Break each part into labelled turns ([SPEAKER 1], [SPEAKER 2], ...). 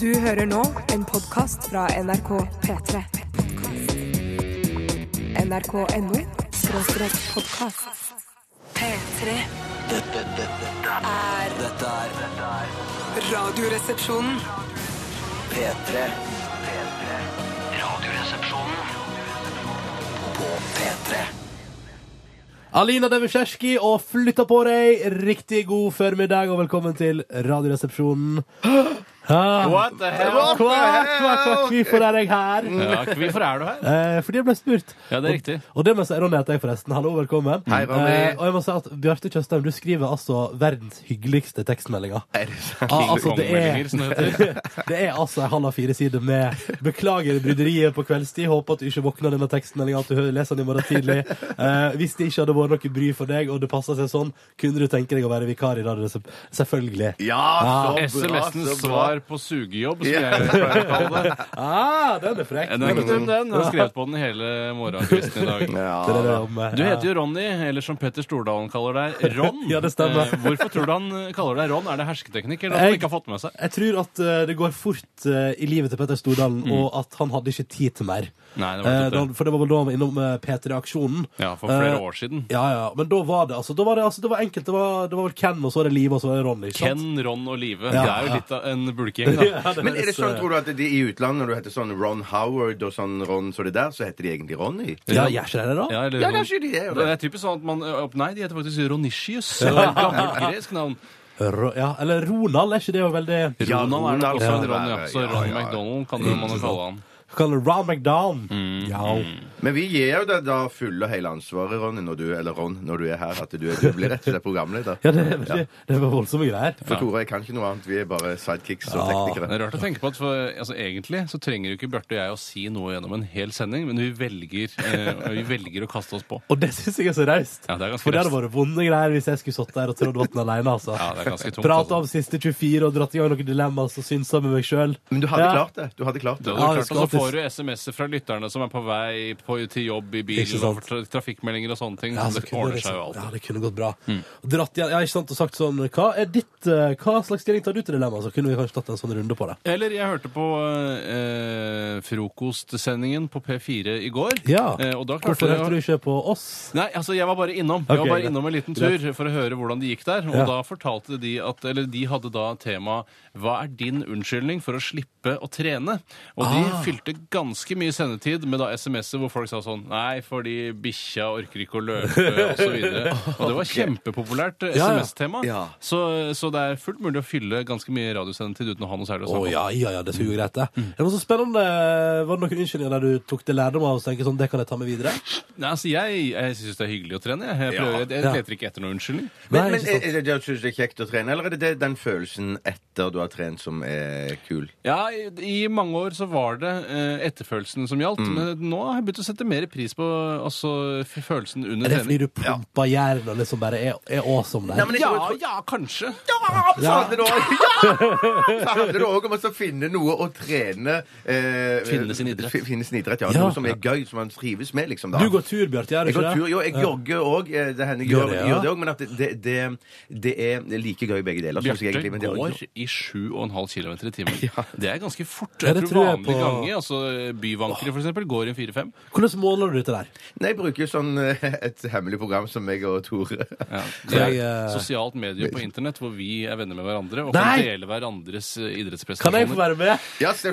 [SPEAKER 1] Du hører nå en podkast fra NRK P3. NRK.no skråstrek podkast. P3
[SPEAKER 2] Dette, dette,
[SPEAKER 1] er
[SPEAKER 2] dette er
[SPEAKER 1] Radioresepsjonen.
[SPEAKER 2] P3 P3 Radioresepsjonen På P3
[SPEAKER 3] Alina Devisjerski og flytta på deg. Riktig god formiddag og velkommen til Radioresepsjonen. Ah,
[SPEAKER 4] What the hell?
[SPEAKER 3] kvakk, kvakk, kvakk, Hvorfor er jeg her?
[SPEAKER 4] Ja, hvorfor er du her?
[SPEAKER 3] Eh, fordi jeg ble spurt.
[SPEAKER 4] Ja, det er riktig.
[SPEAKER 3] Og det må jeg si, Ronny heter jeg forresten. Hallo, velkommen.
[SPEAKER 5] Hei, Ronny.
[SPEAKER 3] Eh, og jeg må si at Bjarte Tjøstheim, du skriver altså verdens hyggeligste tekstmeldinger. Ah, altså, det, er,
[SPEAKER 4] Kongemeldinger, som
[SPEAKER 5] sånn
[SPEAKER 4] det
[SPEAKER 3] det er altså en halv av fire sider med 'Beklager bryderiet på kveldstid'. Håper at du ikke våkner denne tekstmeldinga, at du hø- leser den i morgen tidlig. Eh, hvis det ikke hadde vært noe bry for deg, og det passa seg sånn, kunne du tenke deg å være vikar i Radio Resep- Selvfølgelig.
[SPEAKER 5] Ja, så bra,
[SPEAKER 4] SMS-ens
[SPEAKER 5] så bra.
[SPEAKER 4] svar på sugejobb, som jeg pleier å kalle det.
[SPEAKER 3] Ah, den er frekk.
[SPEAKER 4] Den, den, den, den har skrevet på den hele morgenkvisten i dag.
[SPEAKER 3] Det er
[SPEAKER 5] Ja,
[SPEAKER 3] det om, eh,
[SPEAKER 4] Du heter jo Ronny, eller som Petter Stordalen kaller deg, Ron.
[SPEAKER 3] Ja, det stemmer.
[SPEAKER 4] Eh, Hvorfor tror du han kaller deg Ron? Er det hersketeknikk, eller at han
[SPEAKER 3] Jeg-
[SPEAKER 4] ikke har fått med seg?
[SPEAKER 3] Jeg tror at eh, det går fort eh, i livet til Petter Stordalen, og at han hadde ikke tid til mer.
[SPEAKER 4] Mm. Nei, det var
[SPEAKER 3] Eh, da
[SPEAKER 4] ikke
[SPEAKER 3] han-
[SPEAKER 4] det.
[SPEAKER 3] for det var vel da han var innom eh, P3-aksjonen.
[SPEAKER 4] Ja, for flere
[SPEAKER 3] Eh,
[SPEAKER 4] år siden.
[SPEAKER 3] Ja, ja, men da var det altså, da var det, altså, det var enkelt. Det var, det var vel Ken, og så var det Liv, og så var det Ronny. ikke sant?
[SPEAKER 4] Ken, Ron og Live.
[SPEAKER 3] Ja,
[SPEAKER 4] Det er jo
[SPEAKER 3] ja.
[SPEAKER 4] litt av en bulkegjeng, da.
[SPEAKER 3] Ja, det
[SPEAKER 5] Men er det
[SPEAKER 3] høres,
[SPEAKER 5] sånn,
[SPEAKER 3] eh,
[SPEAKER 5] tror du, at de i utlandet, når du heter sånn Ron Howard og sånn Ron så det der, så heter de egentlig Ronny?
[SPEAKER 3] Ja, gjør ikke det, da?
[SPEAKER 4] Ja, eller
[SPEAKER 5] Ja,
[SPEAKER 4] Ron-
[SPEAKER 5] kanskje de er jo
[SPEAKER 4] Det
[SPEAKER 5] det.
[SPEAKER 4] er typisk sånn at man opp- Nei, de heter faktisk Ronicius. Det var et Gammelt gresk navn.
[SPEAKER 3] Ro, ja. Eller Ronald, er ikke det jo veldig
[SPEAKER 5] Ja,
[SPEAKER 4] Ronald er nok
[SPEAKER 5] Ronald
[SPEAKER 4] også
[SPEAKER 5] kan
[SPEAKER 4] en
[SPEAKER 5] det
[SPEAKER 4] Ron, ja.
[SPEAKER 5] være.
[SPEAKER 4] Så
[SPEAKER 5] Ja,
[SPEAKER 4] Ron
[SPEAKER 5] ja, Mm. ja.
[SPEAKER 4] McDonald kan jo man jo kalle han.
[SPEAKER 3] Kaller det Ron McDonald.
[SPEAKER 4] Mm.
[SPEAKER 3] Ja.
[SPEAKER 5] Men vi gir jo deg da fulle og hele ansvaret, Ronny, når du, eller Ron, når du er her. At du, er, du blir rett og slett programleder.
[SPEAKER 3] ja, det er veldig Det var voldsomme greier.
[SPEAKER 5] For Tore jeg kan ikke noe annet. Vi er bare sidekicks og
[SPEAKER 4] Det
[SPEAKER 5] teknikere.
[SPEAKER 4] er rart å tenke på at for, altså, Egentlig så trenger jo ikke Bjarte og jeg å si noe gjennom en hel sending, men vi velger, eh, vi velger å kaste oss på.
[SPEAKER 3] Og det syns jeg er så raust.
[SPEAKER 4] Ja, det er ganske
[SPEAKER 3] For det hadde vært
[SPEAKER 4] raust.
[SPEAKER 3] vonde greier hvis jeg skulle sittet der og trådd vann alene. Altså.
[SPEAKER 4] Ja, det er ganske tungt,
[SPEAKER 3] Prata
[SPEAKER 4] altså.
[SPEAKER 3] om siste 24 og dratt i gang noen dilemmaer og synsa med meg sjøl.
[SPEAKER 5] Men du hadde
[SPEAKER 3] Ja.
[SPEAKER 5] klart det. Du hadde klart
[SPEAKER 4] Det
[SPEAKER 5] det.
[SPEAKER 4] hadde
[SPEAKER 3] Ja,
[SPEAKER 4] du
[SPEAKER 3] det
[SPEAKER 4] klart, og så
[SPEAKER 3] skal
[SPEAKER 4] får du SMS-er fra lytterne som er på vei på, til jobb i
[SPEAKER 3] Ikke
[SPEAKER 4] bilen,
[SPEAKER 3] sant.
[SPEAKER 4] og får tra trafikkmeldinger og sånne ting.
[SPEAKER 3] Ja,
[SPEAKER 4] så
[SPEAKER 3] så
[SPEAKER 4] det
[SPEAKER 3] kunne
[SPEAKER 4] ordner
[SPEAKER 3] liksom-
[SPEAKER 4] seg jo alltid. Mm.
[SPEAKER 3] Ja, det kunne gått bra. Og Dratt igjen, ja, ikke sant, og sagt sånn Hva er ditt eh, Hva slags stilling tar du til dilemmaet? Så kunne vi kanskje tatt en sånn runde på det.
[SPEAKER 4] Eller jeg hørte på eh, frokostsendingen på P4 i går.
[SPEAKER 3] Ja.
[SPEAKER 4] Eh, og da klarte
[SPEAKER 3] Hvorfor
[SPEAKER 4] jeg å-
[SPEAKER 3] hørte du ikke på oss?
[SPEAKER 4] Nei, altså jeg var bare innom
[SPEAKER 3] Ok,
[SPEAKER 4] Jeg var bare
[SPEAKER 3] greit.
[SPEAKER 4] innom en liten tur for å høre hvordan det gikk der. Og
[SPEAKER 3] Ja.
[SPEAKER 4] da fortalte de at Eller de hadde da tema 'Hva er din unnskyldning for å slippe å trene?' Og
[SPEAKER 3] Ah.
[SPEAKER 4] de fylte ganske mye sendetid med da SMS-er hvor folk sa sånn 'Nei, fordi bikkja orker ikke å løpe', og så videre. Og det var kjempepopulært eh,
[SPEAKER 3] Ja, ja.
[SPEAKER 4] SMS-tema.
[SPEAKER 5] Ja.
[SPEAKER 4] Så, så det er fullt mulig å fylle ganske mye radiosendetid uten å ha noe særlig
[SPEAKER 3] Å
[SPEAKER 4] å
[SPEAKER 5] Sånn.
[SPEAKER 4] snakke om.
[SPEAKER 3] ja, ja, ja, det skulle jo greit, det.
[SPEAKER 5] Mm.
[SPEAKER 3] Det var så spennende. Var det noen unnskyldninger der du tok det lærdom av og tenkte sånn, det kan jeg ta med videre?
[SPEAKER 4] Nei, altså jeg, jeg syns det er hyggelig å trene. Jeg, jeg,
[SPEAKER 5] Ja.
[SPEAKER 4] prøver, jeg,
[SPEAKER 3] Ja.
[SPEAKER 4] jeg leter ikke etter noen unnskyldning.
[SPEAKER 3] Nei,
[SPEAKER 5] Men, eh, men
[SPEAKER 3] ikke
[SPEAKER 5] er
[SPEAKER 3] sant.
[SPEAKER 5] er det det at du syns det er kjekt å trene, eller er det det, den følelsen etter du har trent, som er kul?
[SPEAKER 4] Ja, i, i mange år så var det eh, etterfølelsen som gjaldt,
[SPEAKER 5] Mm.
[SPEAKER 4] men nå har jeg begynt å sette mer pris på altså, f- følelsen
[SPEAKER 3] Er
[SPEAKER 4] under
[SPEAKER 3] det fordi
[SPEAKER 4] trening.
[SPEAKER 3] du pumpa jern og liksom bare er, er awesome der?
[SPEAKER 5] Nei, men jeg
[SPEAKER 4] Ja,
[SPEAKER 5] tror-
[SPEAKER 4] ja, kanskje.
[SPEAKER 3] Ah,
[SPEAKER 5] Så handler det også- Ja! Så handler det òg om å så finne noe å trene eh,
[SPEAKER 4] Finne sin idrett.
[SPEAKER 5] fi- Finne sin idrett, ja.
[SPEAKER 3] Ja.
[SPEAKER 5] Noe som er gøy, som man trives med, liksom. da.
[SPEAKER 3] Du går tur, Bjarte, gjør du
[SPEAKER 5] jeg
[SPEAKER 3] ikke
[SPEAKER 5] går tur,
[SPEAKER 3] det?
[SPEAKER 5] jo, jeg jogger òg. Det hender jeg
[SPEAKER 3] Gjør
[SPEAKER 5] gjør,
[SPEAKER 3] det, ja.
[SPEAKER 5] gjør det òg, men at det, det, det, det er like gøy begge deler. synes jeg
[SPEAKER 4] Bjarte
[SPEAKER 5] egentlig, men det er-
[SPEAKER 4] går i 7,5 km i timen. Det er ganske fort.
[SPEAKER 3] Ja,
[SPEAKER 4] Jeg
[SPEAKER 3] det
[SPEAKER 4] tror
[SPEAKER 3] tror jeg
[SPEAKER 4] vanlige
[SPEAKER 3] på-
[SPEAKER 4] ganger, altså byvankere for eksempel, går i 4-5.
[SPEAKER 3] Hvordan måler du dette der?
[SPEAKER 5] Nei, jeg bruker jo sånn eh, et hemmelig program som jeg og Tore
[SPEAKER 4] Ja.
[SPEAKER 3] Så
[SPEAKER 4] Det
[SPEAKER 3] jeg,
[SPEAKER 4] er
[SPEAKER 3] eh,
[SPEAKER 4] et sosialt medie på internett hvor vi er venner med hverandre og
[SPEAKER 3] Nei!
[SPEAKER 4] kan dele hverandres eh,
[SPEAKER 3] Kan jeg få
[SPEAKER 4] idrettsprestasjoner.
[SPEAKER 3] være med?
[SPEAKER 5] Ja, se-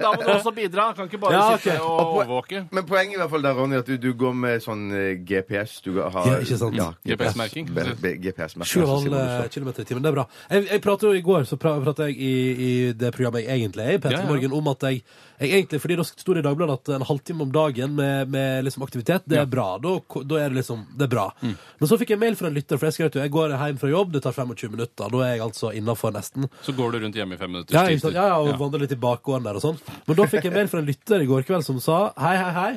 [SPEAKER 4] Da må du også bidra. Kan ikke bare
[SPEAKER 3] Ja, ok.
[SPEAKER 4] sitte og overvåke.
[SPEAKER 5] Men poenget i hvert fall der, Ronny, at du, du går med sånn eh, GPS. Du har
[SPEAKER 3] Ja, ikke sant.
[SPEAKER 4] GPS-merking.
[SPEAKER 5] GPS-merking. altså, sier
[SPEAKER 4] eh,
[SPEAKER 5] man
[SPEAKER 3] 7,5
[SPEAKER 5] det så.
[SPEAKER 3] km eh, i timen, det er bra. Jeg, jeg pratet jo I går så pra- pratet jeg i, i det programmet jeg egentlig er i, Petter
[SPEAKER 4] Ja, ja.
[SPEAKER 3] Morgen, om at jeg, jeg egentlig, fordi da sto det i Dagbladet at en halvtime om dagen med, med liksom aktivitet, det er bra. Da, ko- da er det liksom, det er bra. Men så fikk jeg mail fra en lytter, for jeg skrev at jeg går hjem fra jobb, det tar 25 minutter. Da er jeg altså innafor nesten.
[SPEAKER 4] Så går du rundt hjemme i fem minutter.
[SPEAKER 3] Ja, ikke sant? ja, ja, og vandre litt i bakgården der og sånn. Men da fikk jeg mail fra en lytter i går kveld som sa Hei, hei, hei.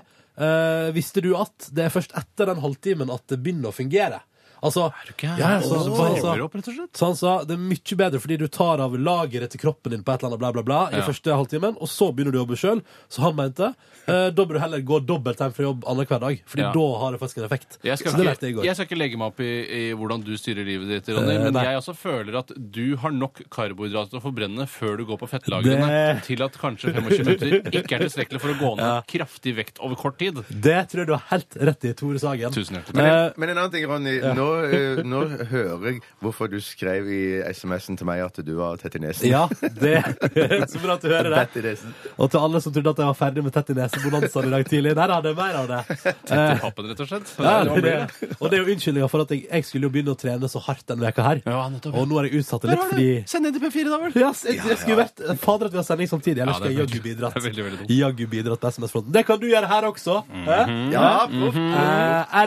[SPEAKER 3] eh, visste du at det er først etter den halvtimen at det begynner å fungere? Altså, ja, så, så, han sa-
[SPEAKER 4] opp, rett og slett.
[SPEAKER 3] så han sa det er mye bedre fordi du tar av lageret til kroppen din på et eller annet bla, bla, bla i
[SPEAKER 4] Ja.
[SPEAKER 3] første halvtimen, og så begynner du å jobbe sjøl. Så han mente eh, da bør du heller gå dobbelt hjem fra jobb annenhver dag, Fordi
[SPEAKER 4] Ja.
[SPEAKER 3] da har det faktisk en effekt.
[SPEAKER 4] Jeg skal,
[SPEAKER 3] så det lærte jeg i
[SPEAKER 4] ikke,
[SPEAKER 3] går.
[SPEAKER 4] jeg skal ikke legge meg opp i, i hvordan du styrer livet ditt, Ronny,
[SPEAKER 3] Eh,
[SPEAKER 4] men
[SPEAKER 3] nei.
[SPEAKER 4] jeg også føler at du har nok karbohydrater å forbrenne før du går på fettlagrene
[SPEAKER 3] Det-
[SPEAKER 4] til at kanskje 25 minutter ikke er tilstrekkelig for å gå ned
[SPEAKER 3] Ja.
[SPEAKER 4] kraftig vekt over kort tid.
[SPEAKER 3] Det tror jeg du har helt rett i, Tore Sagen.
[SPEAKER 4] Tusen hjertelig.
[SPEAKER 5] Men,
[SPEAKER 3] Eh,
[SPEAKER 5] en- men en annen ting, Ronny. Nå, eh, nå hører jeg hvorfor du skrev i SMS-en til meg at du var tett i nesen.
[SPEAKER 3] ja, det Så bra at du hører det.
[SPEAKER 5] Tett i nesen.
[SPEAKER 3] Og til alle som trodde at jeg var ferdig med tett i nesebonanzaen i dag tidlig. Nei da, det er mer av det.
[SPEAKER 4] Til pappen, rett og slett.
[SPEAKER 3] Eh, Ja,
[SPEAKER 4] Det
[SPEAKER 3] det
[SPEAKER 4] var
[SPEAKER 3] er
[SPEAKER 4] bra.
[SPEAKER 3] det. Og det er jo unnskyldninga for at jeg, jeg skulle jo begynne å trene så hardt denne veka her.
[SPEAKER 4] Ja, nettopp.
[SPEAKER 3] Og nå har jeg utsatt det litt fordi
[SPEAKER 4] Send inn til P4, da vel!
[SPEAKER 3] ja, jeg, jeg skulle vært Fader at vi har sending samtidig, ellers
[SPEAKER 4] Ja,
[SPEAKER 3] skal
[SPEAKER 4] det er
[SPEAKER 3] jeg jaggu
[SPEAKER 4] veldig-
[SPEAKER 3] bidratt.
[SPEAKER 4] det er veldig, veldig dumt.
[SPEAKER 3] Jaggu bidratt på SMS-fronten. Det kan du gjøre her også.
[SPEAKER 4] Mhm.
[SPEAKER 3] eh?
[SPEAKER 5] Ja, proff.
[SPEAKER 3] Eh,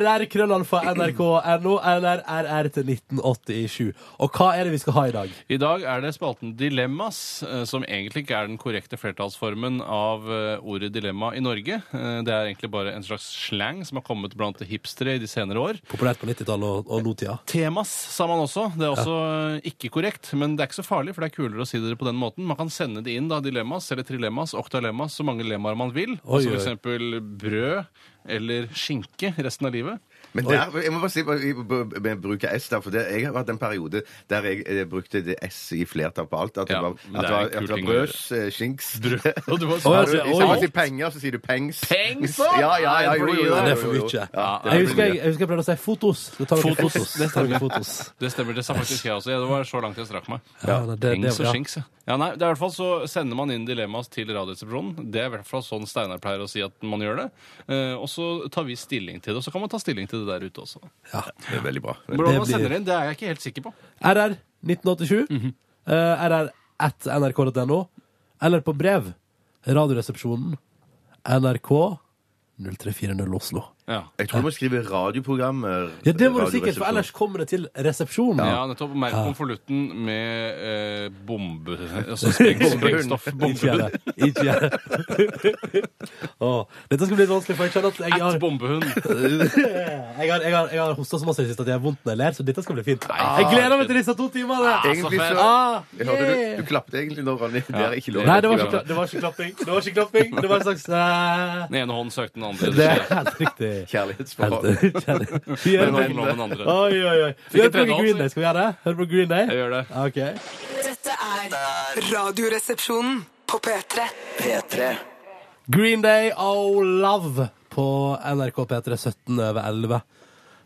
[SPEAKER 3] rr-krøllalfa-nrk.no eller rr til 1987. Og hva er det vi skal ha i dag?
[SPEAKER 4] I dag er det spalten Dilemmas, eh, som egentlig ikke er den korrekte flertallsformen av eh, ordet dilemma i Norge. Eh, Det er egentlig bare en slags slang som har kommet blant hipstere i de senere år.
[SPEAKER 3] Populært på 90-tallet og, og nåtida.
[SPEAKER 4] Temas, sa man også. Det er også eh, ikke korrekt, men det er ikke så farlig, for det er kulere å si det på den måten. Man kan sende det inn, da, dilemmas eller trilemmas, oktalemmas, så mange lemmaer man vil.
[SPEAKER 3] Oi,
[SPEAKER 4] altså
[SPEAKER 3] oi.
[SPEAKER 4] for eksempel brød eller skinke resten av livet.
[SPEAKER 5] Men der, jeg må bare si bare- vi b- b- bruke S der, for det, jeg har vært en periode der jeg eh, brukte det S i flertall på alt. At det
[SPEAKER 4] Ja,
[SPEAKER 5] var,
[SPEAKER 4] men
[SPEAKER 5] at
[SPEAKER 4] det
[SPEAKER 5] det
[SPEAKER 4] er
[SPEAKER 5] var,
[SPEAKER 4] en
[SPEAKER 5] at
[SPEAKER 4] kul
[SPEAKER 5] det var
[SPEAKER 4] ting å
[SPEAKER 5] brøs, eh, skinks
[SPEAKER 4] Og du var
[SPEAKER 3] Oi,
[SPEAKER 5] Ja,
[SPEAKER 3] altså,
[SPEAKER 5] du-
[SPEAKER 3] oi.
[SPEAKER 5] Hvis man sier penger, så sier du pengs.
[SPEAKER 4] Pengs, da?
[SPEAKER 5] Ja, ja, ja, jo, jo, jo,
[SPEAKER 3] Det er
[SPEAKER 5] jo,
[SPEAKER 3] for
[SPEAKER 5] jo, jo.
[SPEAKER 3] mye.
[SPEAKER 5] Ja, det er
[SPEAKER 3] Jeg
[SPEAKER 5] for
[SPEAKER 3] husker jeg,
[SPEAKER 5] mye.
[SPEAKER 3] jeg husker jeg pleide å si fotos. Det tar noen
[SPEAKER 4] Fotos.
[SPEAKER 3] fotos. Det tar noen fotos.
[SPEAKER 4] Det stemmer, det sa faktisk jeg også. Ja, Det var så langt jeg strakk meg.
[SPEAKER 3] Ja, det- det-
[SPEAKER 4] Pings
[SPEAKER 3] det-
[SPEAKER 4] og
[SPEAKER 3] ja.
[SPEAKER 4] skinks, ja. ja. Nei, det er i hvert fall så sender man inn dilemmas til Radioresepsjonen. Det er i hvert fall sånn Steinar pleier å si at man gjør det. Eh, og så tar vi stilling til det. Og så kan man ta stilling til det der ute også.
[SPEAKER 3] Ja.
[SPEAKER 5] Det er veldig bra.
[SPEAKER 4] Hvordan man
[SPEAKER 3] blir-
[SPEAKER 4] sender det inn, det er jeg ikke helt sikker på.
[SPEAKER 3] RR 1987. eh, RR at nrk.no. Eller på brev. Radioresepsjonen. NRK 0340 Oslo.
[SPEAKER 4] Ja.
[SPEAKER 5] Jeg tror du må skrive radioprogrammer.
[SPEAKER 3] Ja, det må du sikkert, for
[SPEAKER 5] radioresepsjon.
[SPEAKER 3] ellers kommer det til resepsjonen.
[SPEAKER 4] Ja, nettopp. Merk konvolutten med eh, bombe... Altså spreng, sprengstoff.
[SPEAKER 3] Ikke gjør
[SPEAKER 4] Bombehund.
[SPEAKER 3] det. Ikke gjør det. Åh, dette skal bli litt vanskelig, for jeg kjenner at jeg har
[SPEAKER 4] At bombehund.
[SPEAKER 3] jeg har, jeg har, jeg har hosta så masse i det siste at jeg har vondt når jeg ler, så dette skal bli fint. Jeg gleder meg til disse to timene!
[SPEAKER 5] Egentlig
[SPEAKER 4] Altså,
[SPEAKER 5] så
[SPEAKER 3] Ah,
[SPEAKER 5] jeg hørte
[SPEAKER 3] yeah.
[SPEAKER 5] du, du klappte egentlig nå, Ronny. Det er ikke lov.
[SPEAKER 3] Nei, det var ikke, kla- det var ikke klapping. Det var ikke klapping. Det var en slags eh,
[SPEAKER 4] Den ene hånden søkte den andre.
[SPEAKER 3] Det
[SPEAKER 4] Det
[SPEAKER 3] er helt riktig.
[SPEAKER 5] Kjærlighetsforhold.
[SPEAKER 3] Helt kjærlig. Vi gjør
[SPEAKER 4] skjer. Den
[SPEAKER 3] det.
[SPEAKER 4] hånden lå med den andre.
[SPEAKER 3] Oi, oi, oi. Vi
[SPEAKER 4] Fikk
[SPEAKER 3] hører
[SPEAKER 4] en tredje
[SPEAKER 3] på Green
[SPEAKER 4] hånd,
[SPEAKER 3] Day. Skal vi gjøre det? Hører du på Green Day?
[SPEAKER 4] Jeg gjør det.
[SPEAKER 3] Ok.
[SPEAKER 6] Dette er Radioresepsjonen på P3.
[SPEAKER 2] P3.
[SPEAKER 3] Green Day Oh Love på NRK P3 17 over 11.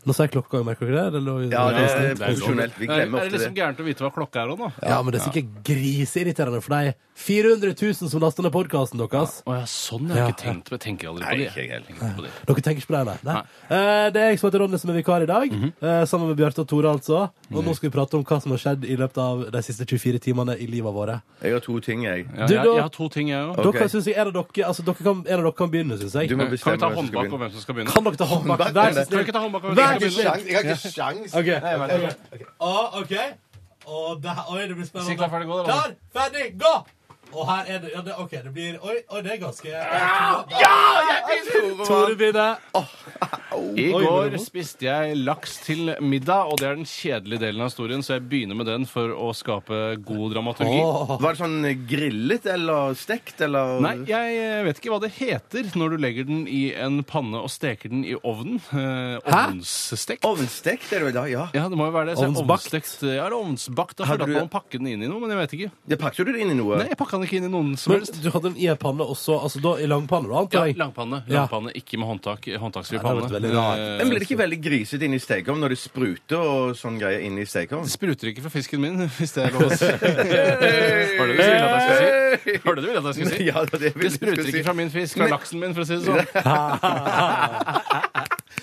[SPEAKER 3] Nå ser jeg klokka, merker dere det? Eller-
[SPEAKER 5] Ja, det er
[SPEAKER 4] er jo
[SPEAKER 5] profesjonelt. Vi
[SPEAKER 4] Er,
[SPEAKER 5] glemmer
[SPEAKER 4] er det
[SPEAKER 5] ofte
[SPEAKER 4] liksom
[SPEAKER 5] det.
[SPEAKER 4] gærent å vite hva klokka er òg, da?
[SPEAKER 3] Ja, men det er sikkert griseirriterende for de 400 000 som laster ned podkasten deres.
[SPEAKER 4] Å ja, sånn. Jeg
[SPEAKER 3] Ja.
[SPEAKER 4] har ikke tenkt på, jeg tenker aldri
[SPEAKER 5] Nei,
[SPEAKER 4] på det.
[SPEAKER 5] ikke jeg
[SPEAKER 4] Tenker ikke på det.
[SPEAKER 3] Dere tenker ikke på det, nei? nei. Eh, det er jeg som heter Ronny, som er vikar i dag.
[SPEAKER 4] Mhm.
[SPEAKER 3] eh, sammen med Bjarte og Tore, altså. Og nå skal vi prate om hva som har skjedd i løpet av de siste 24 timene i livet våre.
[SPEAKER 5] Jeg har to ting, jeg.
[SPEAKER 4] Ja,
[SPEAKER 3] Du,
[SPEAKER 4] jeg,
[SPEAKER 3] da-
[SPEAKER 4] jeg har to ting, jeg òg.
[SPEAKER 5] Ok.
[SPEAKER 3] Dere, synes jeg, en, av dere, altså, dere kan, en av dere kan begynne, syns jeg.
[SPEAKER 5] Du må
[SPEAKER 4] Kan vi
[SPEAKER 5] bestemme
[SPEAKER 4] ta
[SPEAKER 5] hvem som skal
[SPEAKER 4] håndbak
[SPEAKER 5] begynne.
[SPEAKER 4] om hvem som skal begynne?
[SPEAKER 3] Kan dere ta håndbak?
[SPEAKER 5] Håndbak,
[SPEAKER 3] Vær så
[SPEAKER 5] nei,
[SPEAKER 4] Kan vi
[SPEAKER 3] snill.
[SPEAKER 4] ikke ta håndbak om
[SPEAKER 3] Vær
[SPEAKER 4] hvem
[SPEAKER 5] Jeg har
[SPEAKER 4] som
[SPEAKER 5] ikke
[SPEAKER 4] skal begynne?
[SPEAKER 5] sjans- jeg har ikke sjans.
[SPEAKER 3] OK.
[SPEAKER 5] Nei, jeg vet ikke.
[SPEAKER 3] Ah, OK. Og der, oi, det blir spennende.
[SPEAKER 4] Si klar, ferdig, gå, da,
[SPEAKER 3] Klar,
[SPEAKER 4] Ronny.
[SPEAKER 3] ferdig, gå! Og her er det, ja, det OK, det blir Oi, oi det er ganske Tore begynner. Oi,
[SPEAKER 4] I
[SPEAKER 3] var det
[SPEAKER 4] går
[SPEAKER 3] vondt?
[SPEAKER 4] spiste jeg laks til middag, og det er den kjedelige delen av historien, så jeg begynner med den for å skape god dramaturgi.
[SPEAKER 3] Åh.
[SPEAKER 5] Var det sånn grillet eller stekt eller
[SPEAKER 4] Nei, jeg eh, vet ikke hva det heter når du legger den i en panne og steker den i ovnen. Eh, ovnsstekt.
[SPEAKER 5] Ovnstekt er det vel da, ja.
[SPEAKER 4] Ja, det må jo være det. Så jeg
[SPEAKER 3] Ovnsbakt.
[SPEAKER 4] ovnsstekt. Ja, eller ovnsbakt. Da føler jeg
[SPEAKER 5] du-
[SPEAKER 4] at man pakker den inn i noe, men jeg vet ikke.
[SPEAKER 5] ja pakket du det inn i noe?
[SPEAKER 4] Nei, jeg pakka den ikke inn i noen som
[SPEAKER 3] Men
[SPEAKER 4] helst.
[SPEAKER 3] du hadde den i en panne også, altså da i langpanne, da,
[SPEAKER 4] Ja,
[SPEAKER 3] antar jeg?
[SPEAKER 4] langpanne.
[SPEAKER 3] Ja.
[SPEAKER 4] Langpanne, ikke med håndtak. Håndtaksfri
[SPEAKER 3] Ja, det hadde
[SPEAKER 4] panne.
[SPEAKER 3] vært veldig rart.
[SPEAKER 4] Eh,
[SPEAKER 5] Men blir det ikke veldig grisete inn i stekeovn når det spruter og sånn greier inn i stekeovn?
[SPEAKER 4] Det spruter ikke fra fisken min, hvis det er lov å si. Var det det du ville at jeg skulle si? Var det du ville at jeg skulle si?
[SPEAKER 5] Ja, det var det jeg ville
[SPEAKER 4] det spruter
[SPEAKER 5] skulle si.
[SPEAKER 4] ikke fra min fisk, fra
[SPEAKER 5] Men-
[SPEAKER 4] laksen min, for å si det sånn.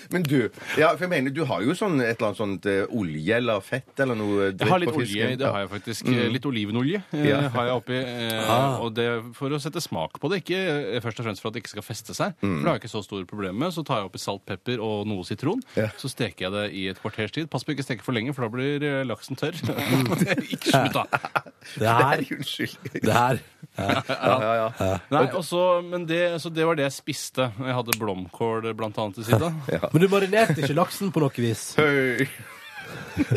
[SPEAKER 5] Men du, ja, for jeg mener, du har jo sånn et eller annet sånt eh, olje eller fett eller noe eh,
[SPEAKER 4] Jeg har litt olje, i- det har jeg faktisk. Eh, Litt olivenolje eh,
[SPEAKER 5] Mm. Ja. Ah.
[SPEAKER 4] har jeg oppi. eh, Og det er for å sette smak på det, ikke eh, først og fremst for at det ikke skal feste seg.
[SPEAKER 5] Mm.
[SPEAKER 4] For det har jeg ikke så store problemer med. Så tar jeg oppi salt, pepper og noe sitron. Så steker jeg det i et kvarters tid. Pass på ikke å steke for lenge, for da blir eh, laksen tørr. Ikke slutt, da!
[SPEAKER 3] Det her,
[SPEAKER 5] Unnskyld.
[SPEAKER 3] det her.
[SPEAKER 5] Ja, ja, ja.
[SPEAKER 4] Nei, og så- men det, så det var det jeg spiste. Jeg hadde blomkål blant annet til sida.
[SPEAKER 3] Men du marinerte ikke laksen på noe vis?
[SPEAKER 5] Høy.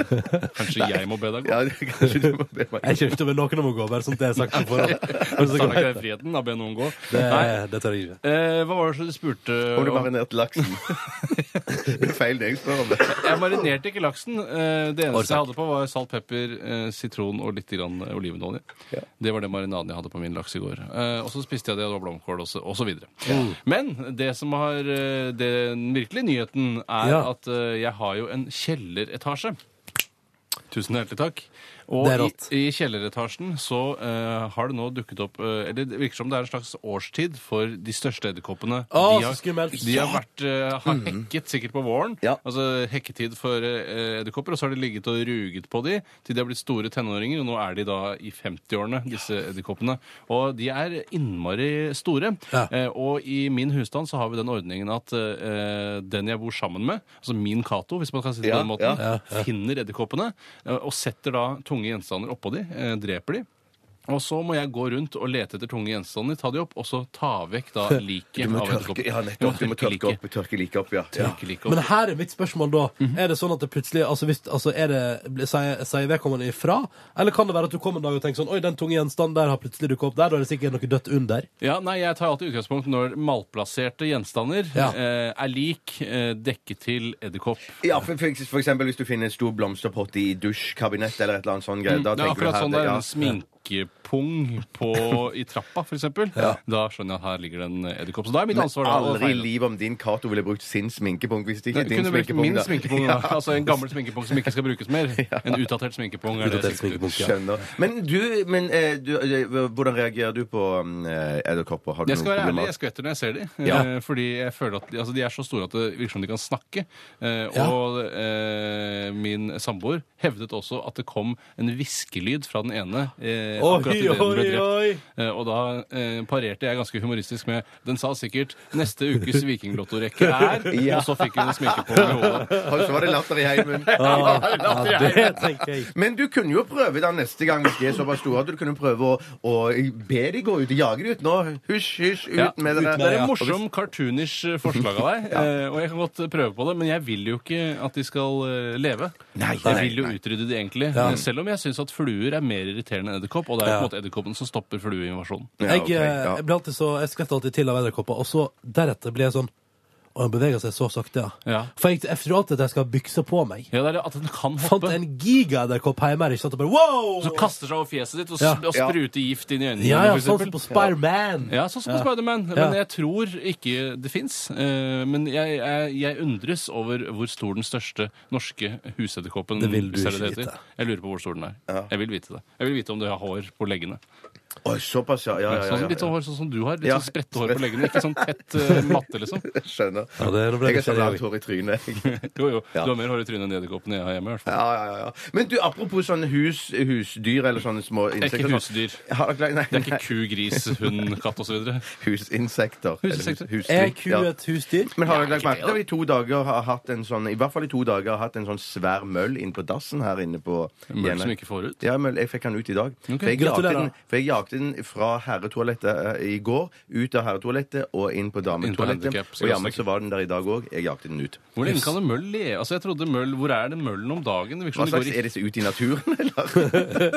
[SPEAKER 4] Kanskje jeg må be deg gå?
[SPEAKER 5] Ja, kanskje du må be meg
[SPEAKER 3] Jeg kjefter vel noen om å gå, bare sånn at det er sagt på forhånd.
[SPEAKER 4] Tar du ikke den friheten? Da be noen gå.
[SPEAKER 3] Det,
[SPEAKER 4] Nei.
[SPEAKER 3] det tar jeg ikke.
[SPEAKER 4] Eh, hva var det så du spurte
[SPEAKER 5] Om du
[SPEAKER 4] om?
[SPEAKER 5] marinerte laksen. det er feil det jeg spør om. det.
[SPEAKER 4] Jeg marinerte ikke laksen. Eh, Det eneste
[SPEAKER 3] Årsak.
[SPEAKER 4] jeg hadde på, var salt, pepper, eh, sitron og litt grann eh, olivenolje. Det var det marinaden jeg hadde på min laks i går. Eh, Og så spiste jeg det, og det var blomkål og så- og så videre. Men det som har eh, den virkelige nyheten, er
[SPEAKER 3] Ja.
[SPEAKER 4] at eh, jeg har jo en kjelleretasje. Tusen hjertelig takk. Og
[SPEAKER 3] Det er rått.
[SPEAKER 4] I, i kjelleretasjen så eh, har det nå dukket opp eh, Eller det virker som det er en slags årstid for de største edderkoppene.
[SPEAKER 3] Å,
[SPEAKER 4] de har,
[SPEAKER 3] så skummelt.
[SPEAKER 4] De har vært, eh, har hekket sikkert på våren.
[SPEAKER 5] Mm. Ja.
[SPEAKER 4] Altså hekketid for eh, edderkopper. Og så har de ligget og ruget på de til de har blitt store tenåringer. Og nå er de da i 50-årene, disse edderkoppene. Og de er innmari store.
[SPEAKER 3] Ja.
[SPEAKER 4] Eh, og i min husstand så har vi den ordningen at eh, den jeg bor sammen med, altså min Cato, hvis man kan si det
[SPEAKER 5] Ja,
[SPEAKER 4] på den måten,
[SPEAKER 5] ja.
[SPEAKER 4] finner edderkoppene eh, og setter da tunge gjenstander oppå de, eh, dreper de. Og så må jeg gå rundt og lete etter tunge gjenstander, ta de opp, og så ta vekk da liket
[SPEAKER 5] Du må
[SPEAKER 4] av
[SPEAKER 5] tørke,
[SPEAKER 4] edderkoppen.
[SPEAKER 5] ja, nettopp. Du må tørke
[SPEAKER 4] liket.
[SPEAKER 5] opp, tørke like opp, ja. ja.
[SPEAKER 4] Tørke liket opp.
[SPEAKER 3] Men her er mitt spørsmål da. Er det sånn at det plutselig altså hvis, altså er det, blir- Sier sier vedkommende ifra? Eller kan det være at du kommer en dag og tenker sånn Oi, den tunge gjenstanden der har plutselig dukket opp der. Da er det sikkert noe dødt under.
[SPEAKER 4] Ja, nei, Jeg tar alltid utgangspunkt når malplasserte gjenstander
[SPEAKER 3] Ja.
[SPEAKER 4] eh, er lik eh, dekket til edderkopp.
[SPEAKER 5] Ja, for, for, for eksempel hvis du finner en stor blomsterpott i dusjkabinett eller et eller annet sånt. greier, Da
[SPEAKER 4] Det
[SPEAKER 5] tenker
[SPEAKER 4] er
[SPEAKER 5] du
[SPEAKER 4] akkurat
[SPEAKER 5] her
[SPEAKER 4] sånn det
[SPEAKER 5] det-
[SPEAKER 4] er
[SPEAKER 5] ja.
[SPEAKER 4] en sminkepung på, i trappa, f.eks. Da skjønner jeg at her ligger det en edderkopp. Så da er mitt ansvar da, å
[SPEAKER 5] Aldri i
[SPEAKER 4] feile.
[SPEAKER 5] livet om din Cato ville brukt sin sminkepunkt hvis det ikke
[SPEAKER 4] Det
[SPEAKER 5] er din
[SPEAKER 4] kunne vært
[SPEAKER 5] sminkepung.
[SPEAKER 4] min
[SPEAKER 5] da.
[SPEAKER 4] sminkepung. Da. Altså En gammel sminkepung som ikke skal brukes mer. En utdatert sminkepung. Er det
[SPEAKER 3] Utdatert
[SPEAKER 4] sikkert.
[SPEAKER 3] sminkepung, ja.
[SPEAKER 5] Skjønner. Men du, men eh, du, eh, hvordan reagerer du på um, eh, edderkopper? Har du
[SPEAKER 4] Jeg skal
[SPEAKER 5] noen
[SPEAKER 4] være ærlig,
[SPEAKER 5] problemer?
[SPEAKER 4] jeg skvetter når jeg ser de.
[SPEAKER 5] Ja.
[SPEAKER 4] Eh, Fordi jeg føler at de, altså, de er så store at det virker som de kan snakke. Eh,
[SPEAKER 3] Ja.
[SPEAKER 4] Og eh, min samboer hevdet også at det kom en hviskelyd fra den ene eh,
[SPEAKER 3] Oi,
[SPEAKER 4] akkurat idet den ble
[SPEAKER 3] oi, oi.
[SPEAKER 4] drept. Eh, og da eh, parerte jeg ganske humoristisk med Den sa sikkert 'neste ukes vikinglottorekke er'
[SPEAKER 5] Ja.
[SPEAKER 4] Og så fikk hun en sminke på i hodet.
[SPEAKER 5] Og så var det latter i heimen.
[SPEAKER 3] Ah, Ja, det tenker jeg.
[SPEAKER 5] Men du kunne jo prøve da neste gang hvis de er såpass store at du kunne prøve å, å be de gå ut og jage de ut nå. Hysj, hysj, ut
[SPEAKER 4] Ja,
[SPEAKER 5] med dere.
[SPEAKER 4] Det er
[SPEAKER 3] Ja.
[SPEAKER 4] et morsom, cartoonish forslag av deg. eh, Og jeg kan godt prøve på det, men jeg vil jo ikke at de skal eh, leve.
[SPEAKER 5] Nei,
[SPEAKER 4] jeg
[SPEAKER 5] nei,
[SPEAKER 4] vil jo
[SPEAKER 5] nei.
[SPEAKER 4] utrydde de egentlig.
[SPEAKER 3] Ja.
[SPEAKER 4] Selv om jeg syns at fluer er mer irriterende enn edderkopp, og det er jo på en måte edderkoppen som stopper flueinvasjonen.
[SPEAKER 5] Ja,
[SPEAKER 3] Jeg,
[SPEAKER 5] ok,
[SPEAKER 3] eh,
[SPEAKER 5] ja.
[SPEAKER 3] jeg, blir alltid så, jeg skvetter alltid til av edderkopper, og så deretter blir jeg sånn Og den beveger seg så sakte, ja.
[SPEAKER 4] Ja.
[SPEAKER 3] For jeg, jeg tror alltid at jeg skal ha bykse på meg.
[SPEAKER 4] Ja, det er det at den kan
[SPEAKER 3] Fant
[SPEAKER 4] hoppe.
[SPEAKER 3] en gigaedderkopp hjemme her, ikke sant, og bare wow!
[SPEAKER 4] Så kaster seg over fjeset ditt og, s-
[SPEAKER 3] Ja.
[SPEAKER 4] og spruter gift inn i øynene.
[SPEAKER 3] ja, ja,
[SPEAKER 4] for
[SPEAKER 3] sånn som på
[SPEAKER 4] eksempel.
[SPEAKER 3] Spiderman.
[SPEAKER 4] Ja, sånn som på Spiderman.
[SPEAKER 3] Ja.
[SPEAKER 4] Men jeg tror ikke det fins. Men jeg, jeg, jeg undres over hvor stor den største norske husedderkoppen
[SPEAKER 3] Det vil du
[SPEAKER 4] hvis er
[SPEAKER 3] ikke
[SPEAKER 4] det det heter.
[SPEAKER 3] vite.
[SPEAKER 4] Jeg lurer på hvor stor den er. Jeg vil vite det. Jeg vil vite om du har hår på leggene.
[SPEAKER 5] Oi, såpass, ja. ja, ja, ja,
[SPEAKER 4] Sånn, litt sånn
[SPEAKER 5] ja,
[SPEAKER 4] hår sånn som du har. Litt
[SPEAKER 5] Ja.
[SPEAKER 4] sånn spredte hår på leggene. Ikke sånn tett eh, matte, liksom.
[SPEAKER 5] Jeg Skjønner.
[SPEAKER 3] Ja, det- da ble sånn
[SPEAKER 5] jeg
[SPEAKER 3] det
[SPEAKER 5] har så
[SPEAKER 3] skjedd,
[SPEAKER 5] langt hår i trynet. jeg.
[SPEAKER 4] Jo, jo.
[SPEAKER 5] Ja.
[SPEAKER 4] Du har mer hår i trynet enn edderkoppene jeg har hjemme. i hvert fall.
[SPEAKER 5] Ja, ja, ja, ja. Men du, apropos sånne hus, husdyr eller sånne små
[SPEAKER 4] Det er
[SPEAKER 5] insekter
[SPEAKER 4] ikke husdyr.
[SPEAKER 5] Har dere- nei,
[SPEAKER 4] Det er
[SPEAKER 5] nei,
[SPEAKER 4] ikke ku, gris, hund, katt osv.
[SPEAKER 5] Husinsekter.
[SPEAKER 4] Husinsekter.
[SPEAKER 5] Eller hus-
[SPEAKER 3] Er
[SPEAKER 5] husdyr,
[SPEAKER 3] ku
[SPEAKER 5] ja.
[SPEAKER 3] et husdyr?
[SPEAKER 5] Men har dere lagt merke til at vi i to dager har hatt en sånn I hvert fall i to dager har hatt en sånn svær møll inn på dassen her inne på
[SPEAKER 4] Møll som ikke får ut.
[SPEAKER 5] Ja, møll. Jeg fikk den ut i dag. for, jeg jakte
[SPEAKER 3] gratulerer.
[SPEAKER 5] den, for jeg jakte den fra herretoalettet eh, i går, ut av herretoalettet og inn på
[SPEAKER 4] Inn på
[SPEAKER 5] dametoalettet.
[SPEAKER 4] handicap, så
[SPEAKER 5] Og jammen
[SPEAKER 4] jeg-
[SPEAKER 5] så var den der i dag òg. Jeg jakte den ut.
[SPEAKER 4] Hvor lenge kan en møll le? Altså, jeg trodde møll, Hvor er den møllen om dagen? Det virker
[SPEAKER 5] Hva
[SPEAKER 4] som de går
[SPEAKER 5] slags
[SPEAKER 4] i
[SPEAKER 5] er disse ut i naturen, eller?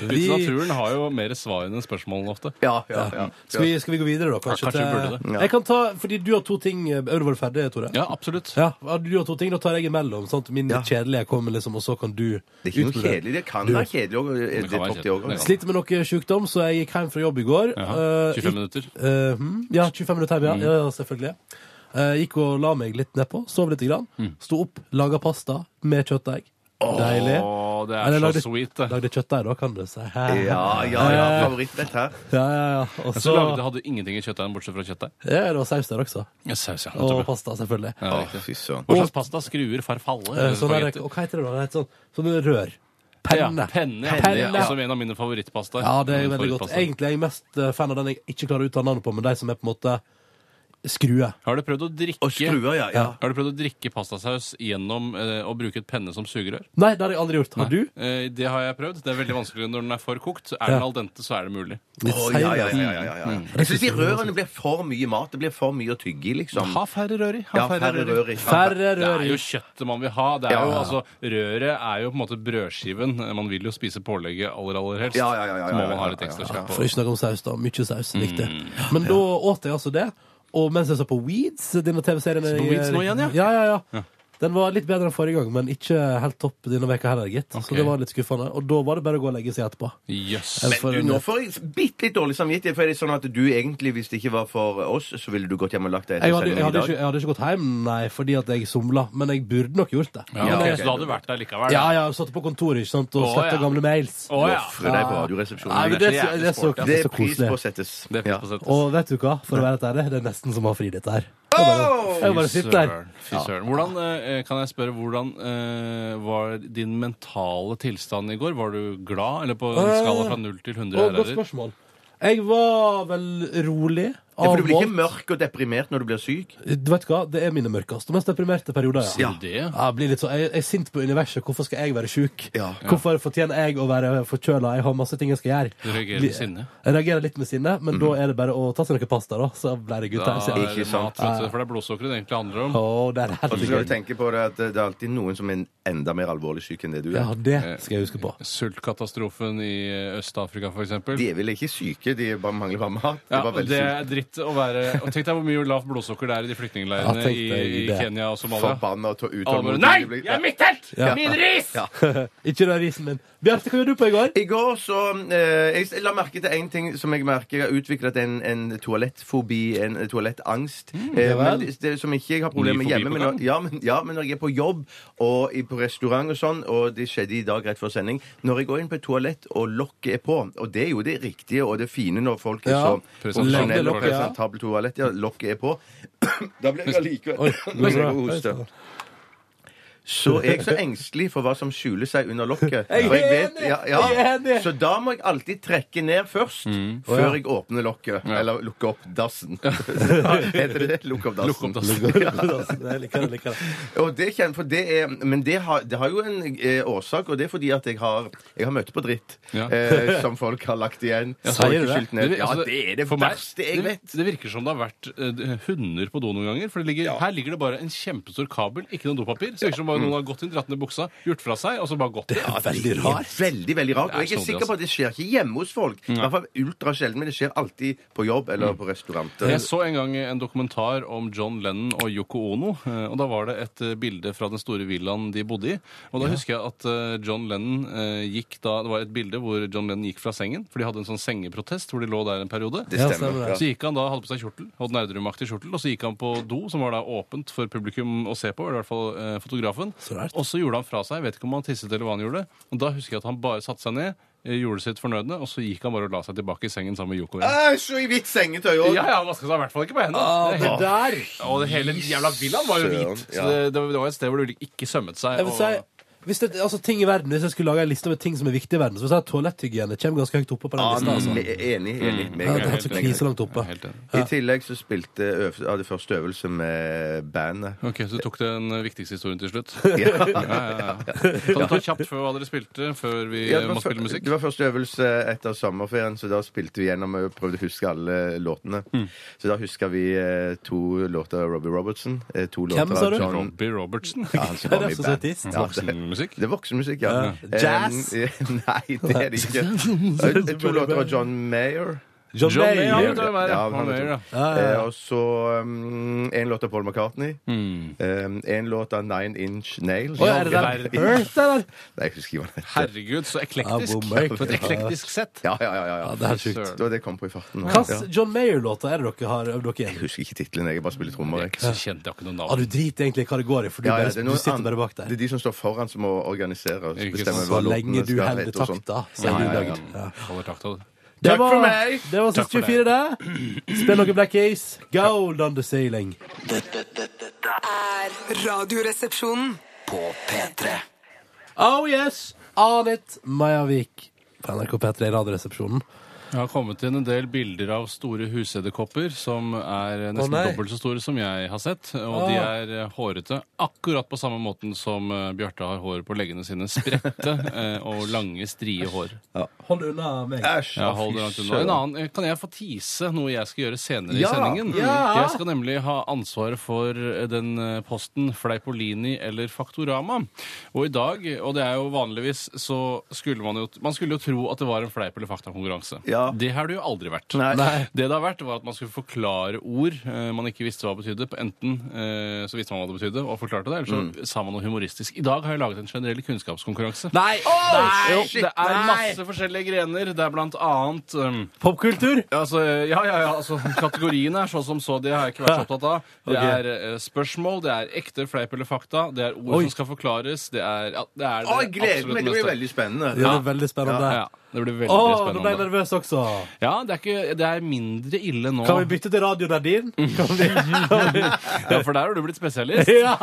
[SPEAKER 4] Ute i naturen har jo mer svar enn spørsmålene ofte.
[SPEAKER 5] ja, ja, ja.
[SPEAKER 3] Skal vi, skal vi gå videre, da? Kanskje,
[SPEAKER 4] Ja, kanskje vi
[SPEAKER 3] til-
[SPEAKER 4] burde det.
[SPEAKER 5] Ja.
[SPEAKER 3] Jeg kan ta, fordi du har to ting Er du bare ferdig, Tore?
[SPEAKER 4] Ja, absolutt.
[SPEAKER 3] Ja, Du har to ting, da tar jeg imellom. Sant? Min
[SPEAKER 5] Ja.
[SPEAKER 3] kjedelige kommer, liksom, og så kan du
[SPEAKER 5] Det er ikke noe kjedelig. Det kan være kjedelig eh, òg. Det
[SPEAKER 4] kan være
[SPEAKER 5] tok det
[SPEAKER 4] kjedelig.
[SPEAKER 5] òg.
[SPEAKER 3] Sliter med noe sjukdom, så jeg gikk hjem fra jobb i går.
[SPEAKER 4] Jaha,
[SPEAKER 3] Eh,
[SPEAKER 4] 25 minutter. Mm.
[SPEAKER 3] Eh, hm, ja, 25 minutter hjemme, ja. ja, ja selvfølgelig. Eh, gikk og la meg litt nedpå, sov litt. Grann. Sto opp, laga pasta med kjøttdeig. Deilig.
[SPEAKER 4] Mm. Åh, det
[SPEAKER 3] Eller
[SPEAKER 4] er så
[SPEAKER 3] lagde,
[SPEAKER 4] sweet, det.
[SPEAKER 3] Lagde kjøttdeig, da, kan du si.
[SPEAKER 5] Ja, ja, ja.
[SPEAKER 3] Eh.
[SPEAKER 5] Favorittrett her.
[SPEAKER 3] ja, ja, ja. Og
[SPEAKER 4] Så
[SPEAKER 3] så
[SPEAKER 4] lagde det hadde ingenting i kjøttdeigen bortsett fra kjøttet.
[SPEAKER 3] ja, Det var saus der også.
[SPEAKER 4] Ja, saus, ja.
[SPEAKER 3] Og
[SPEAKER 4] Nettopp.
[SPEAKER 3] pasta, selvfølgelig.
[SPEAKER 4] Ja,
[SPEAKER 5] Å,
[SPEAKER 4] riktig.
[SPEAKER 5] fy søren.
[SPEAKER 4] Hva slags pasta? Skruer? Farfalle?
[SPEAKER 3] Eh,
[SPEAKER 4] eller
[SPEAKER 3] Sånn der,
[SPEAKER 4] spagetti?
[SPEAKER 3] og hva heter det da? Det heter sånn, sånn rør. Penne.
[SPEAKER 4] Ja, penne, Mm, ja.
[SPEAKER 3] Penne.
[SPEAKER 4] Det er også en av mine favorittpastaer.
[SPEAKER 3] Ja, det er
[SPEAKER 4] Min
[SPEAKER 3] veldig godt.
[SPEAKER 4] favorittpasta.
[SPEAKER 3] Egentlig er jeg mest eh, fan av den jeg ikke klarer å uttale navnet på, men de som er på en måte skrue.
[SPEAKER 4] Har du prøvd å drikke
[SPEAKER 5] Og skruer, ja. ja.
[SPEAKER 3] Ja.
[SPEAKER 4] Har du prøvd å drikke pastasaus gjennom eh, å bruke et penne som sugerør?
[SPEAKER 3] Nei, det har jeg aldri gjort. Har du?
[SPEAKER 4] Eh, det har jeg prøvd. Det er veldig vanskelig når den er for kokt. Er den al dente, så er det mulig.
[SPEAKER 3] Litt
[SPEAKER 5] Å,
[SPEAKER 3] seig,
[SPEAKER 5] ja, ja,
[SPEAKER 3] altså.
[SPEAKER 5] ja, ja, ja, ja. Jeg syns de rørene blir for mye mat. Det blir for mye å tygge i, liksom.
[SPEAKER 4] Ha færre rør i. Ha
[SPEAKER 5] Ja, færre rør i.
[SPEAKER 3] Færre
[SPEAKER 4] Det er
[SPEAKER 3] rør i.
[SPEAKER 4] jo kjøttet man vil ha. Det er
[SPEAKER 5] Ja.
[SPEAKER 4] jo, altså, røret er jo på en måte brødskiven. Man vil jo spise pålegget aller, aller helst.
[SPEAKER 5] Ja, ja, ja, ja,
[SPEAKER 4] så
[SPEAKER 5] ja,
[SPEAKER 4] må
[SPEAKER 5] ja,
[SPEAKER 4] man ha litt
[SPEAKER 5] ja,
[SPEAKER 4] ekstra
[SPEAKER 5] ja, ja.
[SPEAKER 4] kjøtt på. Mm,
[SPEAKER 3] For ikke snakke om saus, da. Mye saus. Riktig. Men da åt jeg altså det. Og mens jeg så på Weeds, denne TV-serien
[SPEAKER 4] Så på
[SPEAKER 3] jeg-
[SPEAKER 4] Weeds nå igjen, ja?
[SPEAKER 3] Ja, ja, ja. Den var litt bedre enn forrige gang, men ikke helt topp denne veka heller, gitt.
[SPEAKER 4] Ok.
[SPEAKER 3] Så det var litt skuffende. Og da var det bare å gå og legge seg etterpå.
[SPEAKER 4] Jøss.
[SPEAKER 3] Men- for
[SPEAKER 5] Du,
[SPEAKER 3] en-
[SPEAKER 5] nå får jeg bitte litt dårlig samvittighet, for er det sånn at du egentlig, hvis det ikke var for oss, så ville du gått hjem og lagt deg
[SPEAKER 3] Jeg
[SPEAKER 5] etter
[SPEAKER 3] hadde,
[SPEAKER 5] sendingen
[SPEAKER 3] jeg,
[SPEAKER 5] i
[SPEAKER 3] hadde ikke,
[SPEAKER 5] dag?
[SPEAKER 3] jeg hadde ikke gått hjem, nei, fordi at jeg somla. Men jeg burde nok gjort det.
[SPEAKER 4] Ja,
[SPEAKER 3] Men
[SPEAKER 4] ok,
[SPEAKER 3] jeg-
[SPEAKER 4] Så da hadde du vært der likevel?
[SPEAKER 3] Ja, ja, satt på kontoret ikke sant, og
[SPEAKER 4] Å,
[SPEAKER 3] sletta
[SPEAKER 4] ja.
[SPEAKER 3] gamle mails.
[SPEAKER 4] Å ja.
[SPEAKER 5] Ofre deg på Radioresepsjonen.
[SPEAKER 3] Nei, men det, er så- det, er så, det,
[SPEAKER 5] Det
[SPEAKER 3] er
[SPEAKER 5] er
[SPEAKER 3] så
[SPEAKER 5] pris på
[SPEAKER 3] koselig.
[SPEAKER 5] settes.
[SPEAKER 4] Det er
[SPEAKER 5] Ja.
[SPEAKER 4] fint å sette.
[SPEAKER 3] Og vet du hva, for å være helt ærlig, det er nesten som å ha fri dette her. Jeg bare, jeg bare sitter der.
[SPEAKER 4] Søren, Fy søren. Hvordan, eh, kan jeg spørre, hvordan eh, var din mentale tilstand i går? Var du glad, eller på en
[SPEAKER 3] Eh,
[SPEAKER 4] skala fra 0 til 100
[SPEAKER 3] Å, godt
[SPEAKER 4] herrer?
[SPEAKER 3] spørsmål. Jeg var vel rolig.
[SPEAKER 5] Ja, for du blir ikke
[SPEAKER 3] avmålt.
[SPEAKER 5] mørk og deprimert når du blir syk?
[SPEAKER 3] Du vet hva, det er mine mørkeste og mest deprimerte perioder.
[SPEAKER 4] Sier
[SPEAKER 3] Ja.
[SPEAKER 5] Ja.
[SPEAKER 4] du det?
[SPEAKER 3] Ja, Jeg, blir litt så, jeg, jeg er sint på universet. Hvorfor skal jeg være sjuk?
[SPEAKER 5] Ja.
[SPEAKER 3] Hvorfor fortjener jeg å være forkjøla? Jeg har masse ting jeg skal gjøre.
[SPEAKER 4] Du reagerer
[SPEAKER 3] Li-
[SPEAKER 4] med sinne.
[SPEAKER 3] Jeg reagerer litt med sinne, men da er det bare å ta seg noe pasta, da. Så blir det
[SPEAKER 4] Da
[SPEAKER 3] gutta.
[SPEAKER 4] er
[SPEAKER 3] Ja.
[SPEAKER 5] Ikke
[SPEAKER 4] det
[SPEAKER 5] sant.
[SPEAKER 4] mat, vet du, for det er blodsukkeret det egentlig handler om.
[SPEAKER 3] Å, det er
[SPEAKER 5] Og så
[SPEAKER 3] helt
[SPEAKER 5] skal du tenke på det at det er alltid noen som er enda mer alvorlig syk enn det du
[SPEAKER 3] Ja,
[SPEAKER 5] er.
[SPEAKER 3] det skal jeg huske på.
[SPEAKER 4] Sultkatastrofen i eh, Øst-Afrika, for eksempel.
[SPEAKER 5] De er vel ikke syke, de bare mangler bare mat. De
[SPEAKER 4] Ja,
[SPEAKER 5] er bare veldig
[SPEAKER 4] det
[SPEAKER 5] syke.
[SPEAKER 4] er dritt å være og Tenk deg hvor mye lavt blodsukker det er i
[SPEAKER 3] Ja,
[SPEAKER 4] de flyktningleirene
[SPEAKER 3] tenk
[SPEAKER 4] i,
[SPEAKER 3] deg
[SPEAKER 4] i
[SPEAKER 3] det.
[SPEAKER 4] Kenya og Somalia.
[SPEAKER 5] Forbanna og
[SPEAKER 4] Alle bare,
[SPEAKER 5] utålmodige.
[SPEAKER 4] Nei!
[SPEAKER 5] de blir-
[SPEAKER 4] Jeg er mitt helt!
[SPEAKER 3] Ja.
[SPEAKER 4] Min ris!
[SPEAKER 5] Ja.
[SPEAKER 3] Ikke den risen min. Bjarte, hva gjorde du på i går?
[SPEAKER 5] I går så eh, Jeg la merke til én ting som jeg merker jeg har utviklet en, en toalettfobi, en toalettangst, eh,
[SPEAKER 3] Mm, vel.
[SPEAKER 5] men det, det, som ikke jeg har problemer
[SPEAKER 4] Ny
[SPEAKER 5] med
[SPEAKER 4] fobi
[SPEAKER 5] hjemme.
[SPEAKER 4] på
[SPEAKER 5] Men når,
[SPEAKER 4] gang.
[SPEAKER 5] ja, men, ja, men når jeg er på jobb og i, på restaurant og sånn, og det skjedde i dag rett før sending Når jeg går inn på et toalett og lokket er på, og det er jo det riktige og det fine når folk er
[SPEAKER 3] Ja.
[SPEAKER 5] så
[SPEAKER 4] Presentabel
[SPEAKER 5] profesjonelle og
[SPEAKER 4] lokk, ja.
[SPEAKER 5] presentabelt toalett, ja, lokket er på Da blir jeg
[SPEAKER 3] Oi,
[SPEAKER 5] allikevel
[SPEAKER 3] går
[SPEAKER 5] Men
[SPEAKER 3] det
[SPEAKER 5] jeg
[SPEAKER 3] bra?
[SPEAKER 5] må hoste. Så er jeg så engstelig for hva som skjuler seg under lokket.
[SPEAKER 3] Jeg er
[SPEAKER 5] For vet-
[SPEAKER 3] enig!
[SPEAKER 5] ja,
[SPEAKER 3] Jeg er
[SPEAKER 5] ja.
[SPEAKER 3] enig!
[SPEAKER 5] Så da må jeg alltid trekke ned først,
[SPEAKER 4] Mm.
[SPEAKER 5] før jeg åpner lokket. Eller lukker opp dassen. Heter det det? Lukke opp dassen.
[SPEAKER 4] Lukk opp dassen.
[SPEAKER 3] Jeg liker det, jeg liker det.
[SPEAKER 5] Og det kjenner, for det er, men det har, det har jo en eh, årsak, og det er fordi at jeg har, jeg har møtt på dritt
[SPEAKER 4] Ja.
[SPEAKER 5] eh, som folk har lagt igjen.
[SPEAKER 3] sier
[SPEAKER 5] Og
[SPEAKER 3] du
[SPEAKER 5] ikke
[SPEAKER 3] det?
[SPEAKER 5] skylt ned.
[SPEAKER 4] vir-
[SPEAKER 5] Ja,
[SPEAKER 4] altså,
[SPEAKER 5] det er det
[SPEAKER 4] for meg-
[SPEAKER 5] verste jeg
[SPEAKER 4] det-
[SPEAKER 5] vet.
[SPEAKER 4] Det virker som det har vært eh, hunder på do noen ganger. For det ligger, her ligger det bare en kjempestor kabel, ikke noe dopapir. Så det virker som bare
[SPEAKER 5] Mm.
[SPEAKER 4] noen har gått inn, dratt ned buksa, gjort fra seg, og så bare gått.
[SPEAKER 3] Ja, veldig rart.
[SPEAKER 5] Veldig, veldig rart. Og
[SPEAKER 4] Det er
[SPEAKER 5] jeg er
[SPEAKER 4] snodig,
[SPEAKER 5] sikker på at det skjer ikke hjemme hos folk. I hvert fall ultrasjelden, men det skjer alltid på jobb
[SPEAKER 4] Mm.
[SPEAKER 5] eller på restauranter.
[SPEAKER 4] Jeg så en gang en dokumentar om John Lennon og Yoko Ono. eh, Og da var det et eh, bilde fra den store villaen de bodde i. Og da husker jeg at eh, John Lennon eh, gikk da Det var et bilde hvor John Lennon gikk fra sengen, for de hadde en sånn sengeprotest hvor de lå der en periode.
[SPEAKER 5] Det
[SPEAKER 3] Ja,
[SPEAKER 5] stemmer. Ja,
[SPEAKER 3] stemmer det.
[SPEAKER 4] Så gikk han da, hadde på seg kjortel, Odd Nerdrum-aktig kjortel, og så gikk han på do, som var da åpent for publikum å se på, eller i hvert fall eh, fotografen.
[SPEAKER 3] Så rart.
[SPEAKER 4] Og så gjorde han fra seg, jeg vet ikke om han tisset eller hva han gjorde, og da husker jeg at han bare satte seg ned, eh, gjorde sitt fornødne, og så gikk han bare og la seg tilbake i sengen sammen med Yoko. igjen.
[SPEAKER 5] Æsj, og i hvitt sengetøy òg!
[SPEAKER 4] Ja, ja, han vasket seg i hvert fall ikke på hendene.
[SPEAKER 3] Ah,
[SPEAKER 4] Det er
[SPEAKER 3] det
[SPEAKER 4] helt-
[SPEAKER 3] der!
[SPEAKER 4] og det hele jævla villaen var jo hvit,
[SPEAKER 5] Søren, ja.
[SPEAKER 4] så det, det var et sted hvor du ikke sømmet seg.
[SPEAKER 3] Jeg vil si, hvis, det, altså, ting i verden, hvis jeg skulle lage en liste med ting som er viktig i verden, så vil jeg si at toaletthygiene kommer ganske høyt oppe på den
[SPEAKER 5] Ja,
[SPEAKER 3] lista. Altså.
[SPEAKER 5] men Enig. enig
[SPEAKER 3] Ja, det er
[SPEAKER 5] Meget,
[SPEAKER 3] helt så
[SPEAKER 5] meget.
[SPEAKER 3] krise langt oppe.
[SPEAKER 4] Helt enig.
[SPEAKER 5] I tillegg så spilte øv- hadde første øvelse med bandet.
[SPEAKER 4] Ok, så du tok den viktigste historien til slutt.
[SPEAKER 5] Ja.
[SPEAKER 4] Ja, ja, ja. Kan du ta kjapt før hva dere spilte, før vi
[SPEAKER 5] Ja,
[SPEAKER 4] eh,
[SPEAKER 5] det,
[SPEAKER 4] må
[SPEAKER 5] var,
[SPEAKER 4] spille
[SPEAKER 5] fyr-
[SPEAKER 4] musikk?
[SPEAKER 5] det var første øvelse etter sommerferien, så da spilte vi gjennom og prøvde å huske alle låtene.
[SPEAKER 4] Mm.
[SPEAKER 5] Så da huska vi eh, to låter av Robbie Robertson. eh, To låter
[SPEAKER 3] sa
[SPEAKER 5] av
[SPEAKER 3] du?
[SPEAKER 5] John
[SPEAKER 4] Robbie Robertson.
[SPEAKER 5] ja, han som
[SPEAKER 3] Det
[SPEAKER 5] var
[SPEAKER 3] er
[SPEAKER 5] med i
[SPEAKER 3] så
[SPEAKER 5] band.
[SPEAKER 3] søtist.
[SPEAKER 5] Ja, det,
[SPEAKER 4] Voksenmusikk.
[SPEAKER 5] det er voksenmusikk, ja.
[SPEAKER 3] Ja. Jazz?
[SPEAKER 5] Eh, nei, det er det ikke. Eh, To låter av John Mayer.
[SPEAKER 3] John
[SPEAKER 4] John Mayer,
[SPEAKER 3] Mayer.
[SPEAKER 4] vet du hvem er det?
[SPEAKER 5] Ja,
[SPEAKER 4] Han
[SPEAKER 5] han vet
[SPEAKER 4] Mayer,
[SPEAKER 5] du.
[SPEAKER 4] ja.
[SPEAKER 5] Eh, og så um, en låt av Paul McCartney.
[SPEAKER 4] Mm.
[SPEAKER 5] Eh, en låt av Nine Inch Nails.
[SPEAKER 3] Å, er det
[SPEAKER 5] Ja,
[SPEAKER 3] der Hurt, eller?
[SPEAKER 5] Nei, jeg husker ikke hva den heter.
[SPEAKER 4] Herregud, så
[SPEAKER 3] Ja,
[SPEAKER 4] eklektisk.
[SPEAKER 3] hvor mørkt.
[SPEAKER 4] På et eklektisk sett.
[SPEAKER 5] Ja, ja, ja. ja, ja.
[SPEAKER 3] Ja, det er helt sjukt.
[SPEAKER 5] Det var det jeg kom på i farten.
[SPEAKER 3] Hva
[SPEAKER 5] Ja.
[SPEAKER 3] slags John Mayer-låter er det dere har øvd dere
[SPEAKER 5] Jeg
[SPEAKER 3] igjen?
[SPEAKER 5] husker ikke tittelen. Jeg bare spiller trommer. jeg.
[SPEAKER 4] Så kjente jeg ikke noe
[SPEAKER 3] Ah,
[SPEAKER 4] navn.
[SPEAKER 3] du driter egentlig i hva det går i, for du,
[SPEAKER 5] Ja, ja,
[SPEAKER 3] bare,
[SPEAKER 5] det er
[SPEAKER 3] du
[SPEAKER 5] noen
[SPEAKER 3] sitter
[SPEAKER 5] an-
[SPEAKER 3] bare bak der.
[SPEAKER 5] Det er de som står foran, som må organisere og
[SPEAKER 4] Ikke
[SPEAKER 5] bestemme
[SPEAKER 4] sant.
[SPEAKER 5] hva
[SPEAKER 3] Så lenge
[SPEAKER 5] låtene
[SPEAKER 3] du
[SPEAKER 5] skal
[SPEAKER 3] holder
[SPEAKER 5] hete. og sånn.
[SPEAKER 3] takta, så er
[SPEAKER 5] Ja, ja,
[SPEAKER 3] du
[SPEAKER 5] ja.
[SPEAKER 3] lagd. Ja.
[SPEAKER 4] Holder takt av det.
[SPEAKER 3] Det
[SPEAKER 5] Takk
[SPEAKER 3] var,
[SPEAKER 5] for meg!
[SPEAKER 3] Det var
[SPEAKER 4] Takk
[SPEAKER 3] siste
[SPEAKER 4] for
[SPEAKER 3] 24, det. Spill noe Black Ace. Gold on the sailing.
[SPEAKER 2] Dette, dette, dette
[SPEAKER 6] Er Radioresepsjonen.
[SPEAKER 2] På P3
[SPEAKER 3] Oh yes! On it, Majavik. På NRK P3 i Radioresepsjonen.
[SPEAKER 4] Jeg har kommet inn en del bilder av store husedderkopper som er nesten
[SPEAKER 3] nei.
[SPEAKER 4] dobbelt så store som jeg har sett. Og
[SPEAKER 3] Ah.
[SPEAKER 4] de er eh, hårete akkurat på samme måten som eh, Bjarte har hår på leggene sine. Spredte eh, og lange, strie hår.
[SPEAKER 3] Hold unna meg.
[SPEAKER 5] Æsj!
[SPEAKER 4] Ja,
[SPEAKER 5] å,
[SPEAKER 4] hold det langt
[SPEAKER 5] fy
[SPEAKER 4] unna. En
[SPEAKER 5] søren.
[SPEAKER 4] annen, kan jeg få tease noe jeg skal gjøre senere
[SPEAKER 5] Ja,
[SPEAKER 4] i sendingen?
[SPEAKER 5] ja.
[SPEAKER 4] Jeg skal nemlig ha ansvaret for eh, den eh, posten Fleipolini eller Faktorama. Og i dag, og det er jo vanligvis, så skulle man jo Man skulle jo tro at det var en fleip- eller faktakonkurranse.
[SPEAKER 5] Ja.
[SPEAKER 4] Det har det jo aldri vært.
[SPEAKER 5] Nei. Nei.
[SPEAKER 4] Det det har vært, var at man skulle forklare ord eh, man ikke visste hva betydde. på Enten eh, så visste man hva det betydde, og forklarte det, eller så
[SPEAKER 5] Mm.
[SPEAKER 4] sa man noe humoristisk. I dag har jeg laget en generell kunnskapskonkurranse.
[SPEAKER 3] Nei!
[SPEAKER 5] Nei!
[SPEAKER 4] Jo,
[SPEAKER 5] Shit,
[SPEAKER 4] det er
[SPEAKER 5] nei!
[SPEAKER 4] masse forskjellige grener. Det er blant annet um,
[SPEAKER 3] Popkultur!
[SPEAKER 4] altså, Ja, ja, ja. Altså, kategoriene er sånn som så. Det har jeg ikke vært så opptatt av.
[SPEAKER 3] Ok.
[SPEAKER 4] Det er eh, spørsmål, det er ekte fleip eller fakta, det er ord
[SPEAKER 3] Oi.
[SPEAKER 4] som skal forklares, det er ja, Det er det
[SPEAKER 5] Å, jeg gleder
[SPEAKER 4] absolutt
[SPEAKER 5] meg! Det blir
[SPEAKER 4] meste.
[SPEAKER 5] veldig spennende.
[SPEAKER 3] Det er veldig spennende.
[SPEAKER 4] Ja, det blir veldig
[SPEAKER 3] Å, nå ble jeg
[SPEAKER 4] spennende.
[SPEAKER 3] nervøs også.
[SPEAKER 4] Ja, det er, ikke, det er mindre ille nå.
[SPEAKER 3] Kan vi bytte til Radio Nardin? Kan vi?
[SPEAKER 4] Ja, for der har du blitt spesialist.
[SPEAKER 3] ja.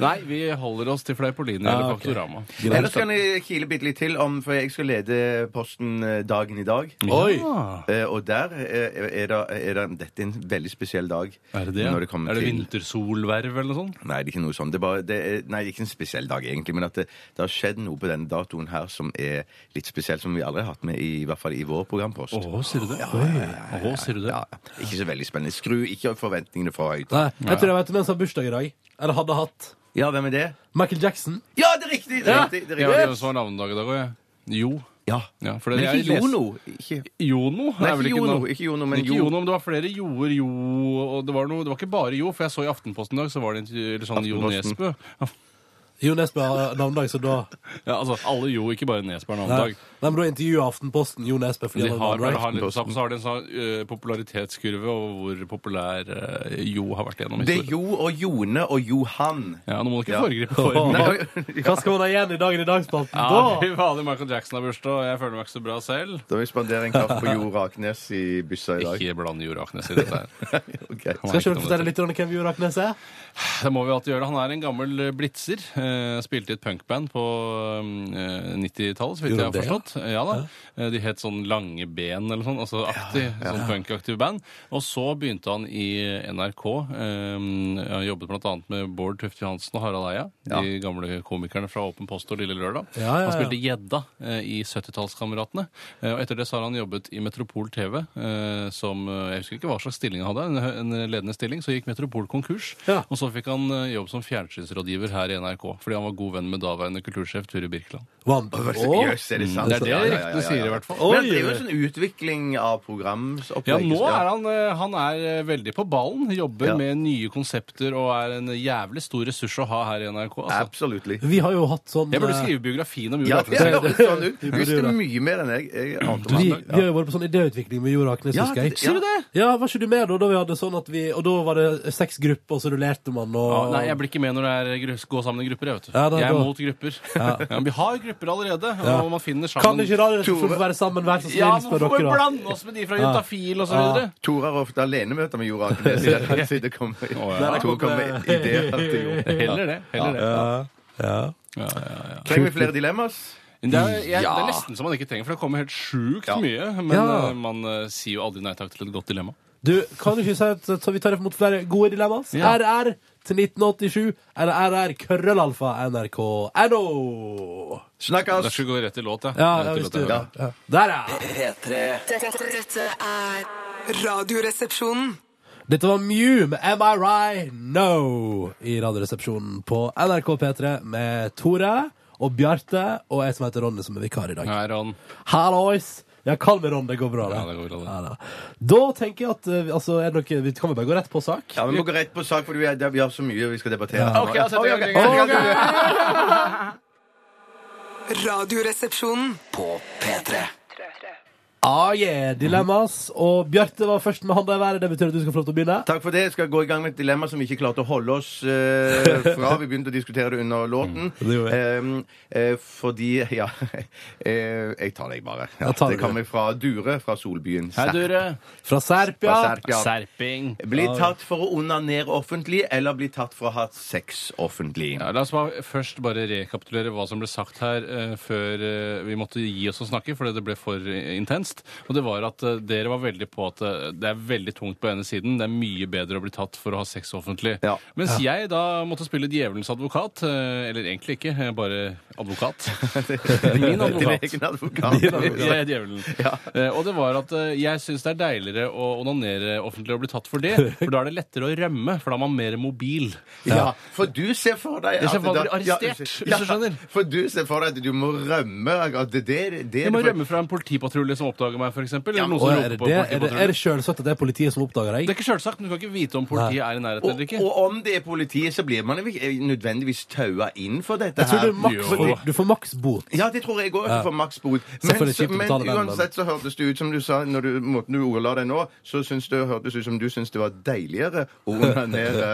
[SPEAKER 4] Nei, vi holder oss til Fleipolini
[SPEAKER 3] Ja,
[SPEAKER 4] eller
[SPEAKER 3] ok.
[SPEAKER 4] Faktorama.
[SPEAKER 5] Ellers kan jeg kile bitte litt til, om, for jeg skal lede posten eh, dagen i dag.
[SPEAKER 4] Ja.
[SPEAKER 5] Eh, og der eh, er det, er det Dette er en veldig spesiell dag.
[SPEAKER 4] Er det det?
[SPEAKER 5] Når det kommer
[SPEAKER 4] er det
[SPEAKER 5] til
[SPEAKER 4] vintersolverv eller noe sånt?
[SPEAKER 5] Nei, det er ikke noe sånt. Det er bare, det er, nei, det er ikke en spesiell dag, egentlig. Men at det, det har skjedd noe på denne datoen her som er litt spesiell, som vi aldri har hatt med, i, i hvert fall i vår programpost.
[SPEAKER 4] Å, sier du det? Å, sier du det?
[SPEAKER 5] Ja, ikke så veldig spennende. Skru ikke opp forventningene for høyt.
[SPEAKER 3] Nei, jeg tror jeg vet hvem som har bursdag i dag. Eller hadde hatt.
[SPEAKER 5] Ja, hvem er det?
[SPEAKER 3] Michael Jackson.
[SPEAKER 5] Ja, det er riktig! Det er riktig, det er
[SPEAKER 4] Jeg vet ikke
[SPEAKER 5] riktig.
[SPEAKER 4] hvem som har navnedag i dag òg, jeg. Jo.
[SPEAKER 5] Ja.
[SPEAKER 4] Ja, for
[SPEAKER 5] Men
[SPEAKER 4] det jeg
[SPEAKER 5] ikke
[SPEAKER 4] leste-
[SPEAKER 5] Jono. Ikke...
[SPEAKER 4] Jono?
[SPEAKER 5] Nei,
[SPEAKER 4] er vel
[SPEAKER 5] ikke Jono,
[SPEAKER 4] noe-
[SPEAKER 5] ikke Jono, men
[SPEAKER 4] ikke
[SPEAKER 5] Jo.
[SPEAKER 4] Jono, men det var flere Joer, Jo og det var, noe, det var ikke bare Jo, for jeg så i Aftenposten i dag, så var det en intervju- eller sånn Jo
[SPEAKER 5] Aftenposten.
[SPEAKER 4] Nesbø.
[SPEAKER 3] Jo Nesbø har navnedag, så da
[SPEAKER 4] Ja, altså, alle Jo, ikke bare Nesbø har
[SPEAKER 3] Nei,
[SPEAKER 4] navnedag.
[SPEAKER 3] men da intervjuet Aftenposten Jo Nesbø fordi
[SPEAKER 4] De
[SPEAKER 3] han
[SPEAKER 4] har,
[SPEAKER 3] hadde
[SPEAKER 4] de
[SPEAKER 3] navnedag.
[SPEAKER 4] har, litt sammen, så har de en sånn eh, popularitetskurve over hvor populær eh, Jo har vært gjennom
[SPEAKER 5] Det er
[SPEAKER 4] historien.
[SPEAKER 5] Jo og Jone og Johan.
[SPEAKER 4] Ja, nå må du ikke
[SPEAKER 5] Ja.
[SPEAKER 4] foregripe formen.
[SPEAKER 5] Nei,
[SPEAKER 3] Hva skal man ha igjen i dagen i dagspalten?
[SPEAKER 4] Ja,
[SPEAKER 3] Da?
[SPEAKER 4] fy fader, Michael Jackson har bursdag, og jeg føler meg ikke så bra selv.
[SPEAKER 5] Da vil jeg spandere en kaffe på Jo Raknes i byssa i dag.
[SPEAKER 4] Ikke bland Jo Raknes i dette her.
[SPEAKER 5] Ok.
[SPEAKER 3] Skal ikke dere fortelle litt om hvem Jo Raknes er?
[SPEAKER 4] Det må vi alltid gjøre. Han er en gammel eh, blitzer. Eh, spilte i et punkband på eh, 90-tallet, så vidt jeg
[SPEAKER 3] Gjorde
[SPEAKER 4] har
[SPEAKER 3] han det,
[SPEAKER 4] forstått. Eh, Ja da. Eh, De het sånn Lange Ben eller sånn, altså aktig, sånn punkaktiv band. Og så begynte han i NRK. Eh, han jobbet bl.a. med Bård Tufte Johansen og Harald Eia, de gamle komikerne fra Åpen post og Lille Lørdag.
[SPEAKER 3] Ja, ja, ja.
[SPEAKER 4] Han spilte gjedda eh, i 70-tallskameratene. Eh, og etter det så har han jobbet i Metropol TV, eh, som eh, jeg husker ikke hva slags stilling han hadde, en, hø- en ledende stilling. Så gikk Metropol konkurs,
[SPEAKER 3] Ja.
[SPEAKER 4] og så fikk han eh, jobb som fjernsynsrådgiver her i NRK. Fordi han var god venn med daværende kultursjef Ture Birkeland.
[SPEAKER 3] One.
[SPEAKER 5] Å, Jøss, er det sant?
[SPEAKER 4] Mm, Det er det
[SPEAKER 5] Ja, ja, ja, ja,
[SPEAKER 4] ryktene
[SPEAKER 5] ja.
[SPEAKER 4] sier, i hvert fall.
[SPEAKER 5] Men
[SPEAKER 3] Oi.
[SPEAKER 5] det er jo en sånn utvikling av programopplegg.
[SPEAKER 4] Ja, nå er han, eh, han er eh, veldig på ballen. Jobber
[SPEAKER 5] Ja.
[SPEAKER 4] med nye konsepter og er en jævlig stor ressurs å ha her i NRK. Altså.
[SPEAKER 5] Absolutt.
[SPEAKER 3] Vi har jo hatt sånn
[SPEAKER 4] Jeg burde
[SPEAKER 3] eh,
[SPEAKER 4] skrive biografien om Jo
[SPEAKER 5] Ja, det
[SPEAKER 4] Raknes.
[SPEAKER 5] høres sånn ut. Du
[SPEAKER 3] det gjør
[SPEAKER 5] visste
[SPEAKER 3] det.
[SPEAKER 5] mye mer enn jeg. Jeg ante
[SPEAKER 3] vi,
[SPEAKER 5] om
[SPEAKER 3] vi har jo vært på sånn idéutvikling med Jo Raknes,
[SPEAKER 5] Ja,
[SPEAKER 3] husker jeg.
[SPEAKER 5] sier du
[SPEAKER 3] det? Ja, Var ikke du med da? da vi hadde sånn at vi, og da var det seks grupper, og så rullerte man og
[SPEAKER 4] Ja, nei, jeg blir ikke med når det er gru- gå sammen i grupper. Jeg, vet du.
[SPEAKER 3] Ja, da-
[SPEAKER 4] jeg er
[SPEAKER 3] da-
[SPEAKER 4] mot grupper. Ja. men vi har grupper allerede, og man finner sammen.
[SPEAKER 3] Kan ikke Radioresepsjonen
[SPEAKER 5] Tore-
[SPEAKER 3] få være sammen, vær så snill,
[SPEAKER 4] ja,
[SPEAKER 3] spør
[SPEAKER 4] Hvorfor
[SPEAKER 3] dere, da?
[SPEAKER 4] blande oss med de fra Juntafil og så videre?
[SPEAKER 5] Tor har ofte alenemøter med Jo Raknes. Så det kommer
[SPEAKER 4] ja.
[SPEAKER 5] Tor kommer med ideer til Jo.
[SPEAKER 4] Heller det. heller det.
[SPEAKER 5] Trenger vi flere dilemmaer?
[SPEAKER 4] Men Det, er, jeg, det
[SPEAKER 5] Ja.
[SPEAKER 4] er nesten så man ikke trenger, for det kommer helt sjukt mye. Men
[SPEAKER 3] Ja.
[SPEAKER 4] eh, man eh, sier jo aldri nei takk til et godt dilemma.
[SPEAKER 3] Du, kan du ikke si at så vi tar imot flere gode dilemmaer?
[SPEAKER 4] Ja.
[SPEAKER 3] RR til 1987 eller RR krøllalfa nrk.no.
[SPEAKER 4] Jeg
[SPEAKER 5] Snakkes!
[SPEAKER 4] skal gå rett i låt, jeg.
[SPEAKER 3] Ja, ja,
[SPEAKER 4] Rett i
[SPEAKER 3] hvis
[SPEAKER 4] låt,
[SPEAKER 3] du
[SPEAKER 4] jeg.
[SPEAKER 3] ja. Der, ja!
[SPEAKER 2] P3
[SPEAKER 6] Dette, dette er Radioresepsjonen.
[SPEAKER 3] Dette var Mew med Am I Right No i Radioresepsjonen på NRK P3 med Tore og Bjarte og jeg som heter Ronny, som er vikar i dag.
[SPEAKER 4] Nei, Ron.
[SPEAKER 3] Hallois! Ja, kall meg Ron. Det går bra, det.
[SPEAKER 4] Ja, det går bra, det.
[SPEAKER 3] Ja, da. da tenker jeg at eh, altså, er det noe, vi kan vel bare gå rett på sak?
[SPEAKER 5] Ja, Vi må gå rett på sak, for vi, er, vi har så mye vi skal debattere.
[SPEAKER 4] Ok, altså, jeg setter i gang.
[SPEAKER 6] Radioresepsjonen.
[SPEAKER 2] på P3.
[SPEAKER 3] Ah, yeah, dilemmas. Og Bjarte var først med handa i været. Det betyr at du skal få lov til å begynne.
[SPEAKER 5] Takk for det. Jeg skal gå i gang med et dilemma som vi ikke klarte å holde oss eh, fra. Vi begynte å diskutere det under
[SPEAKER 4] Mm,
[SPEAKER 5] låten.
[SPEAKER 3] det gjorde
[SPEAKER 5] Eh, eh, fordi Ja, eh, jeg tar deg bare. Ja,
[SPEAKER 3] Ja, ta
[SPEAKER 5] det
[SPEAKER 3] det.
[SPEAKER 5] kommer fra Dure fra Solbyen.
[SPEAKER 4] Hei, Dure.
[SPEAKER 3] Fra Serpia.
[SPEAKER 5] Fra Serpia. Ja.
[SPEAKER 4] Serping.
[SPEAKER 5] Bli tatt for å onanere offentlig, eller bli tatt for å ha sex offentlig.
[SPEAKER 4] Ja, la oss bare, først bare rekapitulere hva som ble sagt her eh, før eh, vi måtte gi oss å snakke, fordi det ble for eh, intenst. minst. Og det var at eh, dere var veldig på at eh, det er veldig tungt på ene siden. Det er mye bedre å bli tatt for å ha sex offentlig.
[SPEAKER 5] Ja.
[SPEAKER 4] Mens jeg da måtte spille djevelens advokat. eh, Eller egentlig ikke, jeg er bare advokat. Min advokat.
[SPEAKER 5] Din egen advokat.
[SPEAKER 4] Jeg er djevelen. Eh, Og det var at eh, jeg syns det er deiligere å onanere offentlig og bli tatt for det. For da er det lettere å rømme, for da er man mer mobil.
[SPEAKER 5] Ja, for du ser for deg
[SPEAKER 4] Jeg ser
[SPEAKER 5] at
[SPEAKER 4] for meg
[SPEAKER 5] da-
[SPEAKER 4] å bli
[SPEAKER 5] Ja,
[SPEAKER 4] arrestert,
[SPEAKER 5] unnskyld.
[SPEAKER 4] hvis du skjønner.
[SPEAKER 5] For du ser for deg at du må rømme. At det, det, det,
[SPEAKER 4] Jeg må rømme fra en politipatrulje som oppdager meg, f.eks. Eller noen
[SPEAKER 3] Og
[SPEAKER 4] som
[SPEAKER 3] er det,
[SPEAKER 4] roper på
[SPEAKER 3] det, er det,
[SPEAKER 4] politipatrulje.
[SPEAKER 3] er det selvsagt at det er politiet som oppdager
[SPEAKER 4] Det
[SPEAKER 3] deg?
[SPEAKER 4] er ikke sjølsagt, men du kan ikke vite om politiet er i nærheten eller
[SPEAKER 5] Og,
[SPEAKER 4] ikke.
[SPEAKER 5] og om det er politiet, så blir man ikke eh, nødvendigvis taua inn for dette
[SPEAKER 3] Jeg tror
[SPEAKER 5] her.
[SPEAKER 3] du, maks,
[SPEAKER 4] Jo.
[SPEAKER 3] du får maks bot.
[SPEAKER 5] Ja, det tror jeg òg. For maks bot.
[SPEAKER 3] Så får
[SPEAKER 5] Men,
[SPEAKER 3] det
[SPEAKER 5] så,
[SPEAKER 3] kjipt å
[SPEAKER 5] men
[SPEAKER 3] betale den, men-
[SPEAKER 5] uansett så hørtes det ut som du sa, når du, måten du ordla det nå, så syns det hørtes ut som du syns det var deiligere å onanere.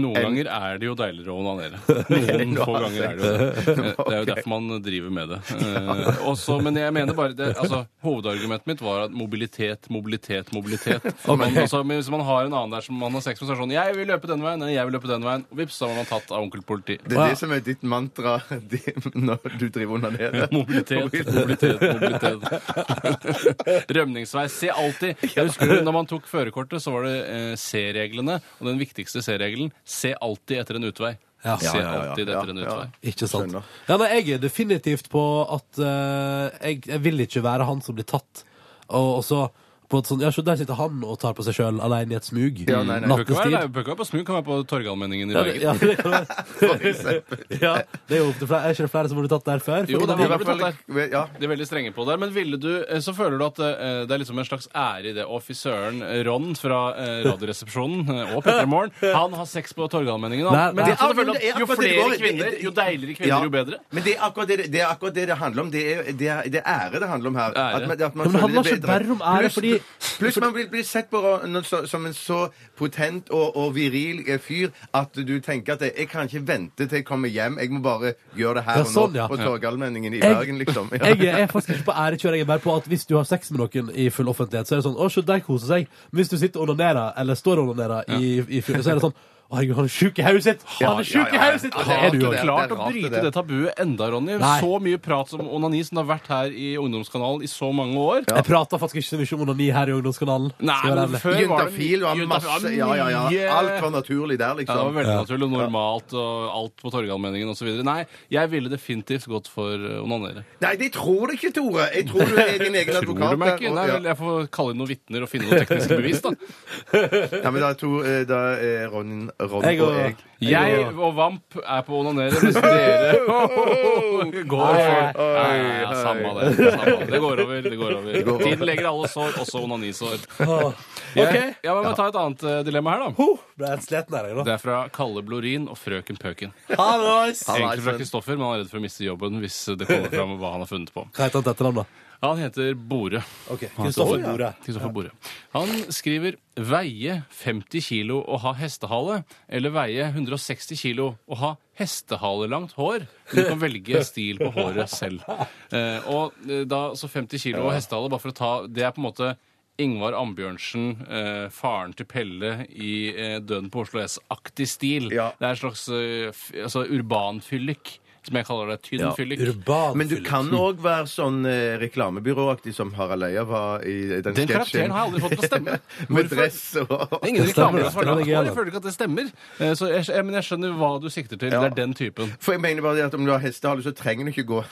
[SPEAKER 4] Noen ganger er det jo deiligere å onanere. Noen få ganger er det jo det. Eh, Det er jo derfor man driver med det. Eh, Også, men jeg mener bare det, altså, Hovedargumentet mitt var at mobilitet, mobilitet, mobilitet. Man, altså, men hvis man har en annen der som man har sex med, så er det sånn Jeg vil løpe den veien, nei, jeg vil løpe den veien. Og vips, så var man tatt av onkel politi.
[SPEAKER 5] Det er det som er ditt mantra det, når du driver og onanerer.
[SPEAKER 4] Mobilitet, mobilitet, mobilitet. Rømningsvei. Se alltid. Jeg husker når man tok førerkortet, så var det eh, C-reglene. Og den viktigste C-regelen se alltid etter en utvei.
[SPEAKER 3] Ja.
[SPEAKER 4] Se
[SPEAKER 5] ja, ja.
[SPEAKER 4] alltid
[SPEAKER 5] Ja,
[SPEAKER 4] etter en
[SPEAKER 5] ja.
[SPEAKER 4] utvei.
[SPEAKER 3] Ikke sant?
[SPEAKER 5] Skjønner.
[SPEAKER 3] Ja, nei, jeg er definitivt på at eh, jeg, jeg vil ikke være han som blir tatt. Og, og så på et sånt, ja, så Der sitter han og tar på seg sjøl alene i et smug.
[SPEAKER 5] Ja, nei, nei.
[SPEAKER 4] Bør ikke være,
[SPEAKER 3] Nattestid.
[SPEAKER 4] nei, bør ikke være på smug, kan være på Torgallmenningen i
[SPEAKER 3] Ja,
[SPEAKER 4] Bergen.
[SPEAKER 3] det- ja, det kan være. ja, det er jo opptil flere. Er ikke det flere som har blitt tatt der før?
[SPEAKER 4] Jo,
[SPEAKER 3] Fordi
[SPEAKER 4] det
[SPEAKER 3] de-
[SPEAKER 4] var-
[SPEAKER 5] Ja.
[SPEAKER 4] De er veldig strenge på det. Men ville du, eh, så føler du at eh, det er liksom en slags ære i det. Og fy søren, Ron fra eh, Radioresepsjonen eh, og Petter Morn, han har sex på Torgallmenningen. han.
[SPEAKER 3] Nei,
[SPEAKER 4] Men
[SPEAKER 3] nei.
[SPEAKER 4] det er sånn at du
[SPEAKER 5] Ja,
[SPEAKER 4] føler
[SPEAKER 5] men det er
[SPEAKER 4] at jo
[SPEAKER 5] akkurat det det går
[SPEAKER 4] flere
[SPEAKER 5] i.
[SPEAKER 4] kvinner, jo deiligere kvinner,
[SPEAKER 5] Ja.
[SPEAKER 4] jo bedre.
[SPEAKER 5] Men det er akkurat det det, er akkurat det, det handler om. Det er, det er, det er ære det handler om her.
[SPEAKER 4] Ære.
[SPEAKER 5] at man
[SPEAKER 3] Ja, men det
[SPEAKER 5] føler
[SPEAKER 3] handler ikke
[SPEAKER 5] bedre.
[SPEAKER 3] bare om ære,
[SPEAKER 5] Pluss-
[SPEAKER 3] fordi-
[SPEAKER 5] Pluss man vil bli sett på noe så- som en så potent og, og viril eh, fyr at du tenker at jeg kan ikke vente til jeg kommer hjem, jeg må bare gjøre det her
[SPEAKER 3] Ja,
[SPEAKER 5] og nå.
[SPEAKER 3] sånn, ja.
[SPEAKER 5] På
[SPEAKER 3] Ja.
[SPEAKER 5] Torgallmenningen i
[SPEAKER 3] Jeg-
[SPEAKER 5] Bergen, liksom. Ja.
[SPEAKER 3] Jeg er faktisk ikke på ærekjør. Jeg er bare på at hvis du har sex med noen i full offentlighet, så er det sånn 'Å, se, der koser seg'. Men hvis du sitter og onanerer, eller står og onanerer, i, i full, så er det sånn 'Å, herregud, han er sjuk i hodet sitt'! Han er sjuk i hodet sitt! Og det er du jo.
[SPEAKER 5] det er
[SPEAKER 4] klart å
[SPEAKER 5] rart, det
[SPEAKER 4] bryte
[SPEAKER 5] der.
[SPEAKER 4] det tabuet enda, Ronny.
[SPEAKER 3] Nei.
[SPEAKER 4] Så mye prat om onani som det har vært her i Ungdomskanalen i så mange år.
[SPEAKER 3] Jeg prater faktisk ikke så mye om onani her i Ungdomskanalen.
[SPEAKER 4] Nei,
[SPEAKER 3] skal jeg være
[SPEAKER 4] men
[SPEAKER 3] ærlig.
[SPEAKER 4] før var det
[SPEAKER 5] Juntafil var masse Ja, ja, ja. Alt var
[SPEAKER 4] mye-
[SPEAKER 5] naturlig der,
[SPEAKER 4] Ja, det var
[SPEAKER 5] liksom.
[SPEAKER 4] veldig naturlig og normalt og alt på Torgallmenningen osv. Nei, jeg ville definitivt gått for eh, onanere.
[SPEAKER 5] Nei, de tror det ikke, Tore. Jeg tror du er din egen advokat.
[SPEAKER 4] Tror du
[SPEAKER 5] der,
[SPEAKER 4] meg ikke?
[SPEAKER 5] og-
[SPEAKER 4] Nei,
[SPEAKER 5] ja.
[SPEAKER 4] vel, jeg får kalle inn noen vitner og finne noen tekniske bevis, da.
[SPEAKER 5] Ja, men da tror jeg da er Ron, Ron
[SPEAKER 3] Jeg
[SPEAKER 5] og
[SPEAKER 3] og-
[SPEAKER 5] jeg
[SPEAKER 4] Jeg og Vamp er på å onanere, mens dere går for
[SPEAKER 5] oi,
[SPEAKER 4] Nei, ja, Samme det. Samme det. Det går over. det går over. Tiden legger alle sår, også onanisår.
[SPEAKER 3] Åh.
[SPEAKER 4] Jeg, ja, men må ta et annet eh, dilemma her, da.
[SPEAKER 3] Ho, Ble jeg helt sliten her, jeg, nå.
[SPEAKER 4] Det er fra Kalle Blorin og Frøken Pøken.
[SPEAKER 3] Ha det, boys!
[SPEAKER 5] Han er
[SPEAKER 4] Egentlig fra
[SPEAKER 5] sånn-
[SPEAKER 4] Kristoffer, men han er redd for å miste jobben hvis det kommer fram hva han har funnet på.
[SPEAKER 3] Hva heter han til etternavn, da?
[SPEAKER 4] Han heter Bore.
[SPEAKER 3] Ok, Kristoffer Bore.
[SPEAKER 4] Kristoffer Bore. Han skriver 'veie 50 kilo og ha hestehale' eller 'veie 160 kilo og ha hestehalelangt hår'. Du kan velge stil på håret selv. Eh, og eh, da, så 50 kilo og hestehale, bare for å ta Det er på en måte Ingvar Ambjørnsen, eh, faren til Pelle i eh, 'Døden på Oslo S'-aktig stil.
[SPEAKER 5] Ja.
[SPEAKER 4] Det er en slags eh, f altså urbanfyllik, som jeg kaller det. Tynn fyllik.
[SPEAKER 3] Urban
[SPEAKER 5] Men du
[SPEAKER 3] Philip.
[SPEAKER 5] kan òg være sånn eh, reklamebyråaktig som Harald Eia var i den,
[SPEAKER 4] Den
[SPEAKER 5] sketsjen.
[SPEAKER 4] karakteren har jeg aldri fått på stemme.
[SPEAKER 5] Med
[SPEAKER 4] Hvorfor?
[SPEAKER 5] dress og
[SPEAKER 4] Det er ingen reklame
[SPEAKER 3] stemmer,
[SPEAKER 4] for
[SPEAKER 3] det
[SPEAKER 4] det.
[SPEAKER 3] er gøy,
[SPEAKER 4] Jeg føler ikke at det stemmer. Eh, Så jeg, jeg, men jeg skjønner hva du sikter til. Det er den typen.
[SPEAKER 5] For jeg mener bare det at om du har hestehale, så trenger du ikke gå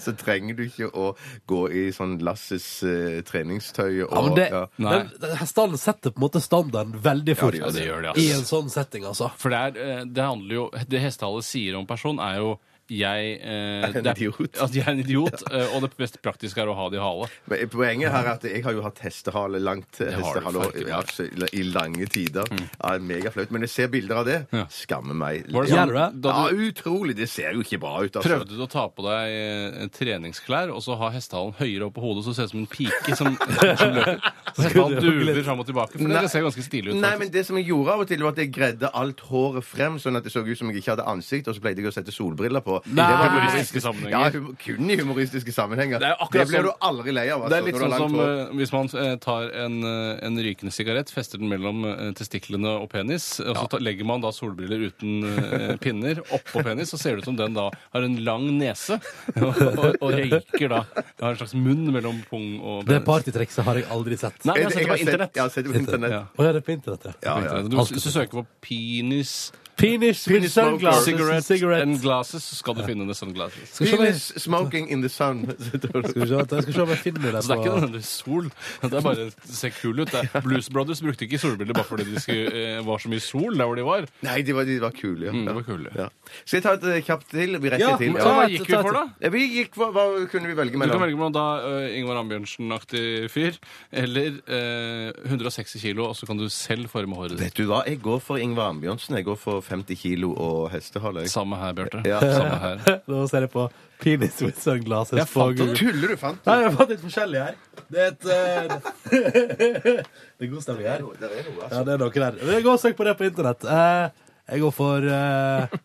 [SPEAKER 5] Så trenger du ikke å gå i sånn Lasses eh, treningstøy og
[SPEAKER 3] Ja, men det,
[SPEAKER 5] ja.
[SPEAKER 4] Nei.
[SPEAKER 3] den, den, hestene setter på en måte standarden veldig fort
[SPEAKER 4] Ja, det gjør det,
[SPEAKER 3] i
[SPEAKER 4] altså.
[SPEAKER 3] en sånn setting, altså.
[SPEAKER 4] For det, er, eh, det handler jo Det hestehallet sier om person, er jo jeg eh,
[SPEAKER 5] Er en
[SPEAKER 4] det
[SPEAKER 5] idiot.
[SPEAKER 4] At jeg er en idiot, eh, og det best praktiske er å ha det i hale.
[SPEAKER 5] Men Poenget her er at jeg har jo hatt hestehale langt eh,
[SPEAKER 4] har du
[SPEAKER 5] hestehale
[SPEAKER 4] faktisk. Mm.
[SPEAKER 5] og- ja, så i- i lange tider. Ja, Megaflaut. Men jeg ser bilder av det.
[SPEAKER 4] Ja.
[SPEAKER 5] Skammer meg.
[SPEAKER 4] Var det
[SPEAKER 5] Ja.
[SPEAKER 4] sånn
[SPEAKER 3] Gjør
[SPEAKER 4] da
[SPEAKER 5] Ja,
[SPEAKER 4] du
[SPEAKER 5] utrolig. Det ser jo ikke bra ut, altså.
[SPEAKER 4] Prøvde du å ta på deg eh, treningsklær, og så ha hestehalen høyere opp på hodet, så ser det ut som en pike som, som løper? Så hestehalen duver fram og tilbake. For
[SPEAKER 5] Nei.
[SPEAKER 4] det ser ganske stilig ut.
[SPEAKER 5] Nei,
[SPEAKER 4] faktisk.
[SPEAKER 5] men det som jeg gjorde av og til, var at jeg gredde alt håret frem, sånn at det så ut som jeg ikke hadde ansikt, og så pleide jeg å sette solbriller på. og
[SPEAKER 4] Nei.
[SPEAKER 5] Det var
[SPEAKER 4] Humoristiske sammenhenger.
[SPEAKER 5] Ja, hum kun i humoristiske sammenhenger.
[SPEAKER 4] Det er akkurat
[SPEAKER 5] blir
[SPEAKER 4] som-
[SPEAKER 5] du aldri lei av. Altså,
[SPEAKER 4] Det er litt
[SPEAKER 5] når du
[SPEAKER 4] sånn
[SPEAKER 5] har
[SPEAKER 4] som
[SPEAKER 5] langt hår.
[SPEAKER 4] eh, hvis man eh, tar en, eh, en rykende sigarett, fester den mellom eh, testiklene og penis, og så ta, legger man da solbriller uten eh, pinner oppå penis, så ser det ut som den da har en lang nese og, og, og røyker da. Har en slags munn mellom pung og
[SPEAKER 3] Det
[SPEAKER 4] penis.
[SPEAKER 3] partytrekset har jeg aldri sett.
[SPEAKER 4] Nei, men jeg har
[SPEAKER 5] Jeg- jeg har
[SPEAKER 4] sett det på internett.
[SPEAKER 5] Ja, sett det på internett.
[SPEAKER 4] Ja.
[SPEAKER 3] Å, ja, det er på internett, ja.
[SPEAKER 5] Ja, ja.
[SPEAKER 4] Du, hvis du søker på penis,
[SPEAKER 3] Penis with
[SPEAKER 5] Penis smoker.
[SPEAKER 3] sunglasses and
[SPEAKER 4] cigarettes and
[SPEAKER 3] cigarette.
[SPEAKER 4] glasses, så skal du finne det sunglasses.
[SPEAKER 3] Skal vi se om jeg-
[SPEAKER 5] Penis smoking in the sun.
[SPEAKER 3] skal vi se- jeg skal se om jeg finner det
[SPEAKER 4] Så Altså, det er ikke
[SPEAKER 3] på
[SPEAKER 4] nødvendigvis sol. Det er bare å se kul ut. Det er- Blues Brothers brukte ikke solbriller bare fordi det skulle, eh, var så mye sol der hvor de var.
[SPEAKER 5] Nei, de var, de var kule. Ja.
[SPEAKER 4] Mm, de var kule.
[SPEAKER 5] Ja. Skal jeg ta et eh, kjapt til? Vi rekker
[SPEAKER 3] Ja,
[SPEAKER 5] til.
[SPEAKER 3] ta
[SPEAKER 4] Hva
[SPEAKER 3] et-
[SPEAKER 4] gikk vi for, da?
[SPEAKER 5] Ja, Vi gikk, hva, hva kunne vi velge
[SPEAKER 4] Du kan
[SPEAKER 5] mellom?
[SPEAKER 4] velge mellom da eh, Ingvar Ambjørnsen-aktig fyr eller eh, 160 kilo, og så kan du selv forme håret ditt.
[SPEAKER 5] Vet du hva, jeg går for Ingvar Ambjørnsen. Jeg går for 50 kilo og hestehale. jeg.
[SPEAKER 4] Samme her, Bjarte.
[SPEAKER 5] Ja.
[SPEAKER 4] Samme her.
[SPEAKER 3] Nå ser jeg på penis with sunglasses.
[SPEAKER 4] Jeg
[SPEAKER 3] på
[SPEAKER 4] fant
[SPEAKER 3] Google.
[SPEAKER 5] Tuller du, fant
[SPEAKER 3] Nei, jeg har fått litt forskjellig her. Det er et eh, Det er god stemning her.
[SPEAKER 5] Der er noe, altså.
[SPEAKER 3] Ja, det er noe der. Men jeg går og søker på det på internett. Eh, jeg går for eh,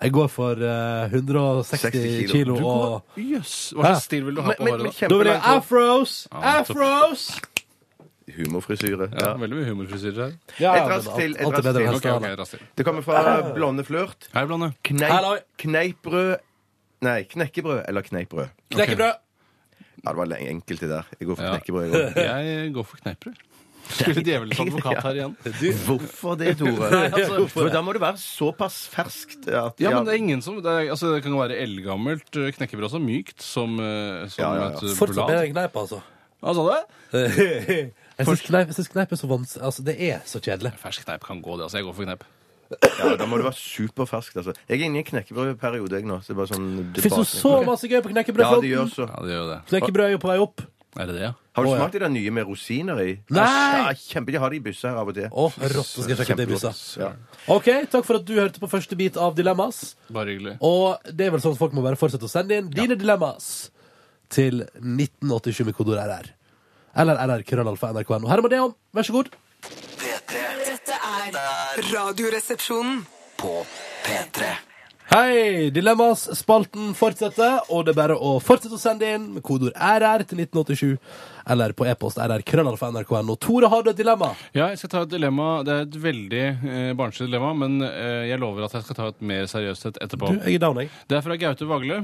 [SPEAKER 3] Jeg går for eh, 160
[SPEAKER 5] 60 kilo.
[SPEAKER 3] kilo
[SPEAKER 5] Du
[SPEAKER 3] og
[SPEAKER 4] Jøss! Hva slags stil vil du ha
[SPEAKER 5] Men,
[SPEAKER 4] på
[SPEAKER 5] men,
[SPEAKER 4] håret?
[SPEAKER 5] men
[SPEAKER 4] da?
[SPEAKER 3] Da blir det
[SPEAKER 5] kjempelangt hår.
[SPEAKER 3] afros!
[SPEAKER 4] Ja, topp.
[SPEAKER 3] Afros!
[SPEAKER 5] Humorfrisyre.
[SPEAKER 4] Ja,
[SPEAKER 5] Ja.
[SPEAKER 4] veldig mye humorfrisyrer her.
[SPEAKER 3] Ja,
[SPEAKER 5] Et raskt
[SPEAKER 3] men alt-
[SPEAKER 5] til, et
[SPEAKER 3] alt er
[SPEAKER 5] raskt
[SPEAKER 3] bedre
[SPEAKER 5] til.
[SPEAKER 3] enn
[SPEAKER 4] Ok, ok,
[SPEAKER 3] hestehale.
[SPEAKER 4] raskt til.
[SPEAKER 5] Det kommer fra Blonde flørt.
[SPEAKER 4] Hei, Blande.
[SPEAKER 5] Ah. Kneip,
[SPEAKER 3] Hallo.
[SPEAKER 5] kneipbrød Nei, knekkebrød eller kneippbrød.
[SPEAKER 3] Knekkebrød!
[SPEAKER 5] Ja, det var le- enkelt det der. Jeg går for
[SPEAKER 4] Ja.
[SPEAKER 5] knekkebrød. Jeg også.
[SPEAKER 4] Jeg går for kneippbrød. Spiller djevelens advokat her igjen.
[SPEAKER 5] Hvorfor det, Tore?
[SPEAKER 4] altså,
[SPEAKER 5] for da må det være såpass ferskt at
[SPEAKER 4] Ja, men det er ingen som Det, er, altså, det kan være eldgammelt eh, knekkebrød også. Mykt som, eh, som
[SPEAKER 5] Ja, ja, ja.
[SPEAKER 4] et eh,
[SPEAKER 3] Fortsatt
[SPEAKER 4] blad.
[SPEAKER 3] bedre enn kneip, altså.
[SPEAKER 4] Hva sa du?
[SPEAKER 3] Jeg syns kneip, jeg synes kneip er så vanskelig Altså, det er så kjedelig.
[SPEAKER 4] Fersk kneip kan gå, det. altså. Jeg går for kneip.
[SPEAKER 5] Ja, da må det være superferskt. Altså. Jeg er inne i en knekkebrødperiode, jeg nå. Så det er bare sånn
[SPEAKER 3] Det fins jo så masse gøy på
[SPEAKER 5] Ja, det gjør
[SPEAKER 3] knekkebrødfronten.
[SPEAKER 5] så.
[SPEAKER 4] Ja, det gjør jo det.
[SPEAKER 3] Knekkebrød er jo på vei opp.
[SPEAKER 4] Er det det, ja?
[SPEAKER 5] Har du
[SPEAKER 3] Å, ja.
[SPEAKER 5] smakt det der nye med rosiner i?
[SPEAKER 3] Nei!
[SPEAKER 5] Ja, kjempe, De har det i busser her av og til.
[SPEAKER 3] Å, rått, så skal jeg sjekke det i bussa.
[SPEAKER 5] Kjempegodt. Ja.
[SPEAKER 3] OK, takk for at du hørte på første bit av Dilemmas.
[SPEAKER 4] Bare hyggelig.
[SPEAKER 3] Og det er vel sånn at folk må bare fortsette å sende inn dine dilemmas til 1987 med kodeord RR. Eller RR krøllalfa nrk.no. Her må det om. Vær så god.
[SPEAKER 2] P3
[SPEAKER 6] Dette er Radioresepsjonen.
[SPEAKER 2] på P3
[SPEAKER 3] Hei! Dilemmas-spalten fortsetter, og det er bare å fortsette å sende inn med kodeord RR til 1987. Eller på e-post RR krøllalfa nrk.no. Tore, har du et dilemma?
[SPEAKER 4] Ja, jeg skal ta et dilemma. Det er et veldig eh, barnslig dilemma, men eh, jeg lover at jeg skal ta et mer seriøst et etterpå.
[SPEAKER 3] Du, jeg er down, jeg.
[SPEAKER 4] Det er fra Gaute Vagle.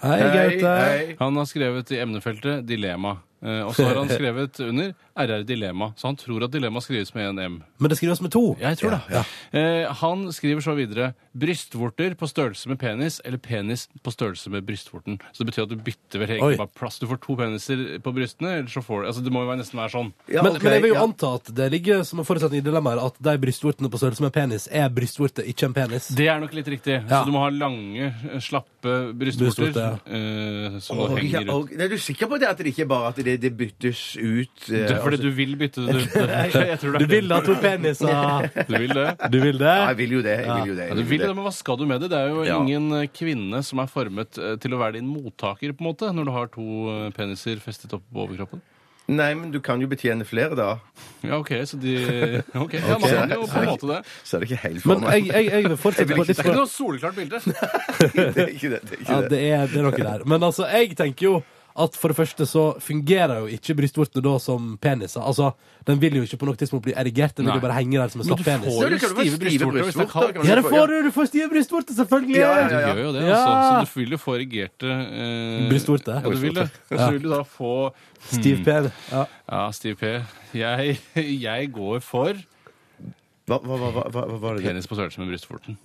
[SPEAKER 3] Hei,
[SPEAKER 5] Hei,
[SPEAKER 3] Gaute.
[SPEAKER 5] hei.
[SPEAKER 4] Han har skrevet i emnefeltet 'dilemma'. Eh, og så har han skrevet under 'RR Dilemma', så han tror at dilemma skrives med en M.
[SPEAKER 3] Men det skrives med to.
[SPEAKER 4] Ja, jeg tror det. Eh, han skriver så videre brystvorter på størrelse med penis, eller penis på størrelse med brystvorten. Så det betyr at du bytter vel
[SPEAKER 3] Oi.
[SPEAKER 4] egentlig bare plass. Du får to peniser på brystene, eller så får du Altså, det må jo være- nesten være sånn.
[SPEAKER 5] Ja,
[SPEAKER 3] men,
[SPEAKER 5] ok,
[SPEAKER 3] men jeg vil jo
[SPEAKER 5] ja.
[SPEAKER 3] anta at det ligger som en forutsetning i dilemmaet at de brystvortene på størrelse med penis er brystvorter, ikke en penis.
[SPEAKER 4] Det er nok litt riktig.
[SPEAKER 3] Ja.
[SPEAKER 4] Så du må ha lange, eh, slappe brystvorter
[SPEAKER 3] Brystvorter,
[SPEAKER 4] eh, som da
[SPEAKER 5] Og, ja,
[SPEAKER 4] henger rundt.
[SPEAKER 5] og, er du sikker på det at det ikke bare at det, det byttes ut? eh,
[SPEAKER 4] Det er fordi
[SPEAKER 5] altså-
[SPEAKER 4] du vil bytte det ut. Jeg tror
[SPEAKER 3] Du
[SPEAKER 4] det er
[SPEAKER 3] vil
[SPEAKER 4] det.
[SPEAKER 3] ha to peniser!
[SPEAKER 4] Du vil det.
[SPEAKER 3] Du vil det?
[SPEAKER 5] Ja, jeg vil jo det. Jeg vil jo det.
[SPEAKER 4] Ja,
[SPEAKER 5] Jeg
[SPEAKER 4] du vil
[SPEAKER 5] vil
[SPEAKER 4] det,
[SPEAKER 5] jo det.
[SPEAKER 4] men Hva skal du med det? Det er jo
[SPEAKER 5] Ja.
[SPEAKER 4] ingen eh, kvinne som er formet eh, til å være din mottaker, på en måte, når du har to eh, peniser festet opp på overkroppen.
[SPEAKER 5] Nei, men du kan jo betjene flere, da.
[SPEAKER 4] Ja, OK, så de Ok, ja, man kan jo på en måte det.
[SPEAKER 5] Så er det ikke helt for
[SPEAKER 3] Men
[SPEAKER 5] meg.
[SPEAKER 3] jeg, jeg, jeg vil fortsette på litt
[SPEAKER 4] Det er ikke noe soleklart bilde.
[SPEAKER 5] Det er ikke det. det, er ikke
[SPEAKER 3] Ja,
[SPEAKER 5] det.
[SPEAKER 3] det er, det er noe der. Men altså, jeg tenker jo at for det første så fungerer jo ikke brystvortene da som peniser. Altså, den vil jo ikke på noe tidspunkt bli erigert, den vil
[SPEAKER 4] Nei.
[SPEAKER 3] jo bare henge der som en
[SPEAKER 4] Men du
[SPEAKER 3] slapp penis.
[SPEAKER 5] Nei,
[SPEAKER 4] får jo
[SPEAKER 5] det kan jo være
[SPEAKER 4] stive brystvorter hvis det er
[SPEAKER 5] brystvorter,
[SPEAKER 4] kaldt.
[SPEAKER 5] kan
[SPEAKER 3] Ja, det får du! Du får stive brystvorter, selvfølgelig!
[SPEAKER 5] Ja, ja,
[SPEAKER 4] Du
[SPEAKER 5] ja.
[SPEAKER 4] gjør jo det,
[SPEAKER 3] Ja.
[SPEAKER 4] altså. Så du vil jo få erigerte eh,
[SPEAKER 3] Brystvorte.
[SPEAKER 4] Ja, du vil det. Og så vil du da få
[SPEAKER 3] Stiv pen. Ja.
[SPEAKER 4] Mm. Ja, Stiv P. Jeg, jeg går for
[SPEAKER 5] Hva, hva, hva, hva, hva var det?
[SPEAKER 4] penis på størrelse med brystvorten.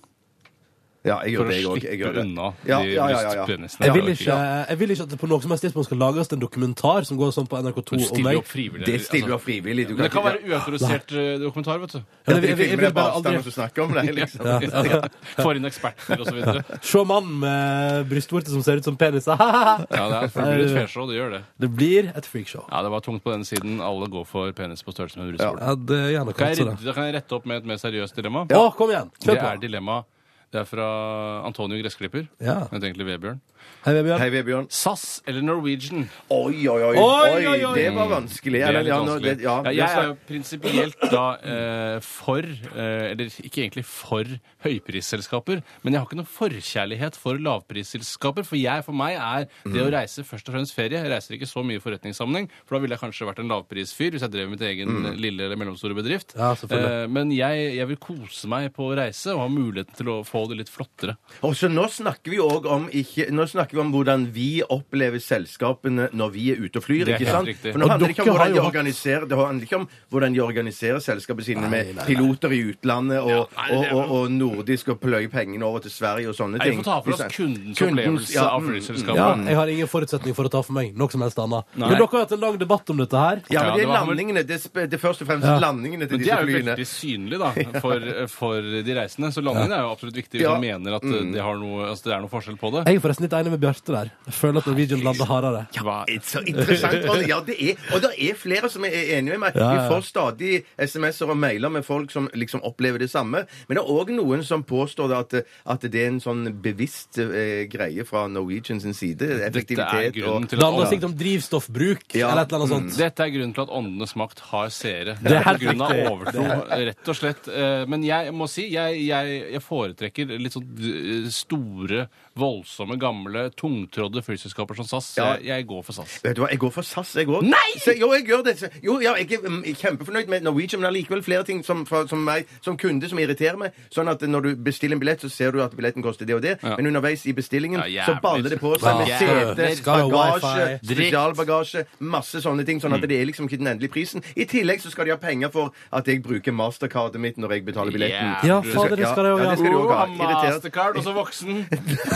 [SPEAKER 5] Ja, jeg gjør
[SPEAKER 4] For å
[SPEAKER 5] det, jeg òg. Jeg
[SPEAKER 4] slippe
[SPEAKER 5] gjør det.
[SPEAKER 4] unna de
[SPEAKER 5] Ja, ja, ja, ja, ja.
[SPEAKER 4] brystpenisene.
[SPEAKER 3] Jeg vil, ikke, jeg vil ikke at det på noe som helst tidspunkt skal lages en dokumentar som går sånn på
[SPEAKER 4] Du
[SPEAKER 3] NRK2 om
[SPEAKER 4] stiller jo
[SPEAKER 3] meg.
[SPEAKER 4] opp frivillig.
[SPEAKER 5] Det stiller du
[SPEAKER 4] altså.
[SPEAKER 5] av frivillig. Du
[SPEAKER 4] Men det kan
[SPEAKER 5] ikke-
[SPEAKER 4] være uautorisert eh, dokumentar, vet du.
[SPEAKER 3] Ja,
[SPEAKER 5] Ja, det
[SPEAKER 3] jeg, jeg, jeg,
[SPEAKER 5] filmer
[SPEAKER 3] vil
[SPEAKER 5] deg på
[SPEAKER 3] bare
[SPEAKER 5] avstand mens
[SPEAKER 3] aldri
[SPEAKER 5] du snakker om det. liksom.
[SPEAKER 4] Får inn eksperter og så videre.
[SPEAKER 3] se mannen med brystvorter som ser ut som peniser.
[SPEAKER 4] Ja, det, er, for det blir et feshow, det gjør det.
[SPEAKER 3] det blir et freakshow.
[SPEAKER 4] Ja, det var tungt på den siden. Alle går for penis på størrelse med brystvorten.
[SPEAKER 3] Ja, det er gjerne
[SPEAKER 4] Kan jeg,
[SPEAKER 3] kanskje det.
[SPEAKER 4] redde- da kan jeg rette opp med et mer seriøst dilemma?
[SPEAKER 3] Å, kom igjen!
[SPEAKER 4] Det
[SPEAKER 3] Kjør på!
[SPEAKER 4] er dilemma Det er fra Antonio Gressklipper.
[SPEAKER 3] Ja.
[SPEAKER 4] Jeg tenkte Vebjørn.
[SPEAKER 3] Hei, Vebjørn.
[SPEAKER 5] Hei, Vebjørn.
[SPEAKER 4] SAS eller Norwegian?
[SPEAKER 5] Oi, oi, oi.
[SPEAKER 3] Oi, oi, oi.
[SPEAKER 5] Det var vanskelig.
[SPEAKER 4] Det er
[SPEAKER 5] Eller,
[SPEAKER 4] litt
[SPEAKER 5] ja, nå-
[SPEAKER 4] vanskelig.
[SPEAKER 5] det- ja,
[SPEAKER 4] Ja,
[SPEAKER 5] ja,
[SPEAKER 4] jeg er jo prinsipielt da eh, for eh, Eller ikke egentlig for høyprisselskaper, men jeg har ikke noen forkjærlighet for lavprisselskaper. For jeg, for meg er det
[SPEAKER 5] Mm.
[SPEAKER 4] å reise først og fremst ferie. Jeg reiser ikke så mye i forretningssammenheng, for da ville jeg kanskje vært en lavprisfyr hvis jeg drev mitt egen
[SPEAKER 5] Mm.
[SPEAKER 4] lille eller mellomstore bedrift.
[SPEAKER 3] Ja, selvfølgelig.
[SPEAKER 4] Eh, men jeg, jeg vil kose meg på å reise og ha muligheten til å få det litt flottere.
[SPEAKER 5] Og så nå snakker vi òg om ikke, Nå snakker vi om hvordan vi opplever selskapene når vi er ute og flyr.
[SPEAKER 4] Det er
[SPEAKER 5] ikke
[SPEAKER 4] helt
[SPEAKER 5] sant?
[SPEAKER 4] riktig.
[SPEAKER 5] For nå
[SPEAKER 3] Og
[SPEAKER 5] handler det ikke om
[SPEAKER 3] dere har
[SPEAKER 5] hvordan
[SPEAKER 3] jo
[SPEAKER 5] de
[SPEAKER 3] hatt-
[SPEAKER 5] organiserer Det handler ikke om hvordan de organiserer selskapene sine med piloter i utlandet og,
[SPEAKER 4] nei, det er
[SPEAKER 5] og, og, og nordisk og pløye pengene over til Sverige og sånne
[SPEAKER 4] Nei,
[SPEAKER 5] ting.
[SPEAKER 4] vi får ta for oss kundens opplevelse av
[SPEAKER 5] mm,
[SPEAKER 4] flyselskapet.
[SPEAKER 5] sånn Ja,
[SPEAKER 3] Jeg har ingen forutsetning for å ta for meg noe som helst annet.
[SPEAKER 4] Nei.
[SPEAKER 3] Men dere har hatt en lang debatt om dette her.
[SPEAKER 5] ja,
[SPEAKER 4] Ja,
[SPEAKER 5] men det
[SPEAKER 4] det
[SPEAKER 5] er
[SPEAKER 4] var vel-
[SPEAKER 5] landingene. Det er, sp- det er først og fremst landingene til
[SPEAKER 4] Men det
[SPEAKER 5] disse
[SPEAKER 4] er jo
[SPEAKER 5] flyene.
[SPEAKER 4] veldig synlig da, for, for de reisende. Så landingen er jo absolutt viktig hvis
[SPEAKER 5] Ja. Mm.
[SPEAKER 4] man mener at eh, det, har noe, altså, det er noe forskjell på det.
[SPEAKER 3] Jeg er forresten litt enig med Bjarte der. Jeg føler at Norwegian lander hardere.
[SPEAKER 4] Hva-
[SPEAKER 5] Det er Så interessant. Ronny. Ja, det er, og det er flere som er enige med meg.
[SPEAKER 3] Ja, ja.
[SPEAKER 5] Vi får stadig SMS-er og mailer med folk som liksom opplever det samme. Men det er òg noen som påstår det at, at det er en sånn bevisst eh, greie fra Norwegian sin side.
[SPEAKER 4] Dette er
[SPEAKER 5] Effektivitet
[SPEAKER 4] grunnen
[SPEAKER 5] og
[SPEAKER 4] til
[SPEAKER 3] Det
[SPEAKER 4] at
[SPEAKER 3] handler
[SPEAKER 4] ånd-
[SPEAKER 3] sikkert om drivstoffbruk
[SPEAKER 5] Ja. Mm.
[SPEAKER 3] eller et eller annet sånt.
[SPEAKER 4] dette er grunnen til at åndenes makt har
[SPEAKER 3] Det
[SPEAKER 4] seere. Det
[SPEAKER 3] er
[SPEAKER 4] er på
[SPEAKER 3] helt
[SPEAKER 4] grunn av
[SPEAKER 3] riktig.
[SPEAKER 4] overtro, rett og slett. Eh, Men jeg må si, jeg, jeg, jeg foretrekker litt sånn eh, store, voldsomme, gamle, tungtrådde flyselskaper som SAS.
[SPEAKER 5] Ja.
[SPEAKER 4] Jeg, jeg går for SAS.
[SPEAKER 5] Vet du hva, Jeg går for SAS, jeg òg. Jo, jeg gjør det. Jo, ja, jeg er mm, kjempefornøyd med Norwegian, men allikevel flere ting som, fra, som meg som kunde som irriterer meg. Sånn at når du bestiller en billett, så ser du at billetten koster det og det,
[SPEAKER 4] Ja.
[SPEAKER 5] men underveis i bestillingen
[SPEAKER 4] Ja,
[SPEAKER 5] så
[SPEAKER 4] jævlig.
[SPEAKER 5] baller det på seg med
[SPEAKER 4] Ja.
[SPEAKER 5] sete,
[SPEAKER 4] Jævlig.
[SPEAKER 3] Skal ha
[SPEAKER 5] bagasje,
[SPEAKER 3] wifi.
[SPEAKER 4] Dritt. Mm.
[SPEAKER 5] spesialbagasje, masse sånne ting. Sånn at det er liksom ikke den endelige prisen. I tillegg så skal de ha penger for at jeg bruker mastercardet mitt når jeg betaler billetten.
[SPEAKER 4] Ja,
[SPEAKER 5] Du
[SPEAKER 3] fader, det skal de
[SPEAKER 5] ja,
[SPEAKER 3] også ha.
[SPEAKER 5] det skal de også ha.
[SPEAKER 4] Oh,
[SPEAKER 5] Irriterende.
[SPEAKER 4] Mastercard, og så voksen.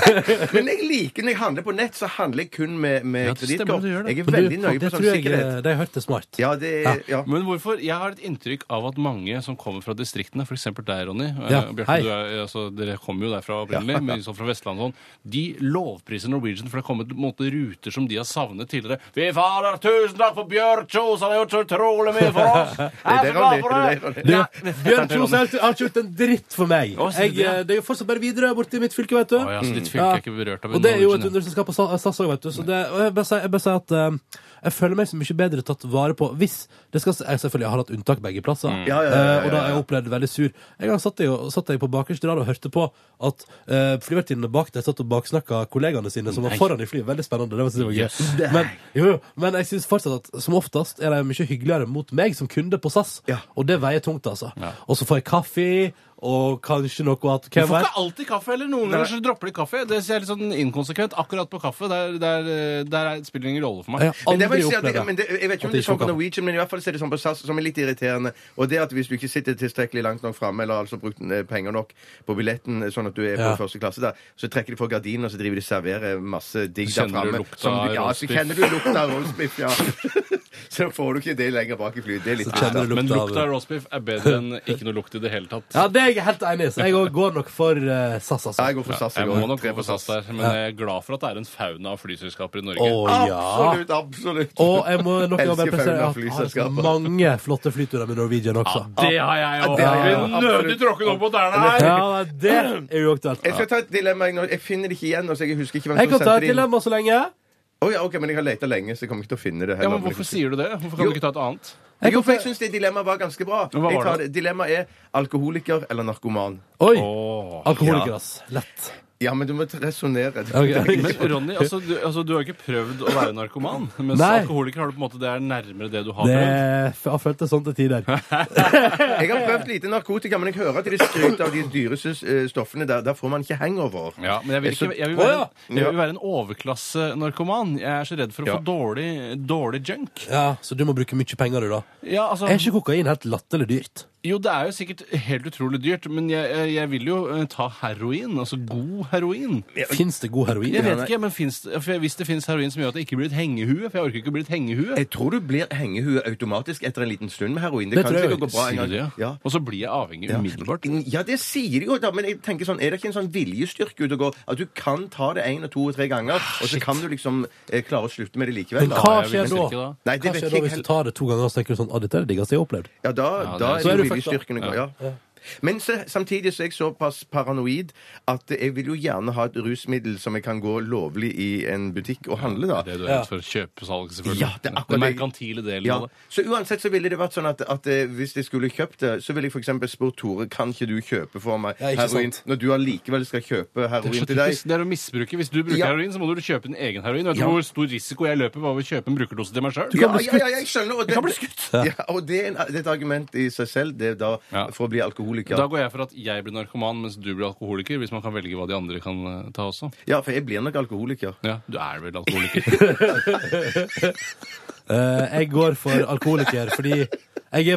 [SPEAKER 5] Men jeg liker når jeg handler på nett, så handler jeg kun med, med
[SPEAKER 4] Ja, det stemmer,
[SPEAKER 5] kredittkort.
[SPEAKER 4] du gjør det.
[SPEAKER 5] Jeg er
[SPEAKER 3] Men
[SPEAKER 5] veldig
[SPEAKER 3] du,
[SPEAKER 5] nøye
[SPEAKER 3] det
[SPEAKER 5] på sånn
[SPEAKER 3] tror jeg
[SPEAKER 5] sikkerhet.
[SPEAKER 3] eh, de har hørt det smart.
[SPEAKER 5] Ja, det ja.
[SPEAKER 4] Men hvorfor? Jeg har et inntrykk av at mange som kommer fra distriktene, f.eks. deg, Ronny eh,
[SPEAKER 3] Ja,
[SPEAKER 4] Bjarte,
[SPEAKER 3] hei.
[SPEAKER 4] du er, altså, Dere kommer jo derfra opprinnelig, men sånn fra Vestlandet og sånn. De lovpriser Norwegian, for det har kommet på en måte, ruter som de har savnet tidligere. Vi fader, tusen takk for Bjørn Kjos, han har gjort så utrolig mye for oss! Jeg
[SPEAKER 5] det,
[SPEAKER 4] så
[SPEAKER 5] Ronny.
[SPEAKER 4] glad for
[SPEAKER 5] Det er det,
[SPEAKER 4] det!
[SPEAKER 3] Du,
[SPEAKER 4] Ja,
[SPEAKER 3] Bjørn Kjos har ikke- har ikke gjort en dritt for meg.
[SPEAKER 4] Å, sier
[SPEAKER 3] Jeg,
[SPEAKER 4] du det, ja?
[SPEAKER 3] eh, det er jo fortsatt bare Widerøe borti mitt fylke, vet du.
[SPEAKER 4] Å, ja, så ditt fylke er ikke berørt av
[SPEAKER 3] Og det er jo et
[SPEAKER 4] Norwegian, ja.
[SPEAKER 3] underselskap av Sa- SAS òg, vet du. Så det, og jeg bare sier jeg bare sier at eh, jeg føler meg så mye bedre tatt vare på hvis det skal, jeg Selvfølgelig jeg har hatt unntak begge plasser,
[SPEAKER 4] Mm.
[SPEAKER 5] Ja, ja, ja, ja,
[SPEAKER 3] Eh, og da har jeg opplevd veldig sur. En gang satt jeg, jo- satt jeg på bakerste rad og hørte på at uh, flyvertinnene bak der satt og baksnakka kollegaene sine som var foran i flyet. Veldig spennende. Det var, det var gøy. Men, jo, jo, men jeg syns fortsatt at som oftest er de mye hyggeligere mot meg som kunde på SAS,
[SPEAKER 5] Ja.
[SPEAKER 3] og det veier tungt, altså. Og så får jeg kaffe og kanskje noe at
[SPEAKER 4] Du
[SPEAKER 3] hvem
[SPEAKER 4] får
[SPEAKER 3] vet?
[SPEAKER 4] ikke alltid kaffe, eller noen ganger så dropper de kaffe. Det er litt sånn inkonsekvent. Akkurat på kaffe, der, der, der er- spiller det ingen rolle for meg.
[SPEAKER 3] Jeg har
[SPEAKER 5] Men det må jeg,
[SPEAKER 3] aldri
[SPEAKER 5] si at
[SPEAKER 3] opplevd
[SPEAKER 5] det,
[SPEAKER 3] det.
[SPEAKER 5] men det, jeg vet ikke
[SPEAKER 3] At
[SPEAKER 5] om
[SPEAKER 3] de
[SPEAKER 5] det er sånn
[SPEAKER 3] ikke
[SPEAKER 5] på
[SPEAKER 3] kan-
[SPEAKER 5] Norwegian, men i hvert fall så er det sånn på SAS som er litt irriterende. Og det at hvis du ikke sitter tilstrekkelig langt nok framme, eller altså brukt eh, penger nok på billetten, eh, sånn at du er på
[SPEAKER 3] Ja.
[SPEAKER 5] første klasse der, så trekker de for gardinene, og så driver de og serverer masse digg der
[SPEAKER 4] Kjenner du
[SPEAKER 5] framme.
[SPEAKER 4] lukta
[SPEAKER 5] som du-
[SPEAKER 4] av
[SPEAKER 5] Ja, så
[SPEAKER 4] roastbiff?
[SPEAKER 5] kjenner du lukta av roastbiff, ja. så får du ikke det lenger bak i flyet. Det er litt
[SPEAKER 3] Så kjenner
[SPEAKER 5] trist, da.
[SPEAKER 3] du
[SPEAKER 4] Men
[SPEAKER 3] lukta av-
[SPEAKER 4] lukta av roastbiff er bedre enn ikke noe lukt i det hele tatt.
[SPEAKER 3] Ja, det er jeg helt enig i. Så jeg òg går nok for eh, SAS, altså.
[SPEAKER 5] Ja, jeg går for SAS.
[SPEAKER 4] Jeg
[SPEAKER 5] går.
[SPEAKER 4] må nok
[SPEAKER 5] Tre
[SPEAKER 4] gå for SAS der, men jeg er glad for at det er en fauna av flyselskaper i Norge.
[SPEAKER 3] Å ja.
[SPEAKER 5] Absolutt, absolutt.
[SPEAKER 3] Og jeg må nok
[SPEAKER 5] Elsker
[SPEAKER 3] bare
[SPEAKER 5] fauna
[SPEAKER 3] presisere at jeg har så
[SPEAKER 5] flyselskaper.
[SPEAKER 3] mange flotte flyturer med Norwegian også.
[SPEAKER 4] Det har jeg òg!
[SPEAKER 5] det har jeg.
[SPEAKER 4] Nødig tråkket opp på tærne her!
[SPEAKER 3] Ja, nei, det er jo aktuelt.
[SPEAKER 5] Jeg skal ta et dilemma. jeg nå- Jeg finner det ikke igjen. Altså, jeg husker ikke hvem
[SPEAKER 3] Jeg
[SPEAKER 5] som
[SPEAKER 3] kan ta
[SPEAKER 5] sendte
[SPEAKER 3] et
[SPEAKER 5] det inn.
[SPEAKER 3] dilemma så lenge.
[SPEAKER 5] Å ja, ok, Men jeg har leta lenge, så jeg kommer ikke til å finne det.
[SPEAKER 4] Ja,
[SPEAKER 5] heller.
[SPEAKER 4] men Hvorfor sier du det? Hvorfor kan du ikke ta et annet?
[SPEAKER 5] Jo, for jeg syns det dilemmaet var ganske bra.
[SPEAKER 4] Men hva
[SPEAKER 5] Jeg
[SPEAKER 4] var
[SPEAKER 5] tar
[SPEAKER 4] det?
[SPEAKER 5] det. Dilemmaet er alkoholiker eller narkoman.
[SPEAKER 3] Oi!
[SPEAKER 4] Åh.
[SPEAKER 3] Alkoholiker, ass. Lett.
[SPEAKER 5] Ja, men du må resonnere.
[SPEAKER 3] Ok.
[SPEAKER 4] Men Ronny, altså, du, altså, du har ikke prøvd å være narkoman. Mens
[SPEAKER 3] Nei.
[SPEAKER 4] alkoholiker har du på en måte det er nærmere det du har
[SPEAKER 3] Det
[SPEAKER 4] prøvd.
[SPEAKER 3] har føltes sånn til tider.
[SPEAKER 5] Jeg har prøvd lite narkotika, men jeg hører at de skryter av de dyreste eh, stoffene. Der, der får man ikke hangover.
[SPEAKER 4] Ja, men jeg vil, ikke, jeg vil
[SPEAKER 3] Å,
[SPEAKER 4] være,
[SPEAKER 3] ja.
[SPEAKER 4] jeg vil være en overklassenarkoman. Jeg er så redd for å få dårlig, dårlig junk.
[SPEAKER 3] Ja, Så du må bruke mye penger, du, da.
[SPEAKER 4] Ja, altså,
[SPEAKER 3] Er ikke kokain helt latterlig dyrt?
[SPEAKER 4] Jo, det er jo sikkert helt utrolig dyrt, men jeg, jeg- jeg vil jo eh, ta heroin. Altså god heroin.
[SPEAKER 3] Fins det god heroin?
[SPEAKER 4] Jeg vet ikke, men finnes, det- for jeg- Hvis det fins heroin som gjør at jeg ikke blir et hengehue For jeg orker ikke å bli et hengehue.
[SPEAKER 5] Jeg tror du blir hengehue automatisk etter en liten stund med heroin. Det,
[SPEAKER 3] Det
[SPEAKER 5] kan
[SPEAKER 3] tror jeg
[SPEAKER 5] sikkert gå bra en
[SPEAKER 4] Sier
[SPEAKER 5] gang.
[SPEAKER 4] det, ja.
[SPEAKER 5] Ja.
[SPEAKER 4] Og så blir jeg avhengig umiddelbart.
[SPEAKER 5] Ja, det sier de jo, da, men jeg tenker sånn, er det ikke en sånn viljestyrke ute og går? At du kan ta det én og to og tre ganger, og så kan du liksom eh, klare å slutte med det likevel?
[SPEAKER 3] Men
[SPEAKER 5] da.
[SPEAKER 3] hva
[SPEAKER 4] jeg
[SPEAKER 3] skjer
[SPEAKER 4] vil ikke
[SPEAKER 3] da?
[SPEAKER 4] drikke da.
[SPEAKER 5] Nei,
[SPEAKER 3] Hva
[SPEAKER 5] det vet jeg
[SPEAKER 3] skjer da hvis
[SPEAKER 5] ikke
[SPEAKER 3] du tar det to ganger og så tenker du sånn Å, dette er det diggeste jeg har opplevd?
[SPEAKER 5] Ja, da,
[SPEAKER 4] det
[SPEAKER 5] da er
[SPEAKER 4] er- så
[SPEAKER 5] det
[SPEAKER 3] er
[SPEAKER 5] jo
[SPEAKER 3] du fucked up.
[SPEAKER 5] viljestyrken. Ja. Ja. Men så, samtidig så er jeg såpass paranoid at jeg vil jo gjerne ha et rusmiddel som jeg kan gå lovlig i en butikk og handle, da.
[SPEAKER 4] Det er det du er redd for. Kjøpesalg, selvfølgelig.
[SPEAKER 5] Ja, det er akkurat
[SPEAKER 4] Den
[SPEAKER 5] det.
[SPEAKER 4] merkantile delen
[SPEAKER 5] Ja.
[SPEAKER 4] av det.
[SPEAKER 5] Så uansett så ville det vært sånn at, at eh, hvis jeg skulle kjøpt det, så ville jeg f.eks. spurt Tore kan ikke du kjøpe for meg
[SPEAKER 3] Ja, ikke
[SPEAKER 5] heroin
[SPEAKER 3] sant.
[SPEAKER 5] når du allikevel skal kjøpe
[SPEAKER 4] Det er, sånn
[SPEAKER 5] heroin
[SPEAKER 4] så
[SPEAKER 5] til deg.
[SPEAKER 4] typisk, det er å misbruke. Hvis du bruker
[SPEAKER 5] Ja.
[SPEAKER 4] heroin, så må du kjøpe din egen heroin. Vet du
[SPEAKER 5] Ja.
[SPEAKER 4] hvor stor risiko jeg løper ved å kjøpe en brukerdose til meg sjøl?
[SPEAKER 5] Ja, ja, ja, jeg skjønner. Og det,
[SPEAKER 4] bli skutt.
[SPEAKER 5] Ja, og det er, en, det er et argument i seg selv det er da,
[SPEAKER 4] Ja.
[SPEAKER 5] for å bli alkoholiker.
[SPEAKER 4] Da går jeg for at jeg blir narkoman, mens du blir alkoholiker. Hvis man kan velge hva de andre kan eh, ta også.
[SPEAKER 5] Ja, for jeg blir nok alkoholiker.
[SPEAKER 4] Ja, Du er vel alkoholiker?
[SPEAKER 3] Eh, jeg går for alkoholiker, fordi jeg er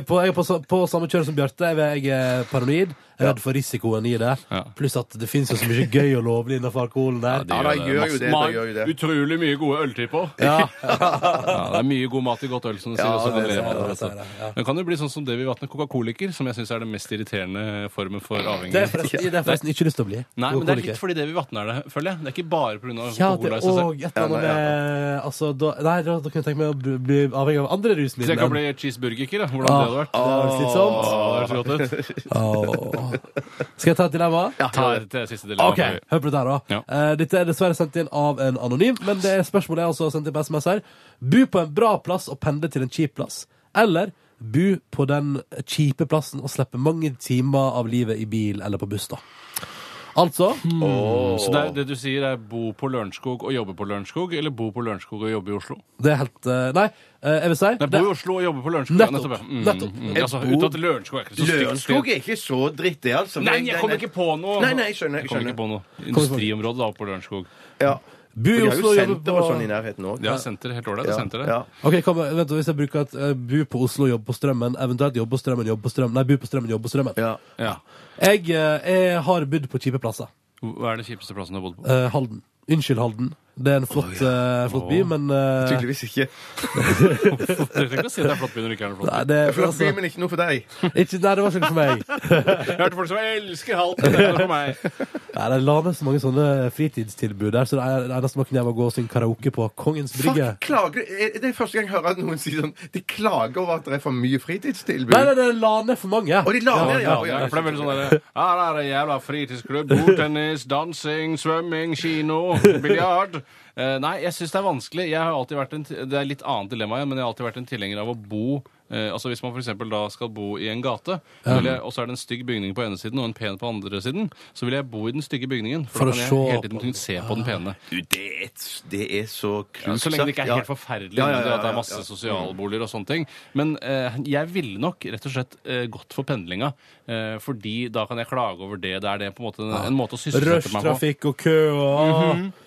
[SPEAKER 3] på, jeg er på, sa- på samme kjør som Bjarte. Jeg er- Jeg er paranoid, jeg er redd for risikoen i det.
[SPEAKER 4] Ja.
[SPEAKER 3] Pluss at det fins jo så mye gøy og lovlig innenfor alkoholen der.
[SPEAKER 5] Ja, da gjør jo det, da
[SPEAKER 4] Masse-
[SPEAKER 5] gjør jo det.
[SPEAKER 4] Utrolig mye gode øltyper. også.
[SPEAKER 3] Ja.
[SPEAKER 4] Ja, det er mye god mat i godt øl, som du sier. og så
[SPEAKER 5] det
[SPEAKER 4] kan
[SPEAKER 5] er
[SPEAKER 4] leve av
[SPEAKER 3] det,
[SPEAKER 4] det,
[SPEAKER 3] det er
[SPEAKER 4] altså.
[SPEAKER 3] det, ja.
[SPEAKER 4] Men kan det bli sånn som det vi vatner coca-coliker, som jeg syns er den mest irriterende formen for
[SPEAKER 3] Det er
[SPEAKER 4] avhengighet?
[SPEAKER 3] forresten, det er forresten ikke lyst til å bli.
[SPEAKER 4] Nei, men det er
[SPEAKER 3] alkoholiker.
[SPEAKER 4] litt fordi det vi vatner er det, føler jeg. Det er ikke bare pga.
[SPEAKER 3] ja, det,
[SPEAKER 4] alkohol. i seg selv.
[SPEAKER 3] og et eller annet
[SPEAKER 5] Ja,
[SPEAKER 3] med altså, da, Nei, da, da kunne jeg tenke meg å bli, bli avhengig av andre
[SPEAKER 4] Hvis jeg kan
[SPEAKER 3] rusmidler.
[SPEAKER 4] bli cheeseburgerker, da, hvordan
[SPEAKER 3] Ah.
[SPEAKER 4] det hadde vært.
[SPEAKER 3] Det er slitsomt.
[SPEAKER 4] Ja, det høres godt ut.
[SPEAKER 3] Åh. Ah. Skal jeg ta et dilemma?
[SPEAKER 4] Ta til siste dilemma.
[SPEAKER 3] Ok, hør på dette her da
[SPEAKER 4] Ja.
[SPEAKER 3] Eh, Dette er dessverre sendt inn av en anonym Men det er spørsmålet jeg altså har sendt inn på sms her Bu på en bra plass og pendle til en kjip plass Eller bu på den kjipe plassen Og slippe mange timer av livet i bil eller på buss da Altså
[SPEAKER 4] Så det, er, det du sier er bo på Lørenskog og jobbe på Lørenskog, eller bo på Lørenskog og jobbe i Oslo?
[SPEAKER 3] Det er helt eh, Nei, eh, jeg vil si
[SPEAKER 4] Nei, bo i Oslo og jobbe på Lørenskog. ja,
[SPEAKER 3] Nettopp,
[SPEAKER 4] ja. Mm,
[SPEAKER 3] nettopp.
[SPEAKER 4] Mm, altså, uten at Lørenskog er ikke så stygt
[SPEAKER 5] Lørenskog
[SPEAKER 4] sted.
[SPEAKER 5] er ikke så dritt, det, altså.
[SPEAKER 4] Nei, jeg kommer ikke på noe!
[SPEAKER 5] Nei, nei, jeg skjønner, jeg
[SPEAKER 4] Jeg kommer
[SPEAKER 5] skjønner.
[SPEAKER 4] ikke på noe. Industriområdet da, på Lørenskog.
[SPEAKER 5] Ja.
[SPEAKER 3] Bu
[SPEAKER 5] For
[SPEAKER 3] i
[SPEAKER 5] de har jo
[SPEAKER 3] Oslo og jobbe
[SPEAKER 5] senter
[SPEAKER 3] på
[SPEAKER 5] og sånn i nærheten òg.
[SPEAKER 4] Det er senter, helt ålreit. det er senter, det.
[SPEAKER 5] Ja.
[SPEAKER 3] Ok, kom, vent, hvis jeg bruker et eh, bu på Oslo, jobb på strømmen Eventuelt jobb på strømmen, jobb på strømmen Nei, bu på strømmen, jobb på strømmen
[SPEAKER 5] Ja.
[SPEAKER 4] Ja.
[SPEAKER 3] jeg, eh, jeg har bodd på kjipe plasser
[SPEAKER 4] Hva er den kjipeste plassen du har bodd på?
[SPEAKER 3] Eh, Halden. Unnskyld, Halden. Det er en flott, eh, flott by, men eh,
[SPEAKER 5] Tydeligvis ikke.
[SPEAKER 4] Du trenger ikke å si at det er flott by når det ikke er noe flott.
[SPEAKER 3] Nei, det,
[SPEAKER 5] Flott by,
[SPEAKER 3] altså,
[SPEAKER 5] men ikke noe for deg.
[SPEAKER 3] ikke, nei, det var ikke noe for meg.
[SPEAKER 4] Jeg har hørt folk som elsker Halden. Det er noe for meg.
[SPEAKER 3] Nei, det la ned så mange sånne fritidstilbud der, så det er- det eneste man kunne gjøre, var å gå og synge karaoke på Kongens Brygge.
[SPEAKER 5] Fuck, klager du? Er- Det er første gang jeg hører at noen sier sånn De klager over at det er for mye fritidstilbud.
[SPEAKER 3] Nei, nei, det la ned for mange.
[SPEAKER 5] Og de la ned, ja.
[SPEAKER 4] Ja, for det er veldig sånn der, Her er det jævla fritidsklubb, bordtennis, dansing, svømming, kino, biljard. Eh, nei, jeg syns det er vanskelig. Jeg har alltid vært en, t- det er litt annet dilemma igjen, men jeg har alltid vært en tilhenger av å bo eh, altså Hvis man for eksempel da skal bo i en gate, så vil jeg, og så er det en stygg bygning på ene siden og en pen på andre siden, så vil jeg bo i den stygge bygningen. For,
[SPEAKER 3] For
[SPEAKER 4] da
[SPEAKER 3] å
[SPEAKER 4] kan jeg
[SPEAKER 3] se
[SPEAKER 4] hele tiden kunne se på den pene.
[SPEAKER 5] Du, det, er, et- det er så
[SPEAKER 4] Ja,
[SPEAKER 5] klokt
[SPEAKER 4] så lenge det ikke er
[SPEAKER 5] sagt,
[SPEAKER 4] helt
[SPEAKER 5] ja.
[SPEAKER 4] forferdelig,
[SPEAKER 5] Ja, ja, ja,
[SPEAKER 4] det at det
[SPEAKER 5] ja,
[SPEAKER 4] er masse
[SPEAKER 5] ja.
[SPEAKER 4] sosialboliger og sånne ting. Men eh, jeg ville nok rett og slett eh, gått for pendlinga, eh, fordi da kan jeg klage over det. Det er det på en måte en, en måte å sysselsette meg på.
[SPEAKER 3] Rushtrafikk og kø og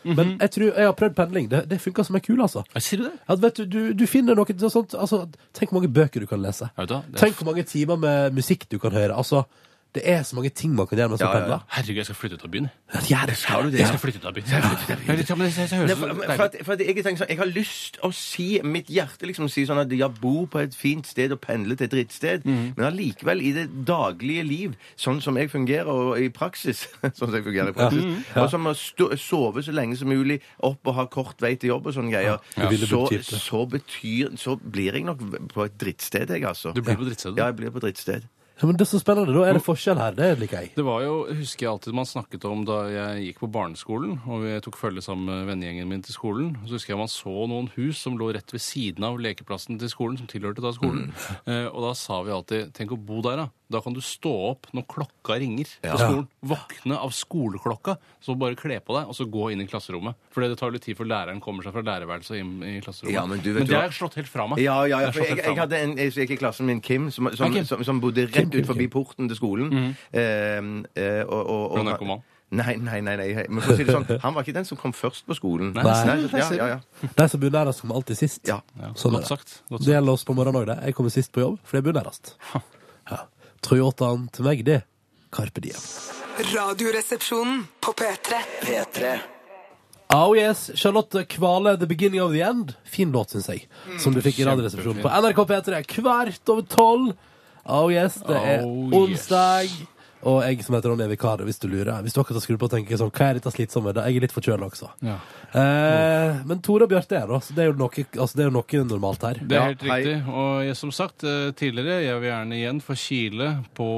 [SPEAKER 5] Mhm,
[SPEAKER 3] Men jeg tror jeg har prøvd pendling. Det, det funka som ei kule, altså.
[SPEAKER 4] Ja, Sier du det?
[SPEAKER 3] At, vet du, du, du finner noe til sånt altså, Tenk hvor mange bøker du kan lese.
[SPEAKER 4] Ja, vet du hva, det er
[SPEAKER 3] Tenk hvor mange timer med musikk du kan høre. Altså, det er så mange ting man kan gjøre mens
[SPEAKER 5] Ja,
[SPEAKER 3] man
[SPEAKER 5] ja, ja.
[SPEAKER 3] pendler.
[SPEAKER 4] Herregud, jeg skal flytte ut av byen.
[SPEAKER 3] Ja, gjør det.
[SPEAKER 5] Har du det?
[SPEAKER 4] Jeg skal flytte ut av byen. Jeg skal flytte ut av byen. Ja, men det- det- det
[SPEAKER 5] Nei,
[SPEAKER 4] høres
[SPEAKER 5] for,
[SPEAKER 4] så
[SPEAKER 5] for, at,
[SPEAKER 4] deilig ut.
[SPEAKER 5] for at jeg, tenker sånn, jeg har lyst å si Mitt hjerte liksom sier sånn at Jeg bor på et fint sted og pendler til et drittsted
[SPEAKER 3] Mhm.
[SPEAKER 5] Men allikevel i det daglige liv Sånn som jeg fungerer og, i praksis Sånn som jeg fungerer i praksis Og som å stå, sove så lenge som mulig Opp og ha kort vei til jobb og sånne greier
[SPEAKER 3] Ja. Du ville
[SPEAKER 5] så,
[SPEAKER 3] brukt tid til det.
[SPEAKER 5] så betyr Så blir jeg nok på et drittsted jeg altså
[SPEAKER 4] Du blir på drittstedet.
[SPEAKER 5] Ja, jeg blir på et drittsted
[SPEAKER 3] Ja, men det er så spennende. Da er det forskjell her. Det liker jeg.
[SPEAKER 4] Det var jo, husker jeg alltid man snakket om da jeg gikk på barneskolen, og jeg tok følge sammen med vennegjengen min til skolen, så husker jeg man så noen hus som lå rett ved siden av lekeplassen til skolen, som tilhørte da skolen.
[SPEAKER 5] Mm.
[SPEAKER 4] Eh, og da sa vi alltid, tenk å bo der da, da kan du stå opp når klokka ringer på skolen, våkne av skoleklokka, så bare kle på deg, og så gå inn i klasserommet. For det tar jo litt tid før læreren kommer seg fra lærerværelset og inn i klasserommet.
[SPEAKER 5] Ja, men du vet
[SPEAKER 4] det
[SPEAKER 5] hva-
[SPEAKER 4] har jeg slått helt fra meg.
[SPEAKER 5] Ja, ja, ja.
[SPEAKER 4] Det har
[SPEAKER 5] For
[SPEAKER 4] slått
[SPEAKER 5] jeg,
[SPEAKER 4] helt
[SPEAKER 5] jeg
[SPEAKER 4] fra meg.
[SPEAKER 5] hadde en jeg gikk i klassen min, Kim, som, som,
[SPEAKER 4] Kim. Mhm.
[SPEAKER 5] som, som bodde rett ut forbi porten til skolen. Eh, eh, og, og, og,
[SPEAKER 4] Ble han narkoman?
[SPEAKER 5] Nei, nei, nei. nei. Men for å si det sånn, han var ikke den som kom først på skolen. Nei, ja, ja, ja.
[SPEAKER 3] De som bor nærest, kommer alltid sist.
[SPEAKER 5] Ja.
[SPEAKER 3] Sånn er
[SPEAKER 4] Godt
[SPEAKER 3] det.
[SPEAKER 4] sagt, godt sagt.
[SPEAKER 3] Det gjelder oss på morgenen òg, det. Jeg kommer sist på jobb, for jeg bor nærest. Ja. Toyotaen til meg, det. Carpe Diem.
[SPEAKER 6] Radioresepsjonen på P3.
[SPEAKER 2] P3
[SPEAKER 3] Oh yes, Charlotte Kvale, The Beginning of the End. Fin låt, syns jeg.
[SPEAKER 5] Mm,
[SPEAKER 3] Som du fikk i Radioresepsjonen på NRK P3 kvart over tolv. Oh yes, det er
[SPEAKER 4] Oh yes.
[SPEAKER 3] onsdag. Og jeg som heter Ronny er vikar, hvis du lurer. Hvis du akkurat har skrudd på og tenker sånn, hva er dette slitsomme? Da, jeg er litt forkjøla også.
[SPEAKER 4] Ja.
[SPEAKER 3] Eh, men Tore og Bjarte er da, så det er jo noe, altså, det er jo noe normalt her.
[SPEAKER 4] Det er helt
[SPEAKER 5] hei.
[SPEAKER 4] riktig. Og jeg, som sagt eh, tidligere, jeg vil gjerne igjen få kile på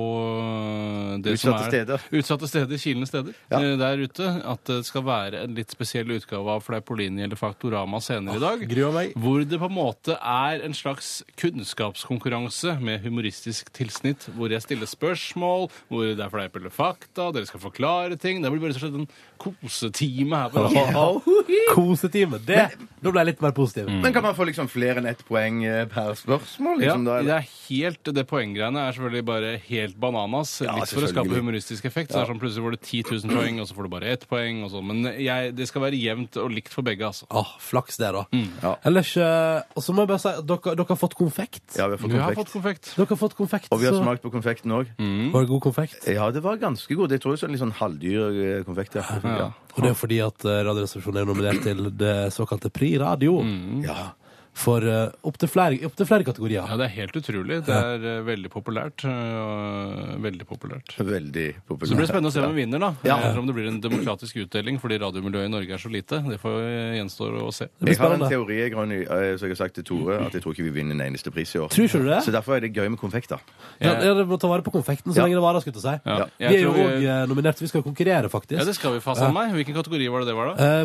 [SPEAKER 4] eh, det som
[SPEAKER 5] Utsatte
[SPEAKER 4] er
[SPEAKER 5] steder.
[SPEAKER 4] Utsatte steder, kilende steder
[SPEAKER 5] Ja.
[SPEAKER 4] eh, der ute. At det skal være en litt spesiell utgave av Fleipolini eller Faktorama senere i dag.
[SPEAKER 3] gruer meg.
[SPEAKER 4] Hvor det på en måte er en slags kunnskapskonkurranse med humoristisk tilsnitt. Hvor jeg stiller spørsmål, hvor det er fleip eller fakta, dere skal forklare ting. Det blir bare rett og slett en kosetime her på radioen.
[SPEAKER 3] Kosetime. Det, da ble jeg litt mer positiv.
[SPEAKER 5] Men kan man få liksom flere enn ett poeng eh, per spørsmål?
[SPEAKER 4] Ja,
[SPEAKER 5] Liksom, da,
[SPEAKER 4] det
[SPEAKER 5] eller?
[SPEAKER 4] er helt, det poenggreiene er selvfølgelig bare helt bananas.
[SPEAKER 5] Ja,
[SPEAKER 4] litt for å skape
[SPEAKER 5] selvfølgelig.
[SPEAKER 4] humoristisk effekt. Så det er sånn plutselig får du 10 000 poeng, og så får du bare ett poeng. Og sånn. Men jeg, det skal være jevnt og likt for begge, altså.
[SPEAKER 3] Ah, flaks det, da.
[SPEAKER 5] Mm. Ja.
[SPEAKER 3] Ellers eh, Og så må jeg bare si at dere, dere har fått konfekt.
[SPEAKER 5] ja, vi har fått
[SPEAKER 4] Du har
[SPEAKER 5] konfekt.
[SPEAKER 4] fått Mm. konfekt.
[SPEAKER 3] Dere har fått konfekt,
[SPEAKER 5] Og vi har
[SPEAKER 3] så
[SPEAKER 5] smakt på konfekten òg.
[SPEAKER 3] var det god
[SPEAKER 4] Eh,
[SPEAKER 3] konfekt.
[SPEAKER 5] Ja, det var ganske god. Jeg tror det er en litt sånn halvdyr eh, konfekt. Ja. Ja.
[SPEAKER 3] Og det er jo fordi at eh, Radioresepsjonen er nominert til det såkalte Pri Radio. Ja. For eh, opp opptil flere, opp til flere kategorier.
[SPEAKER 4] Mm. Ja, det er helt utrolig. Det er eh, veldig populært. eh, veldig populært.
[SPEAKER 5] Veldig populær.
[SPEAKER 4] Så det blir spennende å se hvem vinner, da.
[SPEAKER 5] Ja.
[SPEAKER 4] Eller om det blir en demokratisk utdeling fordi radiomiljøet i Norge er så lite. Det får eh, gjenstår å se.
[SPEAKER 3] Det blir
[SPEAKER 5] Jeg har en
[SPEAKER 3] spennende.
[SPEAKER 5] teori jeg, Ronny, eh, som jeg har sagt til Tore, at jeg tror ikke vi vinner en eneste pris i år.
[SPEAKER 3] Tror ikke du det?
[SPEAKER 5] Så derfor er det gøy med konfekt, da.
[SPEAKER 3] Ja, ja, dere må ta vare på konfekten så
[SPEAKER 5] Ja.
[SPEAKER 3] lenge det varer, skulle jeg til å
[SPEAKER 4] Ja.
[SPEAKER 3] si.
[SPEAKER 4] Jeg
[SPEAKER 3] Vi er jo
[SPEAKER 4] tror
[SPEAKER 3] òg
[SPEAKER 4] vi-
[SPEAKER 3] nominert, vi skal konkurrere, faktisk.
[SPEAKER 4] Ja, det skal vi fasen meg. Hvilken kategori var det det var, da?
[SPEAKER 3] Eh,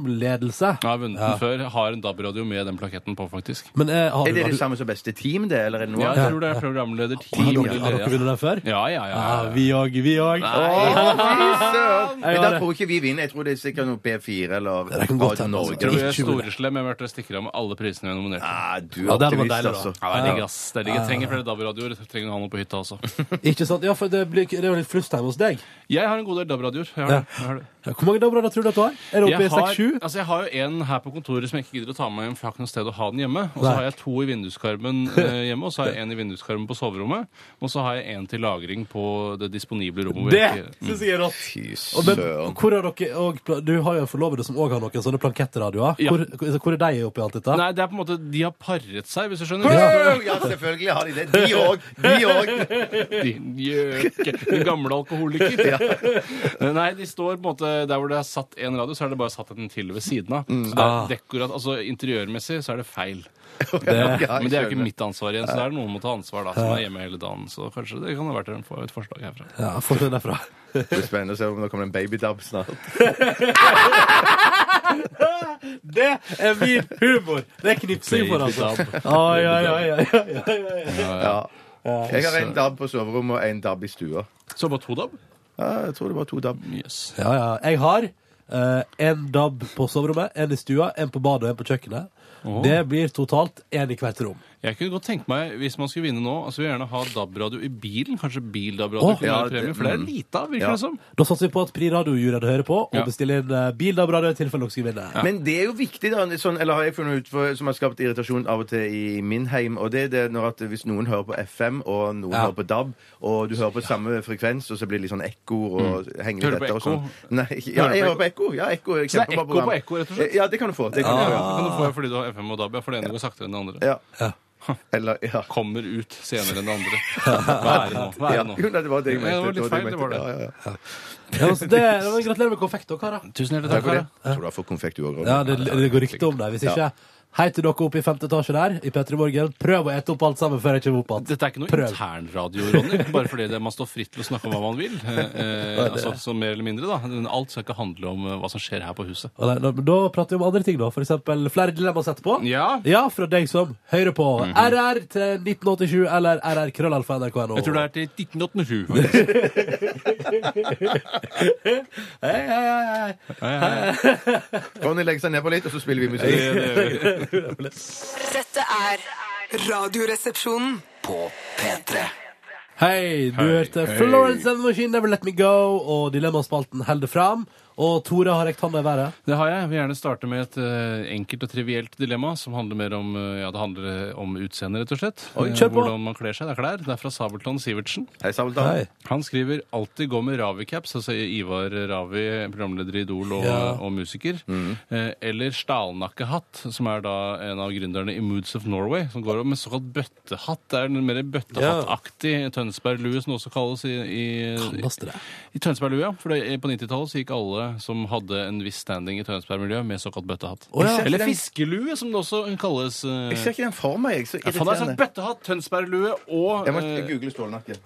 [SPEAKER 3] programledelse.
[SPEAKER 4] Jeg har vunnet den før. Har en DAB-radio med den plaketten på, faktisk.
[SPEAKER 3] Men eh, har,
[SPEAKER 5] Er
[SPEAKER 3] du,
[SPEAKER 5] det
[SPEAKER 3] har,
[SPEAKER 5] det
[SPEAKER 3] du,
[SPEAKER 5] samme som beste team, det? Eller er det noe
[SPEAKER 4] Ja,
[SPEAKER 5] annet?
[SPEAKER 4] jeg tror det er programleder
[SPEAKER 3] har,
[SPEAKER 4] Team
[SPEAKER 3] dere, har dere vunnet den før?
[SPEAKER 4] Ja, ja, ja.
[SPEAKER 3] Ah, vi òg, vi òg.
[SPEAKER 5] Å, fy søren! Men da
[SPEAKER 3] Jeg har det.
[SPEAKER 5] tror jeg ikke vi vinner. Jeg tror det er sikkert noe P4 eller
[SPEAKER 3] Det kan godt
[SPEAKER 5] Radio
[SPEAKER 3] hende, altså.
[SPEAKER 5] Norge.
[SPEAKER 4] Tror
[SPEAKER 5] eller
[SPEAKER 4] du jeg er
[SPEAKER 3] Ikke mulig.
[SPEAKER 4] storeslem? Jeg hørte stikker av med alle prisene vi er nominert til.
[SPEAKER 5] Ah, du er
[SPEAKER 3] Ja, det hadde vært
[SPEAKER 5] optimist,
[SPEAKER 3] deilig, da.
[SPEAKER 5] altså.
[SPEAKER 4] Ja, det er digg, ass. Det er
[SPEAKER 3] Ah.
[SPEAKER 4] digg. Jeg trenger flere DAB-radioer. Jeg trenger å ha noe på hytta også.
[SPEAKER 3] Ikke sant? Ja, for det, blir, det er jo litt flust hjemme hos deg.
[SPEAKER 4] Jeg har en god del DAB-radioer. Jeg har
[SPEAKER 3] Ja.
[SPEAKER 4] det. Jeg har det.
[SPEAKER 3] Ja, Hvor mange dabler tror du at du har? Er det oppe
[SPEAKER 4] Jeg
[SPEAKER 3] i
[SPEAKER 4] har,
[SPEAKER 3] 6-7?
[SPEAKER 4] altså jeg har jo en her på kontoret som jeg ikke gidder å ta med hjem, for jeg har ikke noe sted å ha den hjemme. Og så
[SPEAKER 3] Nei.
[SPEAKER 4] har jeg to i vinduskarmen eh, hjemme, og så har jeg en i vinduskarmen på soverommet. Og så har jeg en til lagring på det disponible rommet. hvor
[SPEAKER 3] Det
[SPEAKER 4] Altså, jeg ikke-
[SPEAKER 3] syns jeg er rått.
[SPEAKER 5] Fy
[SPEAKER 3] Og men,
[SPEAKER 5] søren.
[SPEAKER 3] hvor har dere og, Du har jo en forlovede som òg har noen sånne planketteradioer.
[SPEAKER 4] Ja.
[SPEAKER 3] Hvor, hvor- hvor er de oppi alt dette?
[SPEAKER 4] Nei, det er på en måte De har paret seg, hvis du skjønner.
[SPEAKER 5] Wow, Ja, selvfølgelig har de det. De òg. De òg.
[SPEAKER 4] Din gjøke. Du gamle alkoholiker. Nei, de står på en måte der hvor det er satt én radio, så er det bare satt en til ved siden av. Så det
[SPEAKER 3] Ah.
[SPEAKER 4] er dekorat, altså Interiørmessig så er det feil.
[SPEAKER 5] Ja,
[SPEAKER 4] Men det er jo ikke mitt ansvar igjen, så det er noen må ta ansvar da, som er hjemme hele dagen. Så kanskje det kan ha vært en for- et forslag herfra.
[SPEAKER 3] Ja, få den derfra.
[SPEAKER 5] Det blir spennende å se om det kommer en babydab snart.
[SPEAKER 3] Det er min humor! Det er knipsing for, altså. Oi, oi, oi, oi, oi, oi, oi.
[SPEAKER 5] Ja. Jeg har en dab på soverommet og en dab i stua.
[SPEAKER 4] Så bare to dab?
[SPEAKER 5] Ja, jeg tror det var to dab.
[SPEAKER 4] Yes.
[SPEAKER 3] Ja, ja. Jeg har eh, en DAB på soverommet, en i stua, en på badet og en på kjøkkenet. Det blir totalt én i hvert rom.
[SPEAKER 4] Jeg kunne godt tenke meg, hvis man skulle vinne nå, altså vil jeg gjerne ha DAB-radio i bilen. Kanskje bil-DAB-radio
[SPEAKER 3] Åh.
[SPEAKER 4] kunne
[SPEAKER 5] Ja,
[SPEAKER 4] være premie,
[SPEAKER 5] det-
[SPEAKER 4] for det er lite av, virker
[SPEAKER 5] Ja.
[SPEAKER 4] det som.
[SPEAKER 3] Da satser vi på at Pri Radio-juryen hører på, og
[SPEAKER 4] Ja.
[SPEAKER 3] bestiller inn eh, bil DAB-radio i tilfelle dere skulle vinne.
[SPEAKER 5] Men det er jo viktig, da, sånn, eller har jeg funnet ut for, som har skapt irritasjon av og til i min heim, og det er det når at hvis noen hører på FM, og noen
[SPEAKER 3] Ja.
[SPEAKER 5] hører på DAB, og du hører på samme frekvens, og så blir det litt sånn ekko og henger
[SPEAKER 4] Mm. Hører du
[SPEAKER 5] litt
[SPEAKER 4] på
[SPEAKER 5] etter og sånn.
[SPEAKER 4] ekko?
[SPEAKER 5] Nei, ja,
[SPEAKER 4] Hører du
[SPEAKER 5] jeg
[SPEAKER 4] på
[SPEAKER 5] hører på ekko. Ja, ekko er et
[SPEAKER 4] Så det er
[SPEAKER 5] kjempebra
[SPEAKER 4] ekko
[SPEAKER 5] program.
[SPEAKER 4] på ekko, rett og slett?
[SPEAKER 5] Ah,
[SPEAKER 4] Ah.
[SPEAKER 5] Ja, det kan du få. Det kan du
[SPEAKER 4] Ja. Det
[SPEAKER 5] få.
[SPEAKER 4] kan du få fordi du har FM og DAB, ja, for det ene går saktere enn det andre.
[SPEAKER 5] Ja.
[SPEAKER 3] Ja.
[SPEAKER 5] Eller, ja.
[SPEAKER 4] kommer ut senere enn det andre. Hva er det nå? Hva er
[SPEAKER 5] ja.
[SPEAKER 4] det
[SPEAKER 5] Jo,
[SPEAKER 4] nå?
[SPEAKER 5] nei, det var det jeg
[SPEAKER 4] Ja, det
[SPEAKER 5] mente.
[SPEAKER 4] var litt
[SPEAKER 5] jeg
[SPEAKER 4] feil, det var
[SPEAKER 5] mente.
[SPEAKER 4] det.
[SPEAKER 5] Ja, ja, ja.
[SPEAKER 3] Ja, altså, det, det var- gratulerer med konfekt, dere, da.
[SPEAKER 4] Tusen hjertelig
[SPEAKER 5] Takk
[SPEAKER 4] takk.
[SPEAKER 5] for det.
[SPEAKER 4] Are.
[SPEAKER 5] Jeg tror du har fått konfekt, du òg.
[SPEAKER 3] Ja, det, det går rykte om deg. Hvis ikke, hei til dere oppe i femte etasje der, i P3 Morgen. Prøv å ete opp alt sammen før jeg kommer opp igjen.
[SPEAKER 4] Dette er ikke noe
[SPEAKER 3] Prøv.
[SPEAKER 4] internradio, Ronny. Bare fordi det, man står fritt til å snakke om hva man vil. Eh, eh, altså, så mer eller mindre, da. Men Alt skal ikke handle om eh, hva som skjer her på huset.
[SPEAKER 3] Og Da, da prater vi om andre ting, da. For eksempel flere dilemmaer etterpå.
[SPEAKER 4] Ja. Mhm.
[SPEAKER 3] ja, fra deg som hører på. RR til 1987 eller RR krøllalfa nrk.no.
[SPEAKER 4] Jeg tror det er til 1987.
[SPEAKER 3] Hei, hei, hei, hei.
[SPEAKER 5] Ronny legger seg nedpå litt, og så spiller vi musikk.
[SPEAKER 6] Dette er Radioresepsjonen.
[SPEAKER 2] På P3
[SPEAKER 3] Hei, du hørte Florence and the Machine Never Let Me Go, og Dilemmaspalten holder fram. Og Tore har rekt handa i været.
[SPEAKER 4] Det har jeg. Jeg vil gjerne starte med et eh, enkelt og trivielt dilemma som handler mer om, eh, ja, det handler om utseende, rett og slett.
[SPEAKER 3] Oi,
[SPEAKER 4] Eh,
[SPEAKER 3] kjør på.
[SPEAKER 4] Hvordan man kler seg. Det er klær. Det er fra Sabeltann Sivertsen.
[SPEAKER 5] Hei, Sabeltann.
[SPEAKER 3] Hei.
[SPEAKER 4] Han skriver 'alltid gå med Ravi-caps', altså Ivar Ravi, programleder i Idol og,
[SPEAKER 3] Ja.
[SPEAKER 4] og musiker.
[SPEAKER 5] Mm.
[SPEAKER 4] Eh, eller stalnakkehatt, som er da en av gründerne i Moods of Norway, som går med såkalt bøttehatt. Det er den mer bøttehattaktig Tønsberg-lue, som det også kalles i, i,
[SPEAKER 3] Kalleste det.
[SPEAKER 4] i Tønsberg-lue. ja. For det, på 90-tallet så gikk alle som hadde en viss standing i Tønsberg-miljøet, med såkalt bøttehatt.
[SPEAKER 3] Å, ja.
[SPEAKER 4] Eller fiskelue, som det også kalles. eh.
[SPEAKER 5] Jeg ser ikke den for meg. Jeg, så
[SPEAKER 4] Ja, faen, det er sånn
[SPEAKER 5] irriterende.
[SPEAKER 4] bøttehatt, Tønsberg-lue og
[SPEAKER 5] Jeg må
[SPEAKER 4] eh,
[SPEAKER 5] google stålnakke.